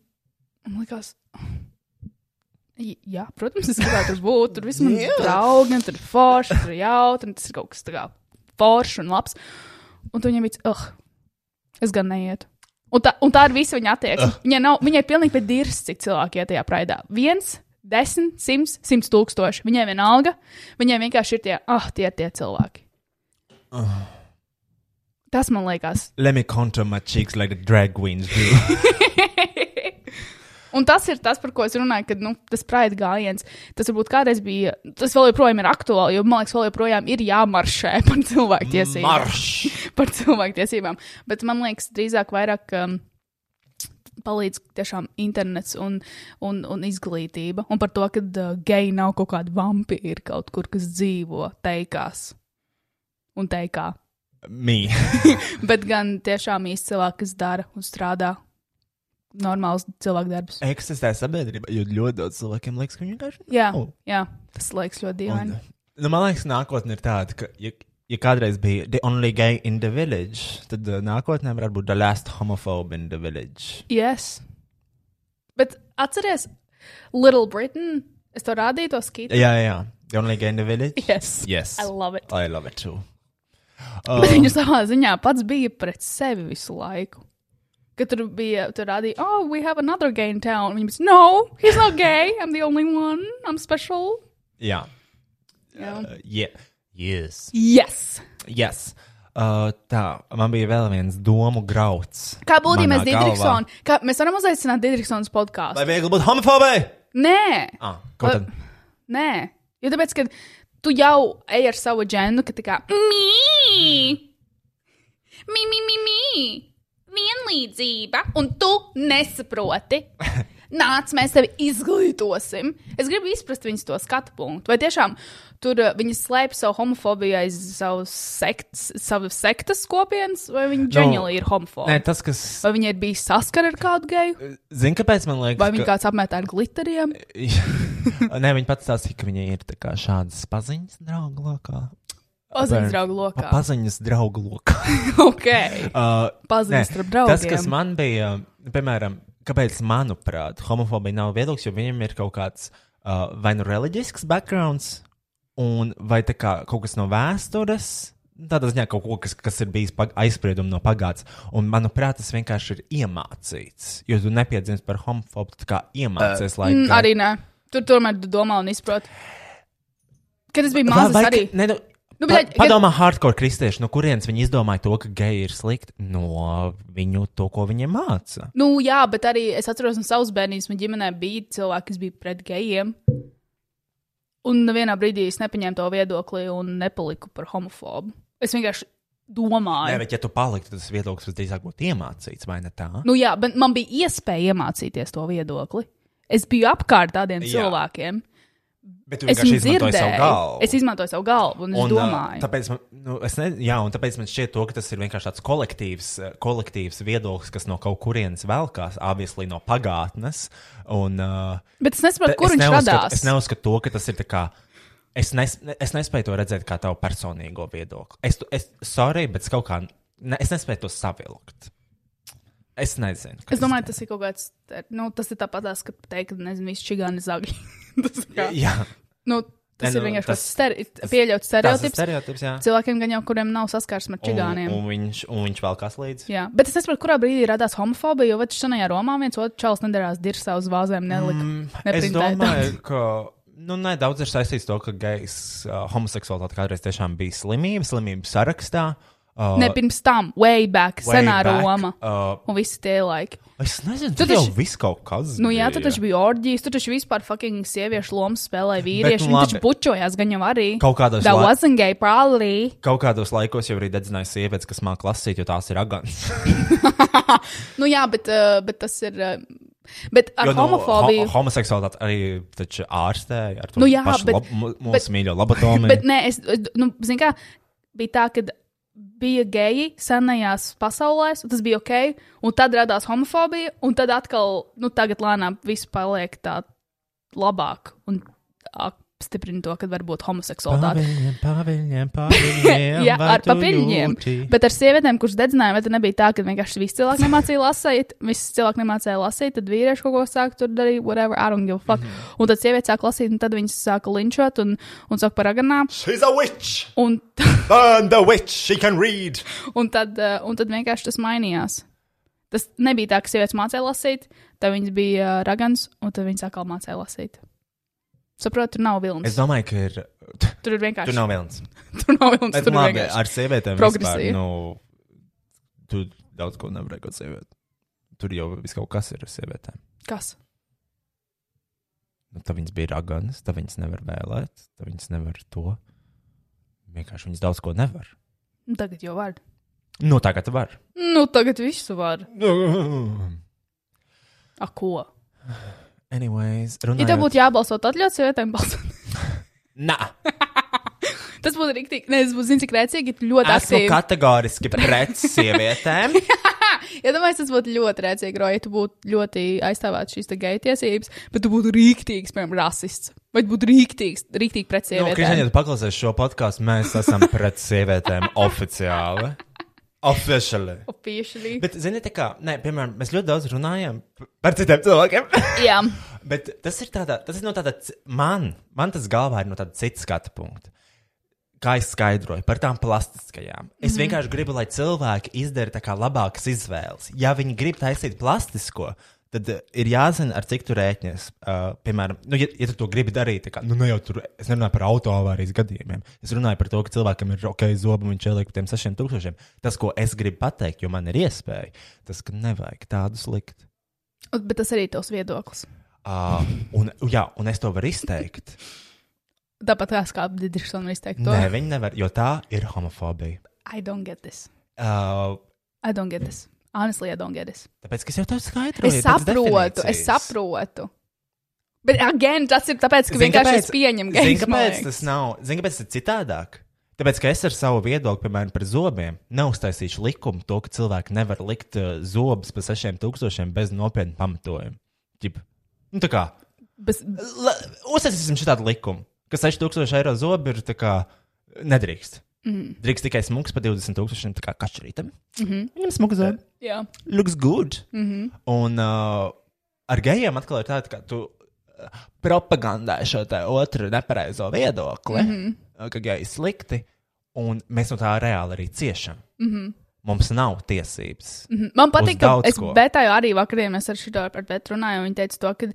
Speaker 2: un likās, J- Jā, protams, es gribētu tur būt. Tur viss ir draugi, un tur ir forši, tur ir jautri, un tas ir kaut kas tāds - foršs un labs. Un tu viņam bija, ah, es gan neietu. Un tā, un tā ir visa viņa attieksme. Uh. Viņa nav, viņai ir pilnīgi pēc dirzas, cik cilvēki iet tajā praidā. Viens, desmit, simts, simts tūkstoši. Viņai vienalga, viņai vienkārši ir tie, ah, tie ir tie cilvēki. Tas man liekas.
Speaker 4: Let me contour my cheeks like the drag queens do.
Speaker 2: Un tas ir tas, par ko es runāju, kad nu, tas praida gājiens. Tas varbūt kādreiz bija, tas vēl joprojām ir aktuāli, jo man liekas, vēl joprojām ir jāmaršē par cilvēku tiesībām.
Speaker 3: Marš!
Speaker 2: par cilvēktiesībām. Bet man liekas, drīzāk vairāk um, palīdz tiešām internets un, un, un izglītība. Un par to, ka uh, geji nav kaut kādi vampīri kaut kur, kas dzīvo teikās. Un teikā.
Speaker 4: Me.
Speaker 2: Bet gan tiešām īsti cilvēki, kas dara un strādā normāls cilvēku darbs.
Speaker 4: Eksistē sabiedrība, jo ļoti daudz cilvēkiem liekas, ka viņi vienkārši.
Speaker 2: Jā,
Speaker 4: nav.
Speaker 2: jā, tas liekas ļoti
Speaker 4: Un,
Speaker 2: dīvaini.
Speaker 4: nu, man liekas, nākotnē ir tāda, ka, ja, ja kādreiz bija the only gay in the village, tad uh, nākotnē varētu būt the last homophobe in the village.
Speaker 2: Yes. Bet atceries, Little Britain, es to rādīju, to skītu.
Speaker 4: Jā, jā, jā. The only gay in the village?
Speaker 2: Yes.
Speaker 4: Yes.
Speaker 2: I love it.
Speaker 4: I love it too.
Speaker 2: Bet
Speaker 4: Oh.
Speaker 2: viņš savā ziņā pats bija pret sevi visu laiku. Kad tur bija, tur rādīja, oh, we have another gay in town. Viņa bija, no, he's not gay, I'm the only one, I'm special.
Speaker 4: Jā.
Speaker 2: Jā.
Speaker 4: Uh, yeah. Yes.
Speaker 2: Yes!
Speaker 4: Yes. Uh, tā, man bija vēl viens domu grauds.
Speaker 2: Kā būtu, ja
Speaker 4: manā
Speaker 2: mēs
Speaker 4: galvā.
Speaker 2: Didriksonu, kā mēs varam uzaicināt Didriksonu podkāstu?
Speaker 4: Lai viegli būtu homofobai!
Speaker 2: Nē,
Speaker 4: Ah, ko tad?
Speaker 2: nē. Jo tāpēc, ka tu jau ej ar savu džendu, ka tā kā, mī, mī, mī, mī, mī, vienlīdzība, un tu nesaproti. Nāc, mēs tevi izglītosim. Es gribu izprast viņas to skatu punktu. Vai tiešām tur uh, viņi slēpj savu homofobiju aiz savas sektas, savas sektas kopienas, vai viņi ģeniāli ir homofobi?
Speaker 4: Nu, Nē, tas, kas.
Speaker 2: Vai viņi ir bijuši saskari ar kādu geju,
Speaker 4: Zini, kāpēc man liekas?
Speaker 2: vai viņi kāds apmetā ar glitteriem?
Speaker 4: Nē, viņa pats stāstīja, ka viņai ir tā kā šādas paziņas draugu lokā.
Speaker 2: Paziņas
Speaker 4: Bērn-
Speaker 2: draugu lokā.
Speaker 4: Paziņas draugu lokā.
Speaker 2: Okay.
Speaker 4: Uh,
Speaker 2: Paziņas
Speaker 4: nē,
Speaker 2: starp draugiem.
Speaker 4: Tas, kas man bija, piemēram, kāpēc, manuprāt, homofobija nav viedoklis, jo viņam ir kaut kāds uh, vai nu reliģisks backgrounds, un vai tā kā kaut kas no vēstures. Tādā ziņā kaut kas, kas ir bijis pag- aizspriedumi no pagātnes. Un, manuprāt, tas vienkārši ir iemācīts. Jo tu nepiedzīvo par homofobu, tu tā kā iemācies uh, laiku.
Speaker 2: Mm, arī nē. Tur tomēr tu domā un izprot. Kad es biju mazs, arī.
Speaker 4: Ne, nu,
Speaker 2: Nu,
Speaker 4: nu,
Speaker 2: bet,
Speaker 4: pa,
Speaker 2: kad-
Speaker 4: padomā, hardcore kristieši, no kurienes viņi izdomāja to, ka geji ir slikti no viņu to, ko viņi māca.
Speaker 2: Nu, jā, bet arī es atceros no savas bērnības, man ģimenē bija cilvēki, kas bija pret gejiem. Un vienā brīdī es nepaņēmu to viedokli un nepaliku par homofobu. Es vienkārši
Speaker 4: Nē,
Speaker 2: domāju,
Speaker 4: bet, ja tu paliktu, tad tas viedoklis visdrīzāk būtu iemācīts, vai ne tā?
Speaker 2: nu jā, bet man bija iespēja iemācīties to viedokli. Es biju apkārt tādiem
Speaker 4: Jā.
Speaker 2: cilvēkiem.
Speaker 4: bet tu
Speaker 2: Es
Speaker 4: vienkārši
Speaker 2: viņu
Speaker 4: izmantoji savu
Speaker 2: dzirdēju.
Speaker 4: galvu.
Speaker 2: Es izmantoju savu galvu un, un
Speaker 4: Un, ā,
Speaker 2: domāju.
Speaker 4: tāpēc, man, nu, es ne, jā, un tāpēc man šķiet, to, ka tas ir vienkārši tāds kolektīvs, eh, kolektīvs viedoklis, kas no kaut kurienes velkās, obviously no pagātnes. Un, uh,
Speaker 2: Bet es nesaprotu, kur
Speaker 4: es
Speaker 2: viņš
Speaker 4: neuzskatu,
Speaker 2: radās.
Speaker 4: Es neuzskatu to, ka tas ir tā kā. Es, nes, es nespēju to redzēt kā tavu personīgo viedokli. Es, tu- es sorry, bet es kaut kā. Ne, es nespēju to savilkt. Es nezinu.
Speaker 2: Es domāju, tas ir kaut kāds. te- Nu, tas ir tāpat, tās, ka teikt, ka nezinu, viss čigāni zagi. tas ir, kā,
Speaker 4: Jā,
Speaker 2: nu, tas
Speaker 4: Nē,
Speaker 2: ir
Speaker 4: nu,
Speaker 2: vienkārši tas,
Speaker 4: tas-
Speaker 2: steri pieļauts
Speaker 4: tas ir
Speaker 2: stereotips.
Speaker 4: stereotips. Jā.
Speaker 2: Cilvēkiem, gan jau kuriem nav saskars ar čigāniem.
Speaker 4: Un, un viņš, un viņš vēl kāds līdzi.
Speaker 2: Jā, bet es nesaprotu, kurā brīdī radās homofobija. Jo šajā Romā viens otru čels nedarās dirzā uz vāzēm, nelika. Mm,
Speaker 4: Es domāju, ka nu, ne, daudz ir saistīts ar to, ka gejs, uh, homoseksualitāte kādreiz tiešām bija slimība, slimību sarakstā. Uh,
Speaker 2: ne pirms tam, way back,
Speaker 4: way
Speaker 2: way senā
Speaker 4: back,
Speaker 2: back, Roma.
Speaker 4: Uh,
Speaker 2: Un visi tie laiki.
Speaker 4: es nezinu,
Speaker 2: Tu
Speaker 4: tur jau
Speaker 2: taču-
Speaker 4: viss kaut kas.
Speaker 2: Nu, jā, tur
Speaker 4: bija.
Speaker 2: taču bija orģijas, tur taču vispār fucking sieviešu lomas spēlēja vīrieši.
Speaker 4: nu
Speaker 2: Viņi taču
Speaker 4: labi.
Speaker 2: bučojās gan jau arī.
Speaker 4: Kaut kādos
Speaker 2: That
Speaker 4: lai-
Speaker 2: wasn't gay, probably.
Speaker 4: Kaut kādos laikos jau arī dedzināja sievietes, kas māca lasīt, jo tās ir agants.
Speaker 2: Nu, jā, bet, uh, bet tas ir. Uh, bet ar
Speaker 4: Jo, nu,
Speaker 2: jo, homofobiju.
Speaker 4: Ho homoseksualitāte arī taču ārstēja ar to
Speaker 2: Nu jā,
Speaker 4: pašu
Speaker 2: bet-
Speaker 4: lab- mu-
Speaker 2: bet-
Speaker 4: mūsu mīļo laboratoriju.
Speaker 2: Bet nē, es, es- nu, zinu, kā bija tā, ka bija geji senajās pasaulēs, un tas bija ok, un tad radās homofobija, un tad atkal, nu, tagad lēnām viss paliek tā labāk un apstiprina to, ka var būt homoseksualitāte.
Speaker 4: Pāviņiem, pāviņiem, pāviņiem,
Speaker 2: Jā,
Speaker 4: vai
Speaker 2: ar
Speaker 4: tu
Speaker 2: papiļņiem.
Speaker 4: jūti?
Speaker 2: Bet ar sievietēm, kuras dedzināja, vai tad nebija tā, ka vienkārši visi cilvēki nemācīja lasīt, visi cilvēki nemācīja lasīt, tad vīrieši kaut ko sāka tur darīt, whatever, I don't give a fuck. Mm
Speaker 4: Mhm.
Speaker 2: -hmm. Un tad sieviete sāka lasīt, un tad viņas sāka linčot un, un sāka par aganām.
Speaker 3: She's a witch!
Speaker 2: Un,
Speaker 3: Burn the witch! She can read!
Speaker 2: un, tad, eh, un tad vienkārši tas mainījās. Tas nebija tā, ka sievietes mācīja lasīt, tad viņas bija eh, ragans, un tad viņas atkal mācīja lasīt. Saprotu, tur nav vilnis.
Speaker 4: Es domāju, ka ir.
Speaker 2: Tur ir vienkārši.
Speaker 4: Tur nav viens.
Speaker 2: tur nav vilnis.
Speaker 4: Bet
Speaker 2: Tur nav
Speaker 4: labi,
Speaker 2: vilnis.
Speaker 4: ar sievietēm
Speaker 2: Progresīvi.
Speaker 4: vispār, nu, tu daudz ko nevarēji kaut sievieti. Tur jau viss kaut kas ir ar sievietēm.
Speaker 2: Kas?
Speaker 4: Nu, tad viņas bija raganas, tad viņas nevar vēlēt, tad viņas nevar to. Vienkārši viņas daudz ko nevar.
Speaker 2: Nu, Tagad jau var.
Speaker 4: Nu, tagad var.
Speaker 2: Nu, tagad visu var.
Speaker 4: Anyways,
Speaker 2: A, ko? Ja
Speaker 4: runājot...
Speaker 2: tev būtu jābalso, tad ļaut sievietēm balsot.
Speaker 4: Nā,
Speaker 2: Tas būtu rīktīgi. Nē, es būtu, zini, cik rēcīgi, ļoti
Speaker 4: esmu
Speaker 2: aktīvi.
Speaker 4: kategoriski pret sievietēm. Nu,
Speaker 2: Ja domāju, tas būtu ļoti rēcīgi, Roja, ja tu būtu ļoti aizstāvēt šīs te geju tiesības, bet tu būtu rīktīgs, piemēram, rasists. Vai tu būtu rīktīgs, rīktīgi pret
Speaker 4: Nu, Kristiņa,
Speaker 2: sievietēm?
Speaker 4: ja tu paklausies šo podkāstu, mēs esam pret sievietēm oficiāli. Oficiāli.
Speaker 2: Officially.
Speaker 4: Bet, zini, tā kā, nē, piemēram, mēs ļoti daudz runājam par citiem cilvēkiem.
Speaker 2: Jā,
Speaker 4: Bet tas ir, tādā, tas ir no tāda, c- man, man tas galvā ir no tāda cita skatu punkta. Kā es skaidroju par tām plastiskajām? Es mm -hmm. vienkārši gribu, lai cilvēki izdara tā kā labākas izvēles. Ja viņi grib taisīt plastisko, tad uh, ir jāzina, ar cik tu rēķinies. Uh, piemēram, nu, ja, ja tu to gribi darīt, tad, nu, ne jau tur, es nerunāju par autoavārijas gadījumiem. Es runāju par to, ka cilvēkam ir ok, zobu un viņš ieliek par tiem sešiem tūkstošiem. Tas, ko es gribu pateikt, jo man ir iespēja, tas, ka nevajag tādus likt.
Speaker 2: Un- bet tas arī ir tavs viedoklis.
Speaker 4: Uh, un, jā, un es to varu izteikt.
Speaker 2: Tāpat kā skābi Digitrisona izteikt to.
Speaker 4: Nē, viņi nevar, jo tā ir homofobija.
Speaker 2: I don't get this.
Speaker 4: Uh,
Speaker 2: I don't get this. Honestly, I don't get this.
Speaker 4: tāpēc, ka es jau tev skaidroju,
Speaker 2: Es saprotu, es saprotu. Bet, again, tas ir tāpēc, ka vienkārši es pieņemu
Speaker 4: Zini,
Speaker 2: gejus, man
Speaker 4: kāpēc
Speaker 2: liekas.
Speaker 4: tas nav? Zini, kāpēc tas ir citādāk? Tāpēc, ka es ar savu viedokli, piemēram, par zobiem, neuztaisīšu likumu to, ka cilvēki nevar likt uh, zobus par sešiem tūkstošiem bez nopietna pamatojuma. Ģip. Nu, tā kā,
Speaker 2: Bet,
Speaker 4: la- uztaisīsim šādu likumu, ka 6000 eiro zobi ir tā kā nedrīkst. Mm. Drīkst tikai smūgs par 20 tūkstošiem, tā kā kašķerītam. Mm -hmm. Viņam smūgs zobi.
Speaker 2: jā.
Speaker 4: looks good. Mm -hmm. Un uh, ar gejiem atkal ir tā, ka tu uh, propagandē šo te otru nepareizo viedokli, mm -hmm. ka geji ir slikti, un mēs no tā reāli arī ciešam. Mm -hmm. Mums nav tiesības. Mm -hmm.
Speaker 2: Man patīk, ka
Speaker 4: daudz
Speaker 2: es
Speaker 4: ko.
Speaker 2: betāju arī vakarā, mēs ar šo par betu runājām. Viņa teica, to, ka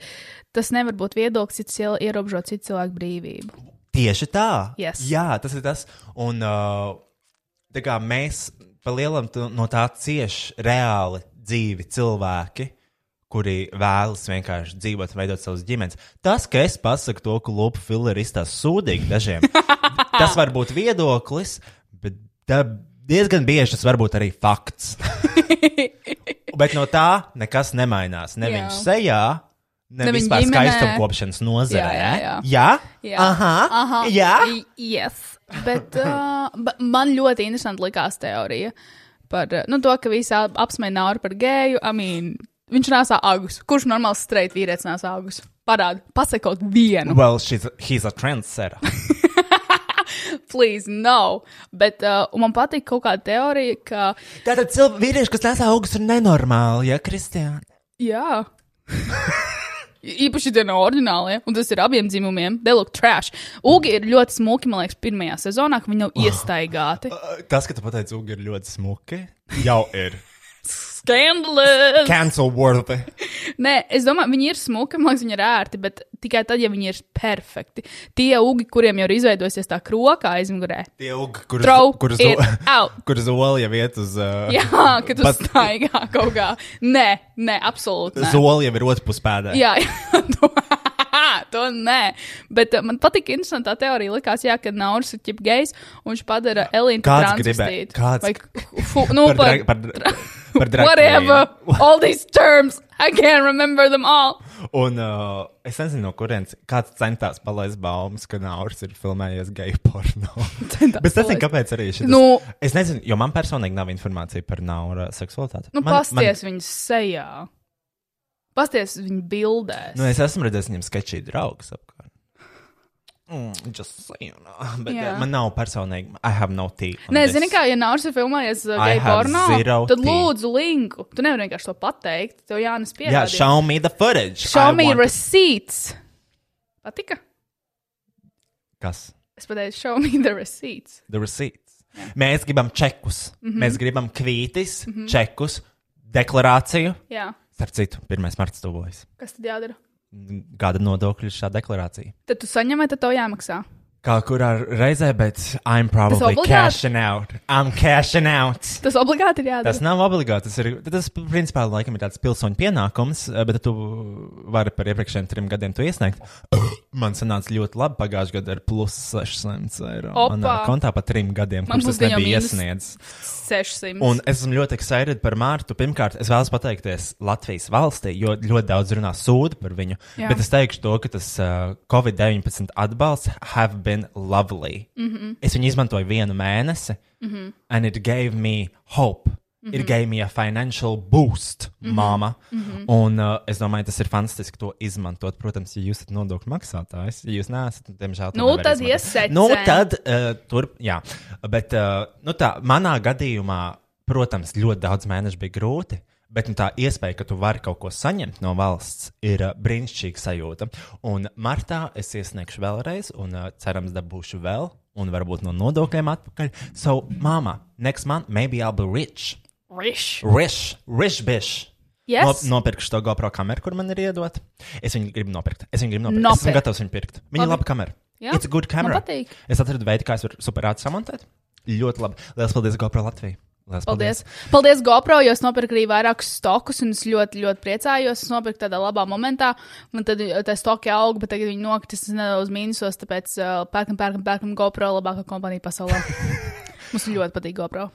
Speaker 2: tas nevar būt viedoklis, ja cilvēks ierobežo citu cilvēku brīvību.
Speaker 4: Tieši tā.
Speaker 2: Yes.
Speaker 4: Jā, tas ir tas. Un uh, tā kā mēs palielam no tā cieši reāli dzīvi cilvēki, kuri vēlas vienkārši dzīvot, veidot savas ģimenes. Tas, ka es pasaku to, ka lupu fileri izstāsta sūdīgi dažiem, tas var būt viedoklis, bet da- diezgan bieži tas var būt arī fakts. bet no tā nekas nemainās. Ne
Speaker 2: Jā.
Speaker 4: viņa sejā, ne,
Speaker 2: Ne
Speaker 4: ne
Speaker 2: viņa
Speaker 4: vispār
Speaker 2: ģimenē.
Speaker 4: skaistumkopšanas nozarē.
Speaker 2: Jā, jā, jā.
Speaker 4: jā.
Speaker 2: Jā.
Speaker 4: Aha,
Speaker 2: Aha.
Speaker 4: jā.
Speaker 2: I- Yes. Bet uh, ba- man ļoti interesanti likās teorija par uh, nu, to, ka visi ap- apsmēja Nauru par gēju. I mean, viņš nāca augus. Kurš normāls streit vīrietis nāca augus? Parādi, pasakot vienu.
Speaker 4: Well, she's a, he's a trendsetter.
Speaker 2: Please, no. Bet uh, un man patīk kaut kāda teorija, ka
Speaker 4: Tātad cilvēki, vīrieši, kas nesa augstu, ir nenormāli, ja, Kristija?
Speaker 2: jā. Īpaši tie no orģināliem, un tas ir abiem dzimumiem. They look trash. Ugi ir ļoti smuki, man liekas, pirmajā sezonā, ka viņi jau iestaigāti.
Speaker 4: Uh, Tas, ka tu pateici, ugi ir ļoti smuki, jau ir.
Speaker 2: Scandalous!
Speaker 4: Cancel worthy.
Speaker 2: Nē, es domāju, viņi ir smuki, man liekas, viņi ir ērti, bet tikai tad, ja viņi ir perfekti. Tie ugi, kuriem jau ir izveidojusies tā kroka aizmugurē,
Speaker 4: Tie ugi, kurus
Speaker 2: Throw
Speaker 4: kurus
Speaker 2: it
Speaker 4: zo-
Speaker 2: out.
Speaker 4: kurus zoli jau iet uz. Uh,
Speaker 2: jā, kad tu
Speaker 4: Pas-
Speaker 2: staigā kaut kā. Nē, nē, absolūti. Nē.
Speaker 4: Zoli jau ir otrs puspēdē.
Speaker 2: Jā, jā, to, to nē. Bet uh, man patīk interesantā teorija. Likās, jā, ka Nauris ir ķip gejs, un viņš padara Elīnu par
Speaker 4: Kāds gribēja-
Speaker 2: transvestītu.
Speaker 4: kāds-
Speaker 2: Vai, fu, nu,
Speaker 4: Par,
Speaker 2: par,
Speaker 4: drag, par, dra- par drag
Speaker 2: whatever,
Speaker 4: queen.
Speaker 2: all these terms, I can't remember them all.
Speaker 4: Un uh, es nezinu, no kurienes kāds centās palaist baumas, ka Nauris ir filmējies geju porno.
Speaker 2: Centās
Speaker 4: Bet es nezinu,
Speaker 2: palaist.
Speaker 4: kāpēc arī šis.
Speaker 2: Nu-
Speaker 4: es nezinu, jo man personīgi nav informācija par Naura seksualitāti.
Speaker 2: Nu,
Speaker 4: man,
Speaker 2: pasties man... viņas sejā. Pasties viņa bildēs.
Speaker 4: Nu, es esmu redzējis viņam sketčī draugus apkārt. Mm, just so you know. Bet
Speaker 2: Jā.
Speaker 4: yeah. man nav personīgi, I have no tea. on
Speaker 2: Nē,
Speaker 4: this.
Speaker 2: zini, kā, ja Nauris ir filmējies uh,
Speaker 4: I
Speaker 2: gay
Speaker 4: have
Speaker 2: pornā,
Speaker 4: zero
Speaker 2: tad
Speaker 4: tea.
Speaker 2: lūdzu linku. Tu nevari vienkārši to pateikt, tev jānes
Speaker 4: Jā,
Speaker 2: pierādījums.
Speaker 4: show me the footage.
Speaker 2: Show
Speaker 4: I
Speaker 2: me
Speaker 4: want-
Speaker 2: receipts. Patika?
Speaker 4: Kas?
Speaker 2: Es pateicu, show me the receipts.
Speaker 4: The receipts. Mēs gribam čekus. Mm
Speaker 2: Mhm.
Speaker 4: -hmm. Mēs gribam kvītis, mm -hmm. čekus, deklarāciju.
Speaker 2: Jā,
Speaker 4: Starp citu, 1. marts tuvojas.
Speaker 2: kas tad jādara?
Speaker 4: Gada nodokļu šā deklarācija.
Speaker 2: Tad tu saņem, vai tad tev jāmaksā?
Speaker 4: Kā kurā reizē, bet I'm probably
Speaker 2: obligāti?
Speaker 4: cashing out. I'm cashing out.
Speaker 2: Tas obligāti ir jādara.
Speaker 4: Tas nav obligāti. Tas, ir, tas principā laikam ir tāds pilsoņu pienākums, eh, bet tu vari par iepriekšējiem trim gadiem to iesniegt. Man sanāca ļoti labi pagājušajā gadā ar plus 600 eiro.
Speaker 2: Opa!
Speaker 4: Manā kontā pa trim gadiem,
Speaker 2: Man
Speaker 4: kurš tas
Speaker 2: būs gan jau
Speaker 4: nebija
Speaker 2: mīnus.
Speaker 4: iesniedzis.
Speaker 2: 600.
Speaker 4: Un es esmu ļoti excited par Mārtu. Pirmkārt, es vēlos pateikties Latvijas valstī, jo ļoti daudz runā sūdu par viņu.
Speaker 2: Jā.
Speaker 4: Jā. Bet es teikšu to, ka tas uh, Covid-19 atbalsts have been lovely. Mm -hmm. Es viņu izmantoju vienu mēnesi, mm -hmm. and it gave me hope. Mm -hmm. It gave me a financial boost, mm -hmm. mama. Mm -hmm. Un uh, es domāju, tas ir fantastiski to izmantot. Protams, ja jūs esat nodokļu maksātājs, ja jūs neesat, tad, diemžēl, to
Speaker 2: Nu,
Speaker 4: nevar
Speaker 2: tad
Speaker 4: izmantot.
Speaker 2: iesecē.
Speaker 4: Nu, tad uh, tur, jā. Bet, uh, nu, tā, manā gadījumā, protams, ļoti daudz mēnešu bija grūti. Bet nu, tā iespēja, ka tu vari kaut ko saņemt no valsts, ir uh, brīnišķīga sajūta. Un martā es iesniegšu vēlreiz, un uh, cerams, dabūšu vēl, un varbūt no nodokļiem atpakaļ. So, māma, next month, maybe I'll be rich.
Speaker 2: Rish.
Speaker 4: Rich, rich, bitch.
Speaker 2: Yes.
Speaker 4: Nop, nopirkšu to GoPro kameru, kur man ir iedot. Es viņu gribu nopirkt. Es viņu gribu nopirkt.
Speaker 2: Nopirkt.
Speaker 4: Es esmu gatavs viņu pirkt. Viņa ir
Speaker 2: Labi.
Speaker 4: laba kamera.
Speaker 2: Jā,
Speaker 4: It's a good
Speaker 2: man
Speaker 4: camera.
Speaker 2: patīk.
Speaker 4: Es atradu veidu, kā es varu superāti samontēt. Ļoti labi. Lielas paldies GoPro Latvijai. Lielas
Speaker 2: Paldies. Paldies, GoPro, jo es nopirku arī vairākus stokus, un es ļoti, ļoti priecājos. Es nopirku tādā labā momentā, un tad uh, tie stoki auga, bet tagad viņi nokritis nedaudz mīnusos, tāpēc uh, pērkam, pērkam, pērkam GoPro labākā kompānija pasaulē. Mums ļoti patīk GoPro.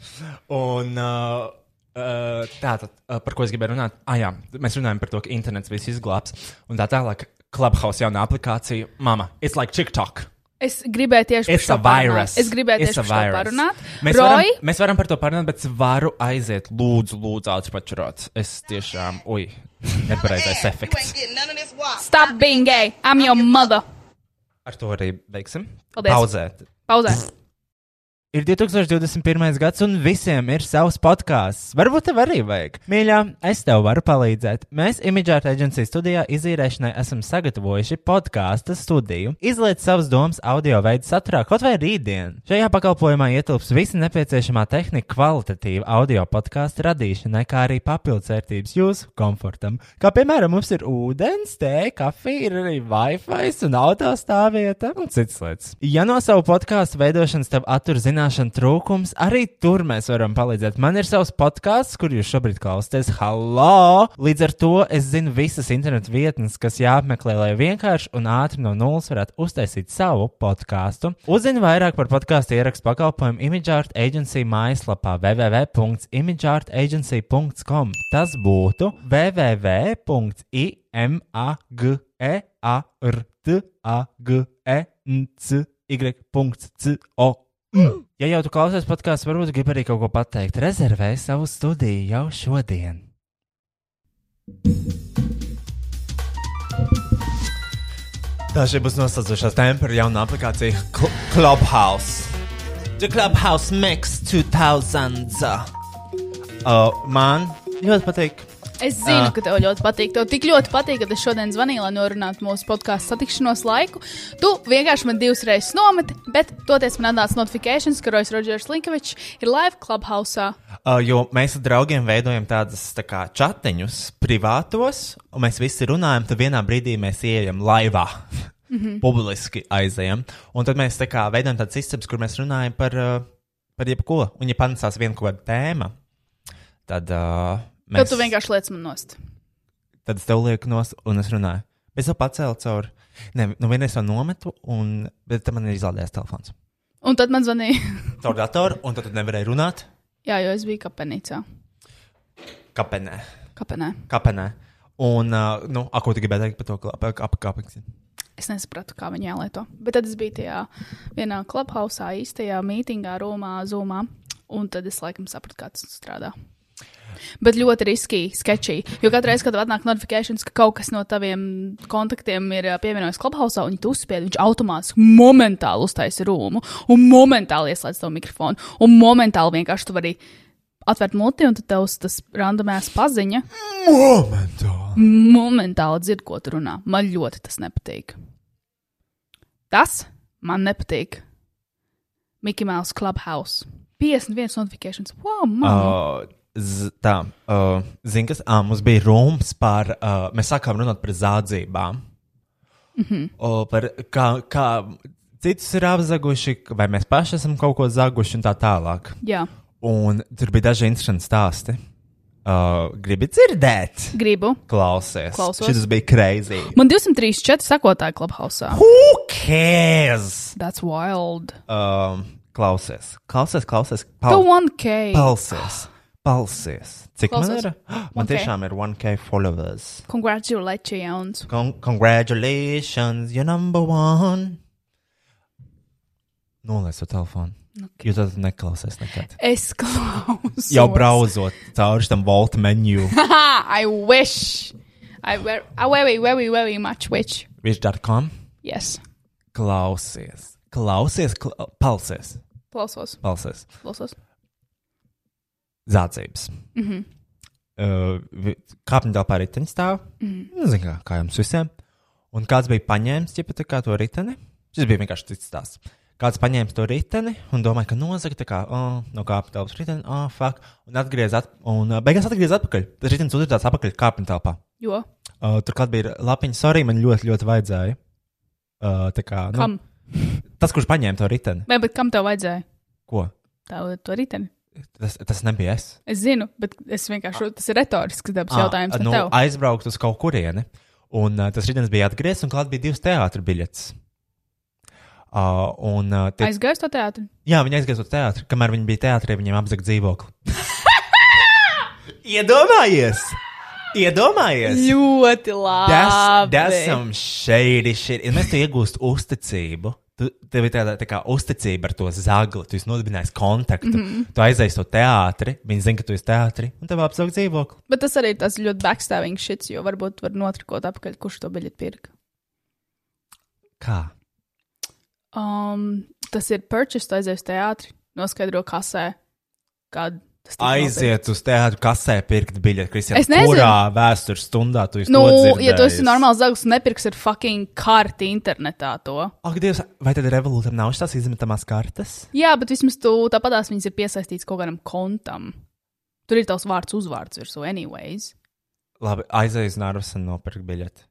Speaker 4: Un uh, uh, tā tad, uh, par ko es gribēju runāt? Ah, jā, mēs runājam par to, ka internets viss izglābs. Un tā tālāk, Clubhouse jaunā aplikācija, mama, it's like TikTok.
Speaker 2: Es gribēju tieši par
Speaker 4: It's
Speaker 2: šo
Speaker 4: a virus.
Speaker 2: parunāt. Es gribēju
Speaker 4: It's
Speaker 2: tieši
Speaker 4: a
Speaker 2: par šo
Speaker 4: virus.
Speaker 2: parunāt.
Speaker 4: Mēs,
Speaker 2: Roy,
Speaker 4: varam, mēs varam par to parunāt, bet es varu aiziet, lūdzu, lūdzu, atpačurot. Es tiešām, ui, nepareizais efekts.
Speaker 2: stop being gay. I'm your mother.
Speaker 4: Ar to arī beigsim.
Speaker 2: Paldies.
Speaker 4: Pauzēt.
Speaker 2: Pauzē.
Speaker 4: Ir 2021. gads, un visiem ir savs podkāsts. Varbūt tev arī vajag. Mīļā, es tev varu palīdzēt. Mēs Imagine Agency studijā izīrēšanai esam sagatavojuši podkāstu studiju. Izliet savas domas audio veidu saturā, kaut vai rītdien. Šajā pakalpojumā ietilps visa nepieciešamā tehnika kvalitatīva audio podkāstu radīšanai, kā arī papildvērtības jūsu komfortam. Kā piemēram, mums ir ūdens, tēja, kafija, ir arī Wi-Fi un autostāvvieta un citas lietas. Ja no savu podkāstu veidošanas tev attur zināmas, zināšanu trūkums, arī tur mēs varam palīdzēt. Man ir savs podkāsts, kur jūs šobrīd klausāties. Halo! Līdz ar to es zinu visas internetu vietnes, kas jāapmeklē, lai vienkārši un ātri no nulles varētu uztaisīt savu podkāstu. Uzzini vairāk par podkāstu ierakstu pakalpojumu ImageArt Agency mājaslapā www.imageartagency.com. Tas būtu www.imageartagency.com. Y.CO. Mm. Ja jau tu klausies podkāstu, varbūt gribi arī kaut ko pateikt. Rezervē savu studiju jau šodien.
Speaker 3: Tā šī būs noslēdzošā tēma par jaunu aplikāciju Cl Clubhouse. The Clubhouse Max 2000.
Speaker 4: Uh, man ļoti patīk.
Speaker 2: Es zinu,
Speaker 4: Ā.
Speaker 2: ka tev ļoti patīk. Tev tik ļoti patīk, ka es šodien zvanīju, lai norunātu mūsu podkāstu satikšanos laiku. Tu vienkārši man divas reizes nometi, bet toties man atnāca notifikācijas, ka Rojas Rodžers Linkovičs ir live clubhouse.
Speaker 4: Uh, jo mēs ar draugiem veidojam tādas tā kā chatiņus privātos, un mēs visi runājam, tad vienā brīdī mēs ieejam laivā. Mm
Speaker 2: Mhm.
Speaker 4: -hmm. Publiski aizējām. Un tad mēs tā kā veidojam tādas sistēmas, kur mēs runājam par, uh, par jebko. Un, ja panesās viena kaut kāda tēma, tad uh,
Speaker 2: Tad
Speaker 4: mēs
Speaker 2: tu vienkārši liec man nost.
Speaker 4: tad es tev lieku nost, un es runāju. Es jau pacēlu cauri. Nē, nu vienreiz jau nometu, un bet tad man ir izlādējis telefons.
Speaker 2: Un tad man zvanīja.
Speaker 4: Caur datoru, un tad tu nevarēji runāt.
Speaker 2: Jā, jo es biju kapenīcā.
Speaker 4: Kapenē.
Speaker 2: Kapenē.
Speaker 4: kapenē. Un, uh, nu, a, ko tu gribēji teikt par to kla- par ap- kāpekli?
Speaker 2: Es nesapratu, kā viņi jālieto. Bet tad es biju tajā vienā clubhouse, īstajā mītingā, Romā, Zumā. Un tad es laikam sapratu, kā tas strādā. Bet ļoti riskīgi, sketčī. Jo katru reizi, kad tev atnāk notifikācijas, ka kaut kas no taviem kontaktiem ir ā, pievienojies klubhausā, un tu uzspied, viņš automātiski momentāli uztaisa rūmu, un momentāli ieslēdz to mikrofonu, un momentāli vienkārši tu vari atvērt muti, un tad tev tas randomēs paziņa
Speaker 4: Momentāli.
Speaker 2: momentāli dzird, ko tu runā. Man ļoti tas nepatīk. Tas man nepatīk. Mikls Māls Clubhouse. 51 notifikācijas. Wow, man!
Speaker 4: Uh, z- tā, uh, zini, kas ā, mums bija rūms par, uh, mēs sākām runāt par zādzībām. Mm -hmm. Par kā, kā citus ir apzaguši, vai mēs paši esam kaut ko zaguši un tā tālāk.
Speaker 2: Jā,
Speaker 4: Un tur bija daži interesanti stāsti. Uh, gribi dzirdēt?
Speaker 2: gribu.
Speaker 4: Klausies.
Speaker 2: Klausos.
Speaker 4: Šis bija crazy.
Speaker 2: Man 234 sekotāji Clubhouse.
Speaker 4: Who cares?
Speaker 2: That's wild.
Speaker 4: um, klausies, klausies, klausies,
Speaker 2: Tu
Speaker 4: pal
Speaker 2: 1K.
Speaker 4: palsies, palsies. Cik
Speaker 2: Klausies.
Speaker 4: klausies. man ir? Man
Speaker 2: 1K.
Speaker 4: tiešām ir 1K followers.
Speaker 2: Congratulations.
Speaker 4: Con congratulations, you're number one. Nolaiž to telefonu. Okay. Jo tad neklausies nekad.
Speaker 2: Es klausos.
Speaker 4: Jau brauzot cauri tam volta menu,
Speaker 2: Haha, I wish. I very, I very, very, very much wish.
Speaker 4: viņš.com.
Speaker 2: Yes.
Speaker 4: Klausies, klausies, kla palsies,
Speaker 2: Klausos.
Speaker 4: palsies.
Speaker 2: Klausos.
Speaker 4: Zācības. Mm -hmm. uh, kāpņu telpā ritenis stāv. Mm -hmm. Zinu, kā, kā jums visiem. Un kāds bija paņēmis ķipa, tā kā, to riteni? Šis bija vienkārši cits stāsts. Kāds paņēma to riteni un domāja, ka nozaga tā kā, oh, no kāpņu telpas riteni, ah, oh, fuck. Un, atgriez at, un uh, beigās atgriezās atpakaļ. Tas ritenis uzrādījās atpakaļ kāpņu telpā.
Speaker 2: Jo.
Speaker 4: Uh, turklāt bija lapiņa, sorry, man ļoti, ļoti vajadzēja. Uh, tā kā,
Speaker 2: Kam?
Speaker 4: nu, tas, kurš paņēma to riteni,
Speaker 2: Nē, bet kam tev vajadzēja?
Speaker 4: ko?
Speaker 2: Tev to riteni.
Speaker 4: Tas, tas nebija es.
Speaker 2: Es zinu, bet es vienkārši tas ir retorisks dabas
Speaker 4: Ā,
Speaker 2: jautājums.
Speaker 4: nu,
Speaker 2: Nu, tev.
Speaker 4: aizbraukt uz kaut kurieni. Un uh, tas rītdienas bija atgriezies, un klāt bija divas teātris biļetes. Uh, un, uh, tie, Aiz...
Speaker 2: Aizgāju uz to teātri.
Speaker 4: Jā, viņi aizgāja uz teātri. Kamēr viņi bija teātrī, viņiem apzaga dzīvokli. Iedomājies! Iedomājies!
Speaker 2: Ļoti
Speaker 4: Tas
Speaker 2: labi.
Speaker 4: tas ir šeidi šeit. Ja mēs tu iegūst uzticību. tu- Tev ir tāda tā kā uzticība ar to zagli, tu esi nodibinājis kontaktu, mm
Speaker 2: Mhm.
Speaker 4: -hmm. tu aizēji to teātri, viņi zina, ka tu esi teātris, un tev apzaug dzīvokli.
Speaker 2: Bet tas arī ir tas ļoti backstabbing šits, jo varbūt var notrikot apakaļ, kurš to biļeti pirka.
Speaker 4: Kā?
Speaker 2: Um, tas ir purchase, aizies teātri, noskaidro kasē, kad tas tika
Speaker 4: aiziet uz teātru kasē, pirkt biļeti. Kristian,
Speaker 2: Es nezinu.
Speaker 4: Kurā vēstures stundā tu esi?
Speaker 2: nopirkts. Nu, ja tu esi normāls zags un nepirksi ar fucking karti internetā to.
Speaker 4: Ak, Dievs, vai tad revolūcijam nav šīs izmetamās kartes?
Speaker 2: Jā, bet vismaz tu tāpatās viņas ir piesaistīts kaut kādam kontam. Tur ir tavs vārds, uzvārds virsū, anyways.
Speaker 4: Labi, aiziet uz Nārvas un nopirkt biļeti.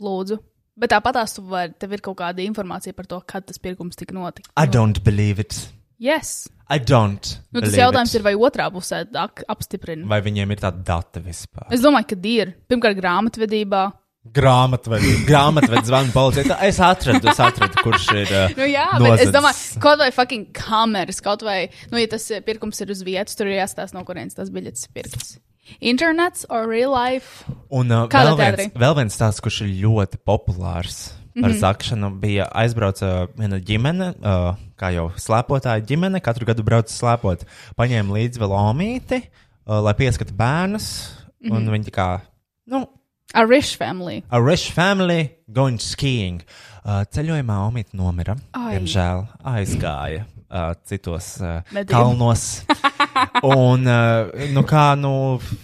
Speaker 2: Lūdzu. Bet tāpat tās var, tev ir kaut kāda informācija par to, kad tas pirkums tika noticis.
Speaker 4: I don't believe it.
Speaker 2: Yes.
Speaker 4: I don't.
Speaker 2: Nu, tas
Speaker 4: believe
Speaker 2: jautājums
Speaker 4: it.
Speaker 2: ir, vai otrā pusē ak- apstiprina.
Speaker 4: Vai viņiem ir tāda data vispār?
Speaker 2: Es domāju, ka ir. Pirmkārt, grāmatvedībā.
Speaker 4: Grāmatvedis, grāmatvedis zvana policijai. Tā, Es atradu, es atradu, kurš ir. ā,
Speaker 2: Nu, jā, bet es
Speaker 4: nozadzis.
Speaker 2: domāju, kaut vai fucking kameras, kaut vai, nu, ja tas eh, pirkums ir uz vietas, tur ir jāstāsta, no kurienes tas biļets ir pirkts. Internets or real life?
Speaker 4: Un uh,
Speaker 2: Kādā
Speaker 4: vēl, viens,
Speaker 2: teātrī?
Speaker 4: vēl viens tāds, kurš ir ļoti populārs par mm -hmm. zakšanu, bija aizbrauca viena ģimene, uh, kā jau slēpotāja ģimene, katru gadu brauca slēpot. Paņēma līdzi vēl omīti, uh, lai pieskata bērnus. Mm -hmm. Un viņi tā kā, nu,
Speaker 2: A rich family.
Speaker 4: a rich family going skiing. Uh, ceļojumā omīti nomira.
Speaker 2: Ai.
Speaker 4: Diemžēl aizgāja uh, citos uh,
Speaker 2: Medību.
Speaker 4: kalnos. Un, uh, nu, kā, nu,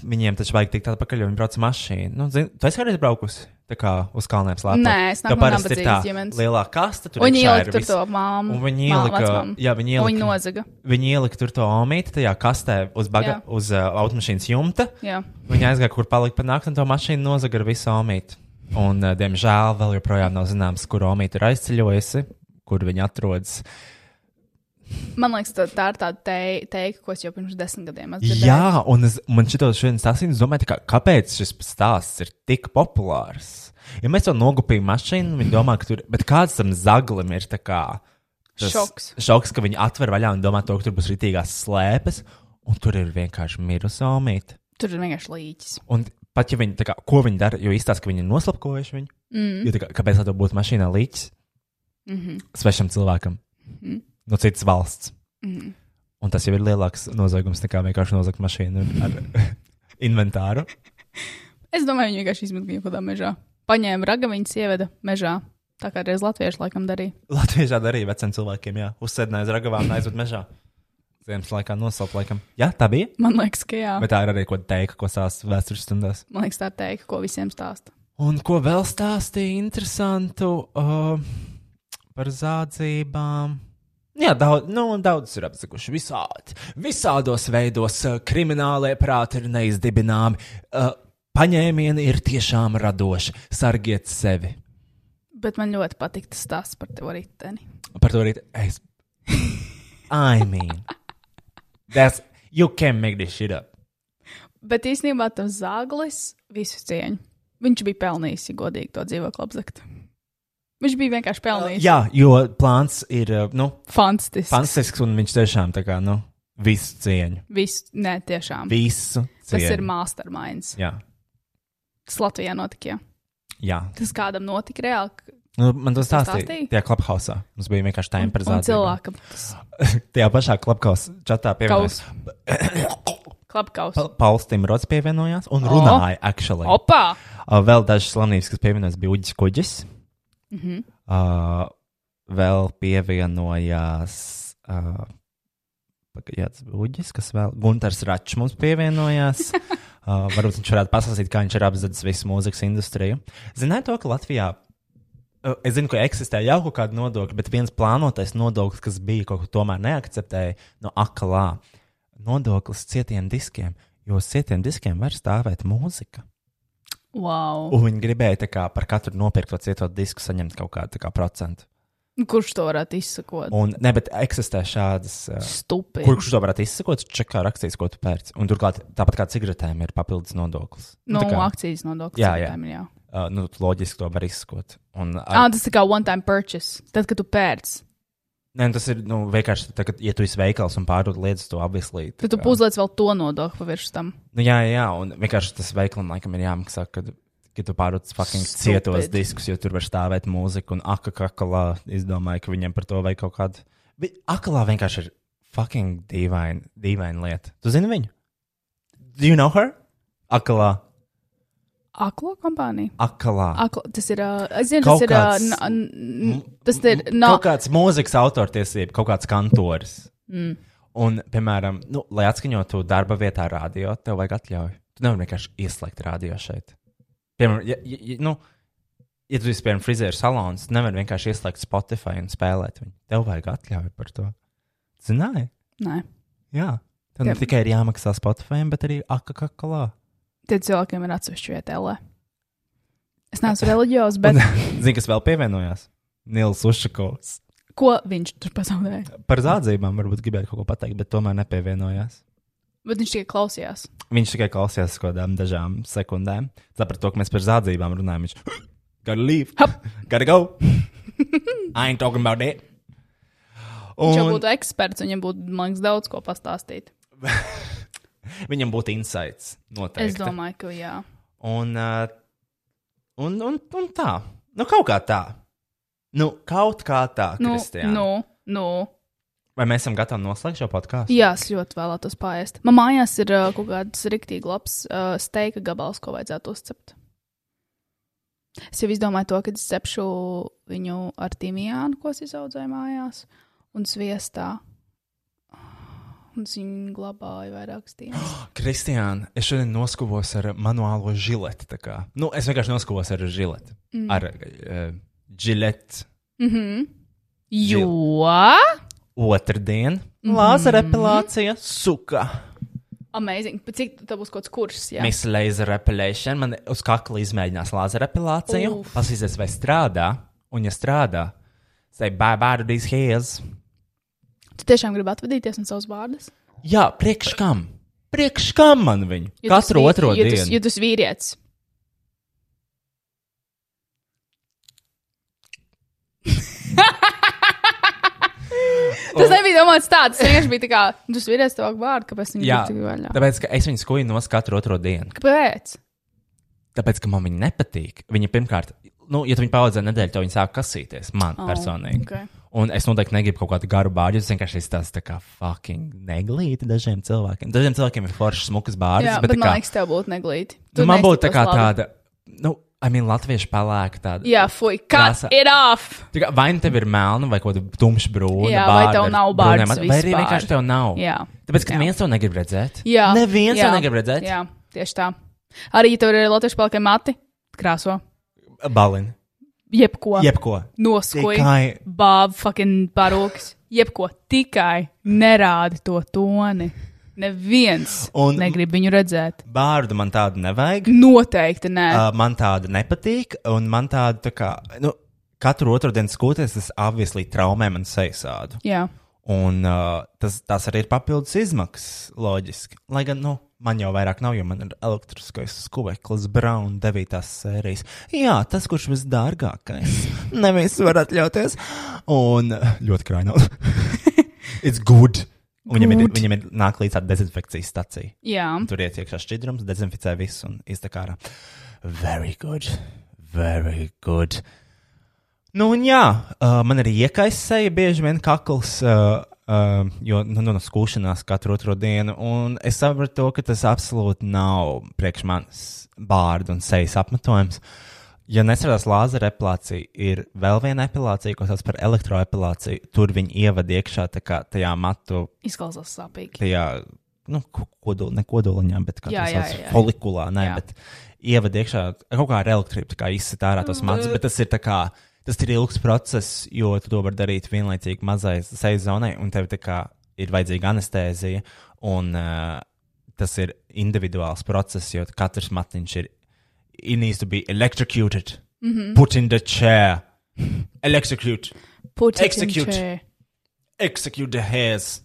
Speaker 4: viņiem taču vajag tikt atpakaļ, jo viņi brauc ar mašīnu. Nu, zin, tu esi kādreiz braukusi tā kā uz kalniem slēpts.
Speaker 2: Nē, es nāku no nabadzīgas ģimenes.
Speaker 4: lielā kasta, tur
Speaker 2: Viņi
Speaker 4: iekšā ir
Speaker 2: ielika tur
Speaker 4: viss.
Speaker 2: to māmu.
Speaker 4: Un viņi
Speaker 2: māmu,
Speaker 4: ielika,
Speaker 2: vecmāmu.
Speaker 4: jā, viņi
Speaker 2: Un
Speaker 4: ielika,
Speaker 2: Viņi nozaga.
Speaker 4: viņi ielika tur to omīti tajā kastē uz, baga,
Speaker 2: Jā.
Speaker 4: uz uh, automašīnas jumta.
Speaker 2: Jā.
Speaker 4: Viņi aizgāja, kur palika pa nakti, un to mašīnu nozaga ar visu omīti. Un, uh, diemžēl, vēl joprojām nav zināms, kur omīti ir aizceļojusi, kur viņi atrodas.
Speaker 2: Man liekas, tā, tā ir tā te- teika, ko es jau pirms desmit gadiem esmu dzirdējis.
Speaker 4: Jā, un es, man šitos šodienas asins domāju, tā kā, kāpēc šis stāsts ir tik populārs. Ja mēs to nogupījām mašīnu, viņi domā, ka tur, bet kāds tam zaglim ir tā kā tas
Speaker 2: Šoks.
Speaker 4: Šoks, ka viņi atver vaļā un domā to, ka tur būs ritīgās slēpes, un tur ir vienkārši mirusi omīte.
Speaker 2: Tur ir vienkārši līķis.
Speaker 4: Un pat ja viņi, tā kā, ko viņi dara, jo izstāsta, ka viņi ir noslapkojuši viņu,
Speaker 2: Mm.
Speaker 4: jo tā kā, kāpēc lai to būtu mašīnā līķis
Speaker 2: Mm -hmm.
Speaker 4: svešam cilvēkam no citas valsts.
Speaker 2: Mhm.
Speaker 4: Un tas jau ir lielāks noziegums nekā vienkārši nozagt mašīnu ar inventāru.
Speaker 2: Es domāju, viņi vienkārši izmetīja kaut kādā mežā. Paņēma raga, viņas ieveda mežā. Tā kā reiz latvieši laikam darīja.
Speaker 4: Latvijā tāda arī veciem cilvēkiem, jā, uzsēdināja uz ragavām, un aizved mežā. Ziemas laikā noslēp laikam. Jā, tā bija.
Speaker 2: Man liekas, ka jā. Bet...
Speaker 4: Bet tā ir arī ko teikt, ko stāsta vēstures stundās.
Speaker 2: Man liekas, tā ir teika, ko visiem stāsta.
Speaker 4: Un ko vēl stāstīja interesantu uh, par zādzībām? Jā, daudz, nu, daudz ir apzaguši visādi. Visādos veidos uh, kriminālie prāti ir neizdibināmi. Uh, paņēmieni ir tiešām radoši. Sargiet sevi.
Speaker 2: Bet man ļoti patīk tas stāsts par tevi riteni.
Speaker 4: Par to arī es. I mean, that's you can make this shit up.
Speaker 2: Bet īstenībā tas zāglis visu cieņu. Viņš bija pelnījis, ja godīgi, to dzīvokli apzakt. Viņš bija vienkārši pelnījis.
Speaker 4: Jā, jo plāns ir uh, nu,
Speaker 2: Fantastisks.
Speaker 4: fantastisks un viņš tiešām tā kā nu, visu cieņu.
Speaker 2: Visu, nē, tiešām.
Speaker 4: Visu cieņu.
Speaker 2: Tas ir masterminds.
Speaker 4: Jā,
Speaker 2: Tas Latvijā notika. Jā.
Speaker 4: jā.
Speaker 2: Tas kādam notika reāli. ka-
Speaker 4: Nu, man tas stāstīja.
Speaker 2: stāstīja?
Speaker 4: Tajā klubhausā mums bija vienkārši tā
Speaker 2: Un
Speaker 4: improvizācija.
Speaker 2: cilvēkam tas
Speaker 4: Tajā pašā klubhausa čatā pievienojās.
Speaker 2: kaus. Klapkaus.
Speaker 4: Pa- Pauls Timrods pievienojās un runāja, oh. actually.
Speaker 2: Opa!
Speaker 4: Uh, Vēl dažas slimības, kas pievienojās, bija Uģis Kuģis.
Speaker 2: Mhm.
Speaker 4: Mm -hmm. uh, vēl pievienojās. Uh, paga- Jā, tas bija Uģis, kas vēl Gunārs Račs mums pievienojās. Uh, varbūt viņš varētu pasakstīt, kā viņš ir apzināts visu mūzikas industriju. Zināju to, ka Latvijā. uh, Es zinu, ka eksistē jau kaut kāda nodokļa, bet viens plānotais nodoklis, kas bija kaut kā tomēr neakceptēja, no akalā nodoklis cietiem diskiem, jo uz cietiem diskiem var stāvēt mūzika.
Speaker 2: Wow.
Speaker 4: Un viņi gribēja tā kā, par katru nopirkto cieto disku saņemt kaut kādu tā kā, procentu.
Speaker 2: Kurš to varētu izsakot?
Speaker 4: Un, ne, bet eksistē šādas. Uh,
Speaker 2: Stupid.
Speaker 4: Kurš to varētu izsekot, čekā rakstīts, ko tu pērci. Un turklāt, tāpat kā cigaretēm, ir papildus nodoklis.
Speaker 2: No
Speaker 4: nu, tā kā,
Speaker 2: akcijas nodokļa.
Speaker 4: Jā, jā.
Speaker 2: cilvēkiem, jā.
Speaker 4: uh, nu, loģiski to var izsekot. Un,
Speaker 2: Ah,
Speaker 4: ar,
Speaker 2: tas ir kā one time purchase. Tad, kad tu pērc,
Speaker 4: nē, nu, tas ir nu, vienkārši, tā, ka, ja tu esi veikals un pārdod lietas, to apvislīt.
Speaker 2: tad tu uzliec vēl to nodokli pavirši tam.
Speaker 4: Nu, jā, jā, un vienkārši tas veiklam laikam ir jāmaksā, kad, kad tu pārdod fucking
Speaker 2: Stupid.
Speaker 4: cietos diskus, jo tur var stāvēt mūzika. Un Aka kaklā izdomāja, ka viņiem par to vajag kaut kādu. Vi- Akalā vienkārši ir fucking dīvaina, dīvaina lieta. Tu zini viņu? Do you know her? Akalā.
Speaker 2: Aklo kompānija.
Speaker 4: Akalā.
Speaker 2: Aklo, tas ir. Uh, es zinu,
Speaker 4: Kaut
Speaker 2: tas ir. Uh,
Speaker 4: kāds-
Speaker 2: n- n- n- tas ir. No,
Speaker 4: No. Kaut kāds mūzikas autortiesība, kaut kāds kantors. Mm. Un, piemēram, nu, lai atskaņotu darba vietā radio, tev vajag atļauju. Tu nevari vienkārši ieslēgt radio šeit. Piemēram, ja, ja, ja, nu, ja tu esi piemēram frizēra salons, tu nevari vienkārši ieslēgt Spotify un spēlēt viņu. Tev vajag atļauju par to. Zināji?
Speaker 2: nē,
Speaker 4: Jā. Tev ne
Speaker 2: Tev-
Speaker 4: tikai ir jāmaksā Spotify, bet arī akakakalā.
Speaker 2: tie cilvēkiem ir atsevišķi vietā, lai. Es neesmu reliģijos, bet
Speaker 4: Zini, kas vēl pievienojās? Nils Ušakovs.
Speaker 2: Ko viņš tur pazaudēja?
Speaker 4: Par zādzībām varbūt gribēju kaut ko pateikt, bet tomēr nepievienojās.
Speaker 2: Bet viņš tikai klausījās.
Speaker 4: Viņš tikai klausījās kaut kādām dažām sekundēm. Sapratu, to, ka mēs par zādzībām runājam. Viņš gotta leave,
Speaker 2: Hop.
Speaker 4: gotta go. I ain't talking about it.
Speaker 2: Viņš jau
Speaker 4: Un
Speaker 2: būtu eksperts, viņam būtu, man liekas, daudz ko pastāstīt.
Speaker 4: viņam būtu insights. Noteikti.
Speaker 2: Es domāju, ka jā.
Speaker 4: Un, uh, un, un, un tā. Nu, kaut kā tā. Nu, kaut kā tā,
Speaker 2: Nu,
Speaker 4: Kristija.
Speaker 2: nu, nu.
Speaker 4: Vai mēs esam gatavi noslēgt šo podkāstu?
Speaker 2: Jā, es ļoti vēlētos pāriest. Man mājās ir uh, kaut kāds rīktīgi labs uh, steika gabals, ko vajadzētu uzcept. Es jau izdomāju to, kad es cepšu viņu ar timijānu, ko es izaudzēju mājās, un sviestā. Un es viņu glabāju vairākas dienas.
Speaker 4: Kristiāna, es šodien noskuvos ar manuālo žileti. tā kā. Nu, es vienkārši noskuvos ar žileti. Mm. Ar uh, žileti
Speaker 2: Mhm. Jo!
Speaker 4: otrdien.
Speaker 2: Mm-hmm.
Speaker 4: Mm. Lāzera epilācija, suka.
Speaker 2: Amazing. Pa Cik tas būs kaut kāds kurs? Jā,
Speaker 4: Miss Laser Repelation. Man uz kakla izmēģinās lāzera epilāciju.
Speaker 2: Uf.
Speaker 4: Paskatīsies, vai strādā. Un, ja strādā, say bye bye to these hairs.
Speaker 2: tu tiešām gribi atvadīties no savas vārdas?
Speaker 4: Jā, priekš kam? Priekš kam man viņu?
Speaker 2: Ja tu esi
Speaker 4: Katru
Speaker 2: vī-
Speaker 4: otro
Speaker 2: ja tu-
Speaker 4: dienu.
Speaker 2: Ja tu esi vīrietis, tas nebija domāts tāds. Tas vienkārši bija tā kā, "Nu, tu esi vīrietis, tev vajag vārdu, kāpēc viņi
Speaker 4: Jā,
Speaker 2: ir tik vaļā.
Speaker 4: tāpēc, ka es viņu skuju no katru otro dienu.
Speaker 2: Kāpēc?
Speaker 4: Tāpēc, ka man viņa nepatīk. Viņa pirmkārt, nu, ja tu viņu paudzē nedēļu, tad viņa sāk kasīties man oh, personīgi.
Speaker 2: ok.
Speaker 4: Un es noteikti negribu kaut kādu garu bāriņu. Es vienkārši esmu tāds tā kā fucking neglīti dažiem cilvēkiem. Dažiem cilvēkiem ir foršas, smukas bāriņas.
Speaker 2: Jā, bet
Speaker 4: tā
Speaker 2: man
Speaker 4: kā-
Speaker 2: liekas, tev būtu neglīti.
Speaker 4: nu,
Speaker 2: Tu
Speaker 4: man būtu tā
Speaker 2: neizskaties
Speaker 4: kā
Speaker 2: labi.
Speaker 4: tāda, nu, I mean, latviešu pelēka tāda.
Speaker 2: Jā, fui, kas
Speaker 4: Krāsa.
Speaker 2: ir off?
Speaker 4: Tā kā, vai nu tev ir melna, vai kaut kāda tumša brūna?
Speaker 2: Jā, vai
Speaker 4: bārda
Speaker 2: tev
Speaker 4: ar
Speaker 2: nav
Speaker 4: brūniem
Speaker 2: bārdas
Speaker 4: acīm, Vai arī
Speaker 2: vispār?
Speaker 4: vienkārši tev nav.
Speaker 2: Jā.
Speaker 4: Tāpēc, ka
Speaker 2: Jā.
Speaker 4: neviens to negrib redzēt.
Speaker 2: Jā,
Speaker 4: Neviens
Speaker 2: jā,
Speaker 4: to negrib redzēt.
Speaker 2: Jā, tieši tā. Arī, ja tev ir latviešu palika mati, krāso.
Speaker 4: Balini.
Speaker 2: Jebko.
Speaker 4: Jebko.
Speaker 2: Noskoja.
Speaker 4: Tikai-
Speaker 2: Bāba, fucking parūks. Jebko, tikai nerādi to toni. Neviens
Speaker 4: Un-
Speaker 2: Un... negrib viņu redzēt.
Speaker 4: Bārdu man tādu nevajag.
Speaker 2: Noteikti nē. Uh,
Speaker 4: Uh, man tāda nepatīk, un man tāda, tā kā, nu, katru otru dienu skūties, tas obviously traumē man sejasādu.
Speaker 2: Jā,
Speaker 4: Un uh, tas, tas arī ir papildus izmaksas, loģiski. Lai gan, nu, man jau vairāk nav, jo man ir elektriskais skūpeklis, brown 9. sērijas. Jā, tas, kurš visdārgākais. Nevis var atļauties. Un uh, ļoti krainot. It's good. Un Viņam ir, viņam ir nāk līdz tāda dezinfekcijas stacija.
Speaker 2: jā.
Speaker 4: Tur iet iekšā šķidrums, dezinficē visu un iztekā ārā. Very good, very good. Nu, un jā, uh, man arī iekaisēja bieži vien kakls, uh, uh, jo nu, nu, no skūšanās katru otro dienu. Un es sapratu, to, ka tas absolūti nav priekš manis bārdu un sejas apmetojums. Ja nesaprās lāzera epilācija, ir vēl viena epilācija, ko sauc par elektroepilāciju. Tur viņi ievada iekšā tā kā tajā matu
Speaker 2: Izklausās sāpīgi.
Speaker 4: tajā nu, ko- kodol, ne kodoliņā, bet
Speaker 2: Jā,
Speaker 4: kādā
Speaker 2: jā,
Speaker 4: sauc,
Speaker 2: jā.
Speaker 4: folikulā. Nē,
Speaker 2: Jā.
Speaker 4: bet ievada iekšā kaut kā ar elektrību, tā kā izsit ārā
Speaker 2: Mm,
Speaker 4: tos mazus, bet tas ir tā kā. Tas ir ilgs process, jo tu to vari darīt vienlaicīgi mazai sejas zonai, un tev tā kā ir vajadzīga anestēzija. Un, uh, tas ir individuāls process, jo katrs matiņš ir. It needs to be electrocuted, mm
Speaker 2: Mhm.
Speaker 4: -hmm. put in the chair, electrocute,
Speaker 2: Puķi.
Speaker 4: Execute. execute the hairs.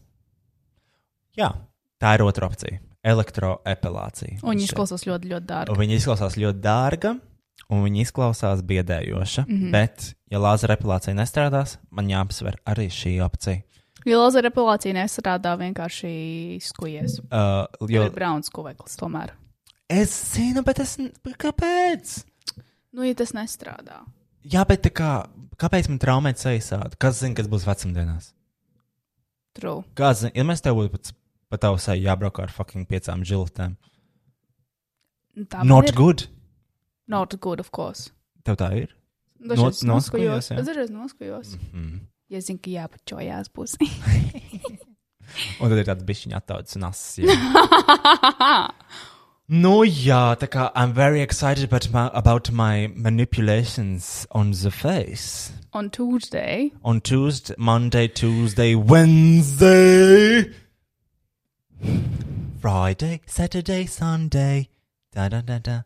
Speaker 4: Jā, tā ir otra opcija. Elektroepilācija.
Speaker 2: Un viņš klausās ļoti, ļoti dārgi.
Speaker 4: Un viņa izklausās ļoti dārga, un viņa izklausās biedējoša. Mm
Speaker 2: Mhm.
Speaker 4: -hmm. Bet, ja lāzera epilācija nestrādās, man jāapsver arī šī opcija.
Speaker 2: Ja lazera apelācija nestrādā, vienkārši skujies.
Speaker 4: Uh,
Speaker 2: Jo
Speaker 4: jo
Speaker 2: ir brauns kuveklis tomēr.
Speaker 4: es zinu, bet es. n- Kāpēc?
Speaker 2: Nu, ja tas nestrādā.
Speaker 4: Jā, bet tā kā, kāpēc man traumēt sejasādi? Kas zina, kas būs vecumdienās?
Speaker 2: True.
Speaker 4: Kas zina, ja mēs tev būtu pat, pat tavu seju jābrauk ar fucking piecām žiltēm?
Speaker 2: Tā man
Speaker 4: Not
Speaker 2: ir-
Speaker 4: good.
Speaker 2: Not good, of course.
Speaker 4: Tev tā ir?
Speaker 2: Dažreiz
Speaker 4: Not-
Speaker 2: noskujos.
Speaker 4: noskujos, jā.
Speaker 2: Es dažreiz noskujos.
Speaker 4: Mm.
Speaker 2: Ja zinu, ka jāpačojās būs.
Speaker 4: Un tad ir tāds bišķiņa attaucis un asis. jā. Nu, jā, tā kā I'm very excited about my, about my manipulations on the face.
Speaker 2: On Tuesday.
Speaker 4: On Tuesday, Monday, Tuesday, Wednesday, Friday, Saturday, Sunday. Da da da da.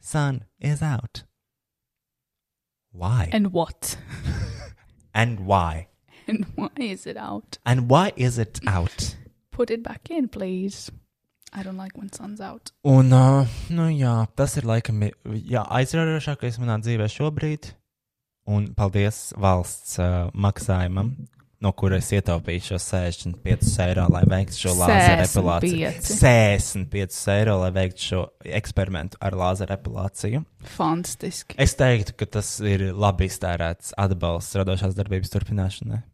Speaker 4: Sun is out. Why?
Speaker 2: And what?
Speaker 4: And why?
Speaker 2: And why is it out?
Speaker 4: And why is it out?
Speaker 2: Put it back in, please. I don't like when sun's out.
Speaker 4: Un, uh, nu jā, tas ir laikam i- jā, aizraujošākais manā dzīvē šobrīd. Un paldies valsts uh, maksājumam, no kura es ietaupīju šo 65 eiro, lai veiktu šo lāzera epilāciju. 65 eiro, lai veiktu šo eksperimentu ar lāzera epilāciju.
Speaker 2: Fantastiski.
Speaker 4: Es teiktu, ka tas ir labi iztērēts atbalsts radošās darbības turpināšanai.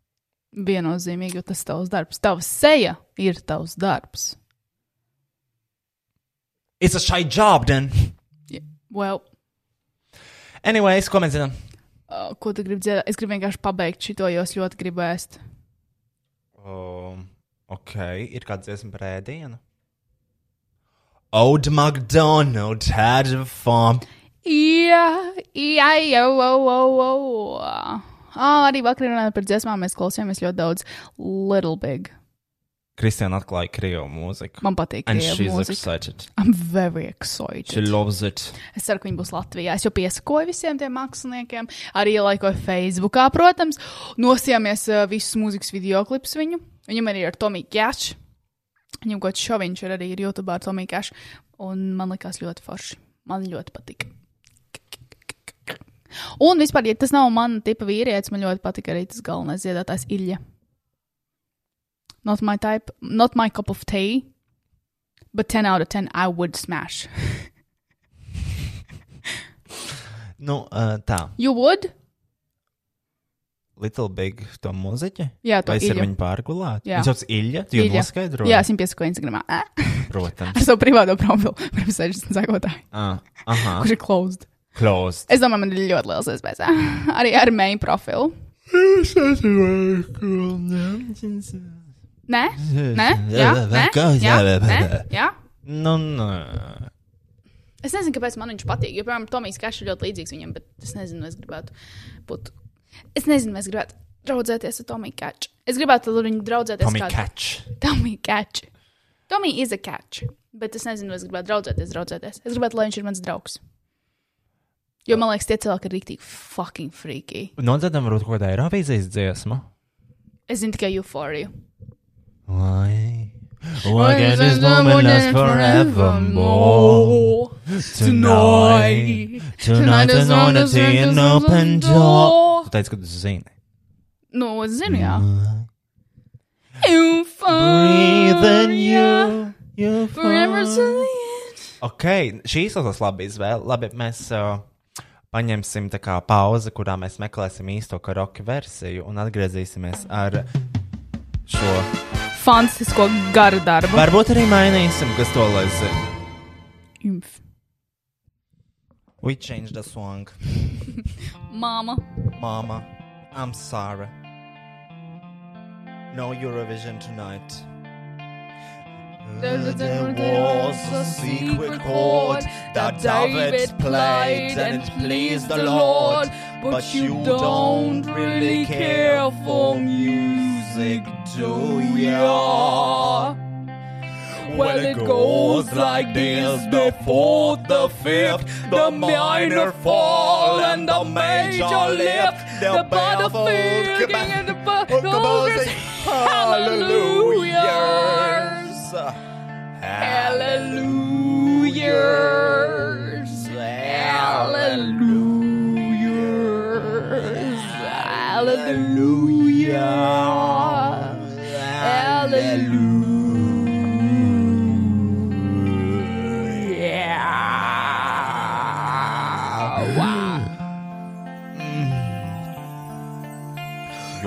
Speaker 2: Viennozīmīgi, jo tas ir tavs darbs. Tava seja ir tavs darbs.
Speaker 4: It's a shy job, then.
Speaker 2: Well,
Speaker 4: Anyways, ko mēs zinām?
Speaker 2: uh, ko tu gribi dzirdēt? Es gribu vienkārši pabeigt šo, jo es ļoti gribu ēst.
Speaker 4: Um, ok, ir kāds dziesmu brēdienu. Old McDonald had a farm.
Speaker 2: Jā, jā, jā, jā, jā, jā. Ah, arī vakar runājot par dziesmām, mēs klausījāmies ļoti daudz Little Big.
Speaker 4: Kristiāna atklāja krievu mūziku.
Speaker 2: Man patīk,
Speaker 4: And
Speaker 2: krievu
Speaker 4: she's
Speaker 2: mūzika.
Speaker 4: excited.
Speaker 2: I'm very
Speaker 4: She
Speaker 2: excited.
Speaker 4: loves it.
Speaker 2: Es ceru, ka viņi būs Latvijā. Es jau piesakoju visiem tiem māksliniekiem, arī ielaikoju Facebookā, protams. Nosījāmies uh, visus mūzikas video klipus viņu. Viņam arī ir Tomija Kešs. Viņam kaut kas šoviņš ir arī ir YouTube ar Tomiju Kešu. Un man likās ļoti forši. Man ļoti patika. Un vispār, ja tas nav mana tipa vīrietis, man ļoti patika arī tas galvenais dziedātājs Ilja. Not my type, not my cup of tea, but 10 out of 10 I would smash.
Speaker 4: Nu, uh, tā,
Speaker 2: You would?
Speaker 4: Little Big to mūziķi.
Speaker 2: Jā, to
Speaker 4: Vai es ar
Speaker 2: Ilju.
Speaker 4: viņu pārgulāju?
Speaker 2: Jā.
Speaker 4: Viņš sauc Ilja, tu jau
Speaker 2: Ilja.
Speaker 4: noskaidroji?
Speaker 2: Jā, es viņu piesakoju Instagram. Ar
Speaker 4: Protams.
Speaker 2: savu privāto profilu pirms 60 sekotāju,
Speaker 4: Ah, aha,
Speaker 2: kurš ir closed.
Speaker 4: closed.
Speaker 2: Es domāju, man ir ļoti liels iespējas. Arī ar main profilu. Nē, nē, jā, nē, jā, nē, jā.
Speaker 4: Nu, nē.
Speaker 2: Es nezinu, kāpēc man viņš patīk. Jo, piemēram, Tomijs Kašs ir ļoti līdzīgs viņam, bet es nezinu, vai es gribētu būt. Es nezinu, vai es gribētu draudzēties ar Tomiju Kaču. Es gribētu ar viņu draudzēties
Speaker 4: Tommy Catch.
Speaker 2: Tomija Kaču. Tomija ir kaču, bet es nezinu, vai es gribētu draudzēties, draudzēties. Es gribētu, lai viņš ir mans draugs. Jo man liekas, tie cilvēki ir rīktīgi fucking freaky.
Speaker 4: Nodzirdam varbūt kaut kādā Eirovīzijas dziesmu.
Speaker 2: Es zinu tikai euforiju.
Speaker 4: Why? Why can this moment last forevermore? Tonight, tonight is on the an open door. Tu teici, ka tu zini.
Speaker 2: Nu, es zinu, jā.
Speaker 4: Breathe in
Speaker 2: Euforija.
Speaker 4: you, you
Speaker 2: Forever
Speaker 4: fall.
Speaker 2: to the end.
Speaker 4: Ok, šī izklausās labi izvēle. Labi, mēs uh, paņemsim tā kā pauzi, kurā mēs meklēsim īsto karoki versiju un atgriezīsimies ar šo.
Speaker 2: Fantastisko garu darbu.
Speaker 4: Varbūt arī mainīsim, kas to lai zina.
Speaker 2: Inf.
Speaker 4: We changed the song.
Speaker 2: Māma.
Speaker 4: Mama, I'm sorry. No Eurovision tonight. There was "Oh, a secret chord that David played and it pleased the Lord. But you don't really care for music, do ya? Well, it goes like this the fourth, the fifth, the minor fall, and the major lift, the battlefield, king and the battlefield. Hallelujahs! Hallelujahs! Hallelujahs! Hallelujah!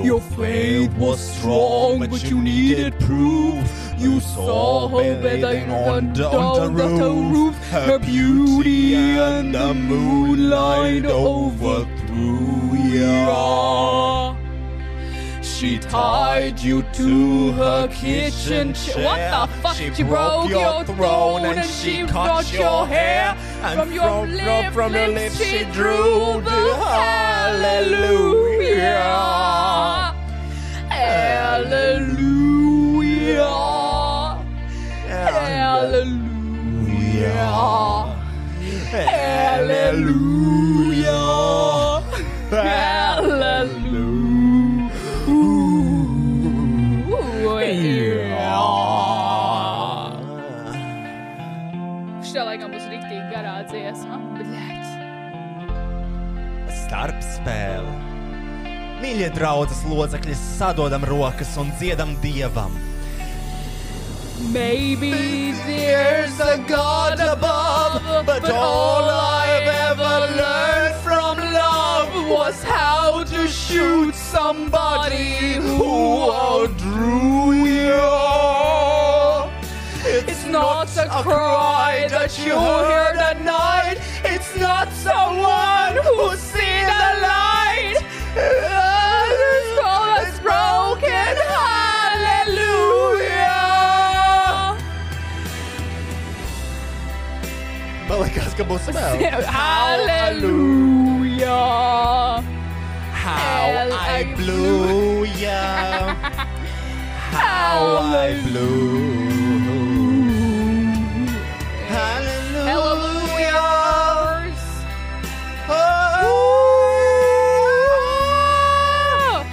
Speaker 3: Your faith was strong, but you needed proof. You saw her bathing on the, on the roof, her beauty and the moonlight overthrew ya. She tied you to her kitchen chair.
Speaker 2: What the fuck?
Speaker 3: She,
Speaker 2: She
Speaker 3: broke
Speaker 2: broke
Speaker 3: your
Speaker 2: your
Speaker 3: throne and
Speaker 2: throne
Speaker 3: she
Speaker 2: and she
Speaker 3: cut
Speaker 2: cut
Speaker 3: your
Speaker 2: your
Speaker 3: hair. And
Speaker 2: From your
Speaker 3: from,
Speaker 2: lip,
Speaker 3: from the
Speaker 2: lips
Speaker 3: lips she
Speaker 2: she
Speaker 3: drew
Speaker 2: drew
Speaker 3: the
Speaker 2: the
Speaker 3: hallelujah.
Speaker 2: Hallelujah! Hallelujah!
Speaker 3: Hallelujah.
Speaker 2: Hallelujah!
Speaker 4: spēle. Mīļie draudzes locekļi, sadodam rokas un dziedam dievam.
Speaker 6: Maybe
Speaker 3: There's a God above, but all I've ever learned from love was how to shoot somebody who outdrew you. It's not a cry that you heard at night. It's not someone who's seen the light. Others call us broken. Hallelujah.
Speaker 4: Man liekas, ka būs spēle.
Speaker 6: Hallelujah!
Speaker 4: How I blew, yeah. How I blew. Hallelujah. Oh.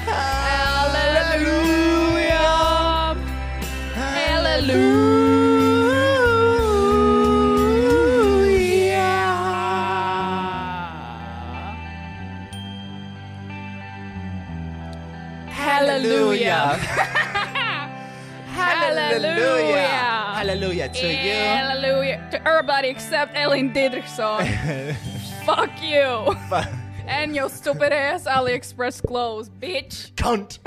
Speaker 4: Hallelujah. Hallelujah. Hallelujah. Hallelujah. Hallelujah to you.
Speaker 2: Hallelujah. To everybody except Ellen Didrikson. Fuck you. And your stupid ass AliExpress clothes, bitch.
Speaker 4: Cunt.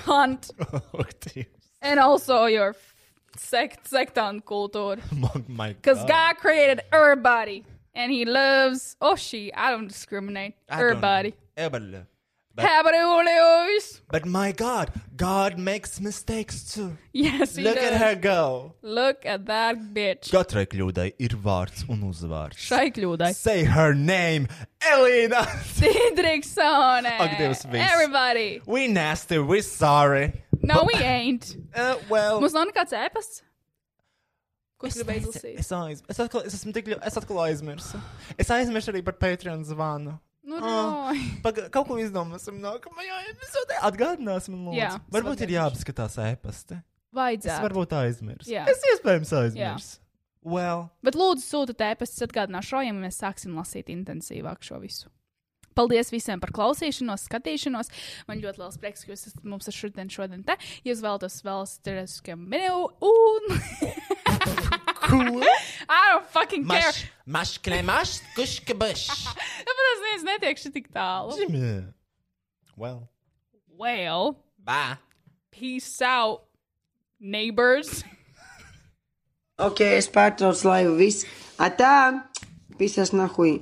Speaker 2: Cunt.
Speaker 4: Oh, Dievs.
Speaker 2: And also your f- sect sectant culture.
Speaker 4: My
Speaker 2: Because
Speaker 4: God.
Speaker 2: God created everybody. And he loves, or she, I don't discriminate.
Speaker 4: I don't-
Speaker 2: everybody.
Speaker 4: Everybody. But,
Speaker 2: Everybody.
Speaker 4: but my God, God makes mistakes too.
Speaker 2: Yes, he
Speaker 4: Look
Speaker 2: does.
Speaker 4: at her go.
Speaker 2: Look at that bitch.
Speaker 4: Katrai kļūdai ir vārds un uzvārds.
Speaker 2: Šai kļūdai.
Speaker 4: Say her name, Elīna!
Speaker 2: Didriksone.
Speaker 4: Ak, Dievs, viss.
Speaker 2: Everybody.
Speaker 4: We nasty, we sorry.
Speaker 2: No, we ain't.
Speaker 4: Uh, well,
Speaker 2: Mums nav nekāds ēpasts. Ko es gribēju
Speaker 4: es,
Speaker 2: izlasīt?
Speaker 4: es, aiz, es, atkal, es esmu tik ļoti, es atkal aizmirsu. Es aizmirsu arī par Patreon zvanu.
Speaker 2: Nu,
Speaker 4: Ah,
Speaker 2: roj.
Speaker 4: Paga, kaut ko izdomāsim nākamajā epizodē. Atgādināsim, lūdzu.
Speaker 2: Jā,
Speaker 4: varbūt
Speaker 2: es
Speaker 4: ir jāapskatās ēpasti. Es
Speaker 2: Vajadzētu.
Speaker 4: varbūt aizmirsu.
Speaker 2: Jā.
Speaker 4: Es iespējams aizmirsu. Well,
Speaker 2: Bet lūdzu, sūtiet ēpastus, atgādināt šo, ja mēs sāksim lasīt intensīvāk šo visu. Paldies visiem par klausīšanos, skatīšanos. Man ļoti liels prieks, ka jūs esat mums ar šodien, šodien te. Ja jūs vēlaties vēl stresskam minū un... I don't fucking care.
Speaker 3: Mash, mash, can I mash? Kush, kabush.
Speaker 2: Tāpēc es neviens netiek šī tik tālu.
Speaker 4: Jimmy. Well.
Speaker 2: Well,
Speaker 3: Bye.
Speaker 2: peace out, neighbors.
Speaker 7: Ok, es pārtraucu laivu viss. Atā! Pisas nahuj!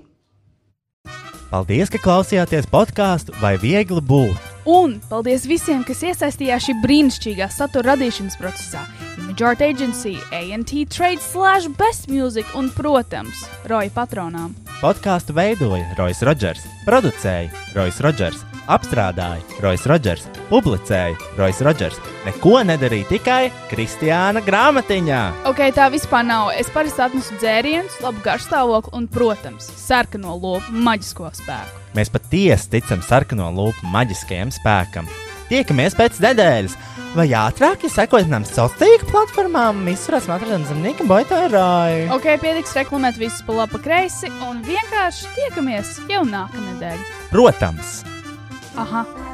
Speaker 4: Paldies, ka klausījāties podkāstu vai viegli būt.
Speaker 2: Un paldies visiem, kas iesaistījās šī brīnišķīgā satura radīšanas procesā. Image Art Agency, ANT Trade, Slash, Best Music un, protams, Roja patronām.
Speaker 4: Podkāstu veidoja Rois Rodžers, producēja Rois Rodžers, apstrādāja Rois Rodžers, publicēja Rois Rodžers. Neko nedarīja tikai Kristiāna grāmatiņā.
Speaker 2: Ok, tā vispār nav. Es parasti atnesu dzērienus, labu garšstāvokli un, protams, sarkano lopu maģisko spēku.
Speaker 4: Mēs patiesi ticam sarkano lupu maģiskajam spēkam. Tiekamies pēc nedēļas, vai ātrāk, ja sekojat mums sociālajām tīkla platformām, visurās matradienas zemnieka boitārāju.
Speaker 2: Ok, pietiks reklamēt visus pa labi, pa kreisi un vienkārši tiekamies jau nākamnedēļ.
Speaker 4: Protams!
Speaker 2: Aha!